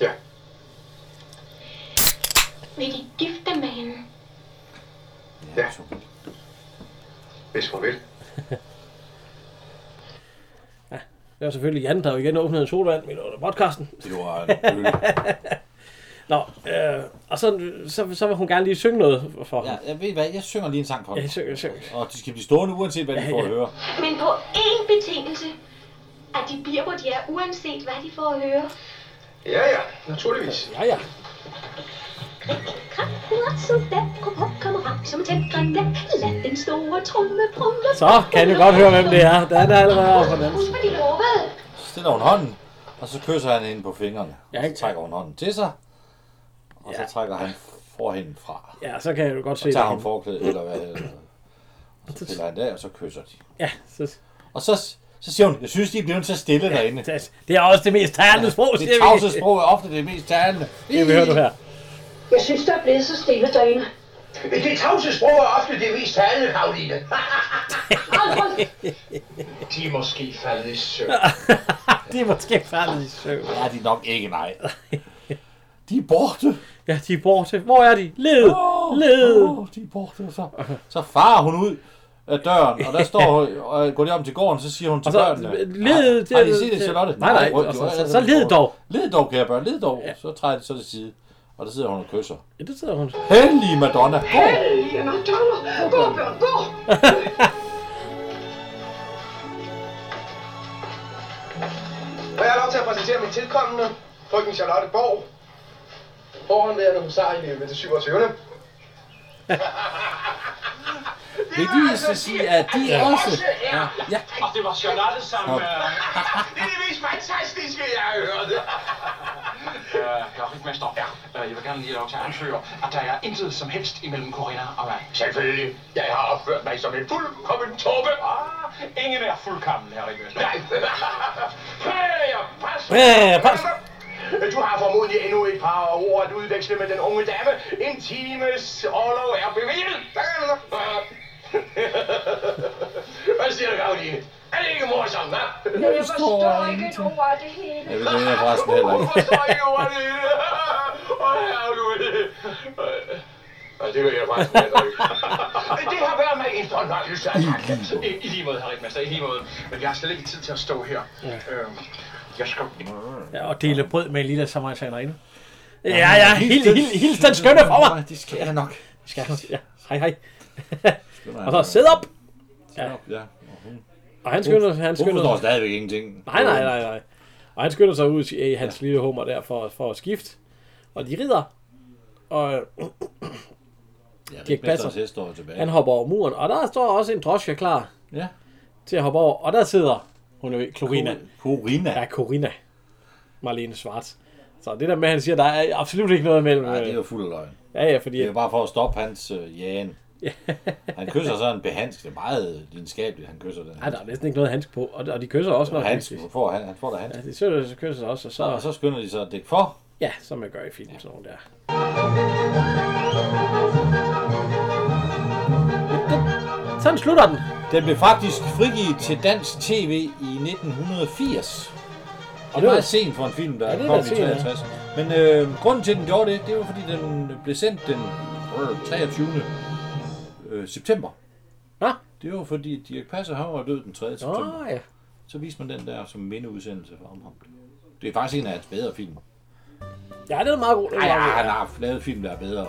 D: Ja.
E: Vil de gifte med hende?
D: Ja.
B: så-
D: Hvis hun vil.
A: Det var selvfølgelig Jan, der jo igen åbnede en solvand midt under podcasten.
B: Det var en øl.
A: Nå, øh, og så, så, så vil hun gerne lige synge noget for ham.
B: Ja, jeg ved hvad, jeg synger lige en sang for
A: Ja,
B: dem.
A: syng, syng.
B: Og de skal blive stående, uanset hvad de får at høre.
E: Men på én betingelse, at de bliver, hvor de er, uanset hvad de får at høre.
D: Ja, ja. Naturligvis.
A: Ja, ja.
E: Kram, hurra, soldat, kom op, kammerat, som tændt granat. Lad den store tromme brumme.
A: Så kan du godt høre, hvem det er. Der er der allerede over på den.
E: Husk, hvad de lovede.
B: Så stiller hun hånden, og så kysser han hende på fingrene.
A: Ja,
B: Og
A: ikke?
B: så trækker hun hånden til sig, og så trækker han forhænden fra.
A: Ja, så kan jeg jo godt se
B: Så tager hun
A: det.
B: forklædet, eller hvad hedder det. Og så piller han det af, og så kysser de.
A: Ja, så,
B: Og så, så siger hun, jeg synes, de er blevet så stille ja, derinde. Det,
A: det- det er også det mest talende sprog, siger
B: det tavse sprog er ofte det mest talende.
A: Det vi hører du her.
F: Jeg synes, der er blevet så stille derinde.
D: Det tavse sprog er ofte det mest talende, Karoline.
F: Alfred,
D: De er måske faldet i søvn.
A: Det er måske færdigt i søvn.
B: Ja, de er nok ikke, nej. De er borte.
A: Ja, de er borte. Hvor er de? Led! Led!
B: Åh, de er borte. Og så, så farer hun ud af døren, og der står hun, og går de om til gården, så siger hun til
A: Og så,
B: børnene.
A: led
B: Har, har
A: til-
B: I set det,
A: til-
B: Charlotte?
A: Nej, nej,
B: hvor-
A: og så-
B: hvor-
A: så-
B: altså,
A: så led dog.
B: Led dog, kære børn, led dog. Så træder de så til side, og der sidder hun og kysser.
A: Ja, det sidder hun.
B: Hellige Madonna, gå!
F: hellige madonna, gå, børn, gå!
D: Og jeg har lov til at præsentere min tilkommende. Frygten Charlotte Borg. Forhåndværende husar i løbet til 27.
B: Det vil altså sige, at de
D: Ja.
B: også...
D: Ja.
B: Ja,
C: Og det var Charlotte, som... Øh,
D: Det er det mest fantastiske, jeg har hørt.
C: øh, jeg rigmester. Ja. Øh, jeg vil gerne lige have lov til at anføre, at der er intet som helst imellem Corinna og mig.
D: Selvfølgelig. Jeg har opført mig som en fuldkommen tåbe.
C: Ah, ingen er fuldkommen, herre rigmester.
D: Nej. Præger, pas.
A: Præger, pas.
D: Du har formodentlig endnu et par ord at udveksle med den unge dame. En times overlov er bevillet. Hvad siger du, Karoline? Er det ikke morsomt, hva'?
F: Men jeg forstår ikke et ord af det hele.
B: jeg vil den her forresten heller ikke.
D: Hvorfor så ikke over det? Åh, herregud. Og det vil jeg faktisk heller ikke.
C: Det har været mig en fornøjelse at snakke. I, I lige måde, herre Rigmester, i lige måde. Men jeg har slet ikke tid til at stå her. Øhm, jeg skal...
A: Ja, og dele brød med en lille samaritanerinde. Ja, ja, hils, hils, hils den skønne for mig.
G: Det skal jeg nok.
A: Skal jeg- Ja, hej, hej.
B: Det var-
A: Og så sæd op.
B: Ja.
A: Og han skynder, han
B: Hun
A: skynder
B: forstår stadigvæk ingenting.
A: Nej, nej, nej, nej. Og han skynder sig ud i hans lille hummer der for, for at skifte. Og de rider. Og
B: Ja,
A: Dirk
B: Dirk
A: Passer.
B: Passer. hest står tilbage.
A: han hopper over muren. Og der står også en drosje klar
B: Ja.
A: til at hoppe over. Og der sidder, hun er ved, Corina.
B: Corina.
A: Ja, Corina. Marlene Schwarz. Så det der med, at han siger, der er absolut ikke noget imellem.
B: Nej, det er
A: øh,
B: jo fuld af løgn.
A: Ja, ja, fordi...
B: Det er bare for at stoppe hans øh, jagen. Han kysser sådan behandsk. Det er meget lidenskabeligt, han kysser den.
A: Nej, der er næsten ikke noget handsk på. Og, og de kysser også, når
B: Og
A: de
B: Hans, han får, han, han får da hans.
A: Ja, de søger, så kysser sig også, og så...
B: Og så skynder de sig at dække for.
A: Ja, som man gør i film, sådan nogle der. Sådan slutter den.
B: Den blev faktisk frigivet til dansk tv i 1980. Og
A: det
B: det
A: var-
B: var sent for en film, der
A: Ja, det
B: ja,
A: er
B: kom
A: da
B: i
A: sent, ja.
B: 63. Men øh, grunden til, at den gjorde det, det var fordi, den blev sendt den øh, 23. Øh, september.
A: Nå.
B: Det var fordi, Dirk Passer, han var død den 3. september.
A: Åh, ja.
B: Så viste man den der som mindeudsendelse for ham. Det er faktisk en af hans bedre film.
A: Ja, det er meget god. den er
B: Ej, ja,
A: meget god.
B: han har haft lavet film, der er bedre.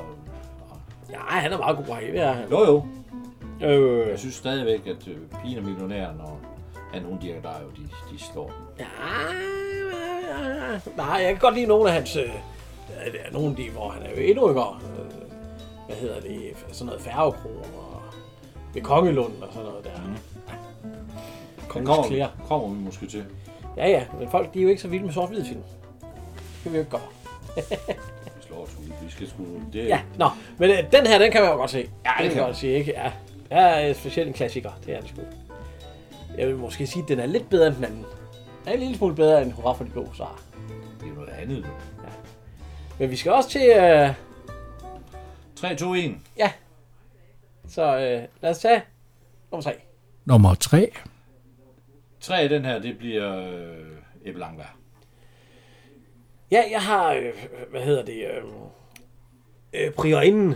A: Ja, han er meget god. hej, Det er han.
B: Jo jo,
A: Øh,
B: jeg synes stadigvæk, at øh, Pigen og Millionæren og han, hun Dirk der jo, de, de slår den.
A: ja, ja, ja, ja. Nej, jeg kan godt lide nogle af hans... Øh, ja, der er nogle af de, hvor han er jo endnu yngre. Øh, hvad hedder det? Sådan noget færgekro og ved Kongelund og sådan noget der.
B: Mm. Den
A: Kongens
B: kommer,
A: klæder.
B: vi- kommer vi måske til.
A: Ja, ja, men folk de er jo ikke så vilde med sort-hvide film. Det kan vi jo ikke gøre.
B: Vi slår os ud. Vi skal sgu... Det,
A: Ja, nå, men øh, den her, den kan man jo godt se. Ja, det
B: kan
A: kan man
B: man.
A: godt se, ikke? Ja, ja øh, specielt en klassiker, det er det sgu. Jeg vil måske sige, at den er lidt bedre end den anden. Den er en lille smule bedre end Hurra for de blå sar.
B: det er noget andet. nu.
A: Men vi skal også til, øh,
B: 3, 2, 1.
A: ja, så øh, lad os tage nummer tre.
H: Nummer 3.
B: 3 af den her, det bliver øh, Ebbe Langberg.
A: Ja, jeg har, øh, hvad hedder det, øh, øh, priorinden,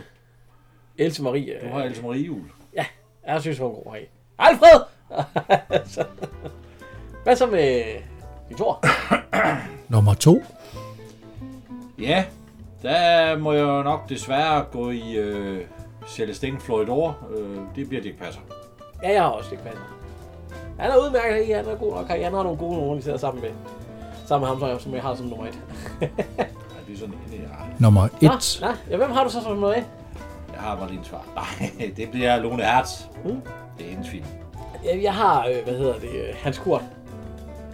A: Else Marie.
B: Du
A: Øh,
B: har Else Marie Juhl.
A: ja, jeg synes, hun er god heri. Alfred! Så- Hvad så med øh, din tor?
H: Nummer 2.
B: Ja, der må jeg jo nok desværre gå i øh, Celestine Floridor. Øh, det bliver Dirk Passer.
A: Ja, jeg har også ikke passet. Han er udmærket i, han er god nok. Han har nogle gode nogen, de sidder sammen med. Sammen med ham, som jeg- som jeg har som nummer et.
B: Nej, det er sådan en, jeg har.
H: Nummer
A: Nå,
H: 1.
A: nå, ja, hvem har du så som nummer et?
B: Jeg har bare din svar. Nej, det bliver Lone Hertz.
A: Mm.
B: Det er hendes film.
A: Ja, Jeg har, øh, hvad hedder det, øh, Hans Kurt.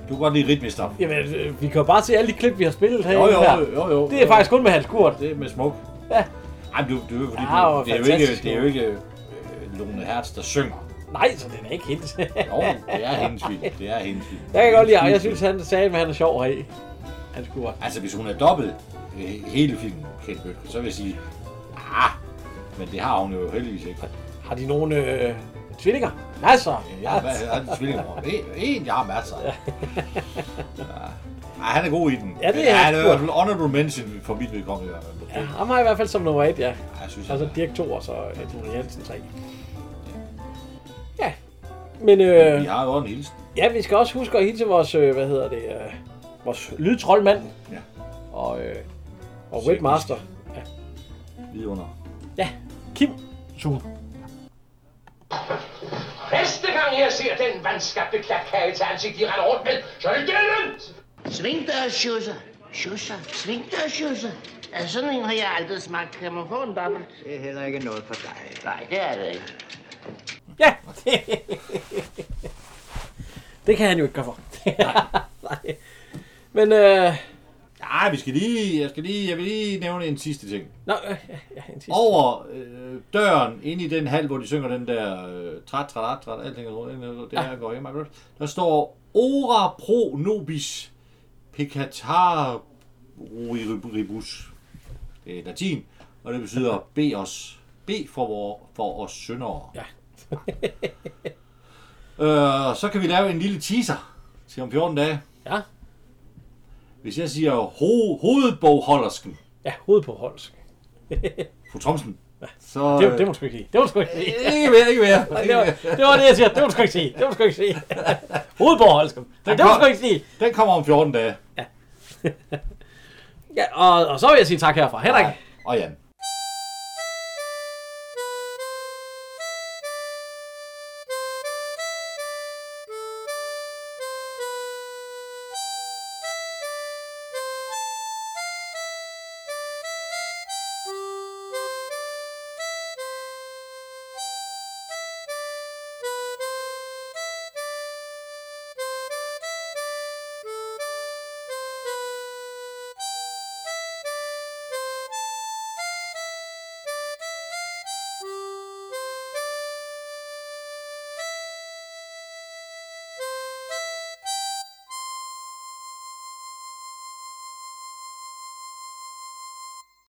B: Du kan godt lide rytmisk stof.
A: Jamen, øh, vi kan jo bare se alle de klip, vi har spillet her.
B: Jo, jo, jo, jo, jo.
A: Det er faktisk kun med Hans Kurt.
B: Det er med smuk.
A: Ja.
B: Ej, men du, du, fordi,
A: Ja,
B: du,
A: hvor
B: det, er jo ikke,
A: fantastisk,
B: det er jo
A: jo.
B: ikke øh, Lone Hertz, der synger.
A: Nej, så den er ikke helt.
B: Jo, det er hendes film. Det er hendes film.
A: jeg kan godt lide ham. Jeg synes, han sagde, at han er sjov her i. Hans Kurt.
B: Altså, hvis hun er dobbelt øh, hele filmen, Kate Bøtke, så vil jeg sige, ah, men det har hun jo heldigvis ikke.
A: Har de nogle øh, tvillinger? Masser.
B: Øh, Jeg har, jeg har en tvillingemor. En- En, jeg har masser af. Ja. Ej, han er god i den.
A: Ja, det
B: Men
A: er han
B: han er i
A: sgu.
B: hvert fald honorable mention for mit vedkommende. i hvert fald.
A: Ja, ham har jeg i hvert fald som nummer et, ja.
B: Ej, Jeg synes,
A: Og
B: altså,
A: så Dirk 2 og så Edmund Jensen 3. Ja. Men øh,
B: vi har jo en hilsen.
A: ja, vi skal også huske at hilse vores, øh, hvad hedder det, øh, vores lydtroldmand.
B: Ja.
A: Og, øh, og webmaster. Ja.
B: Vidunder.
A: ja. Kim.
D: Næste gang jeg ser den vandskabte klatkage til ansigt, de render rundt med, så er det gældent!
I: Sving dig, Schusser. Sjusser. Svingdørsjusser. Ja, sådan en har jeg aldrig smagt. Kan man få en dobbelt?
J: Det er heller ikke noget for dig.
I: Nej, det er det ikke.
A: Ja! det kan han jo ikke gøre for. Nej. Men, øh...
B: Nej, vi skal lige, jeg skal lige, jeg vil lige nævne en sidste ting.
A: Nå, øh, ja, ja, en sidste.
B: Over øh, døren, ind i den hal, hvor de synger den der øh, træt, træt, træt, alting er rundt, det her går ikke meget godt. Der står Ora pro nobis picatar ribus. Det er latin, og det betyder be os. Be for, vor, for os syndere.
A: Ja.
B: øh, så kan vi lave en lille teaser til om 14 dage.
A: Ja.
B: Hvis jeg siger ho- hovedbogholdersken,
A: Ja, hovedet på holsk.
B: fru Thomsen, så...
A: Det, det må du sgu ikke sige. Det må du sgu ikke sige.
B: øh, ikke mere, ikke mere.
A: Det var, det var det, jeg siger. Det må du sgu ikke sige. Det må du sgu ikke sige. Hovedet på holsken. Nej, det må du sgu ikke sige.
B: Den kommer om 14 dage.
A: Ja, og, og så vil jeg sige tak herfra. Henrik.
B: Og Jan.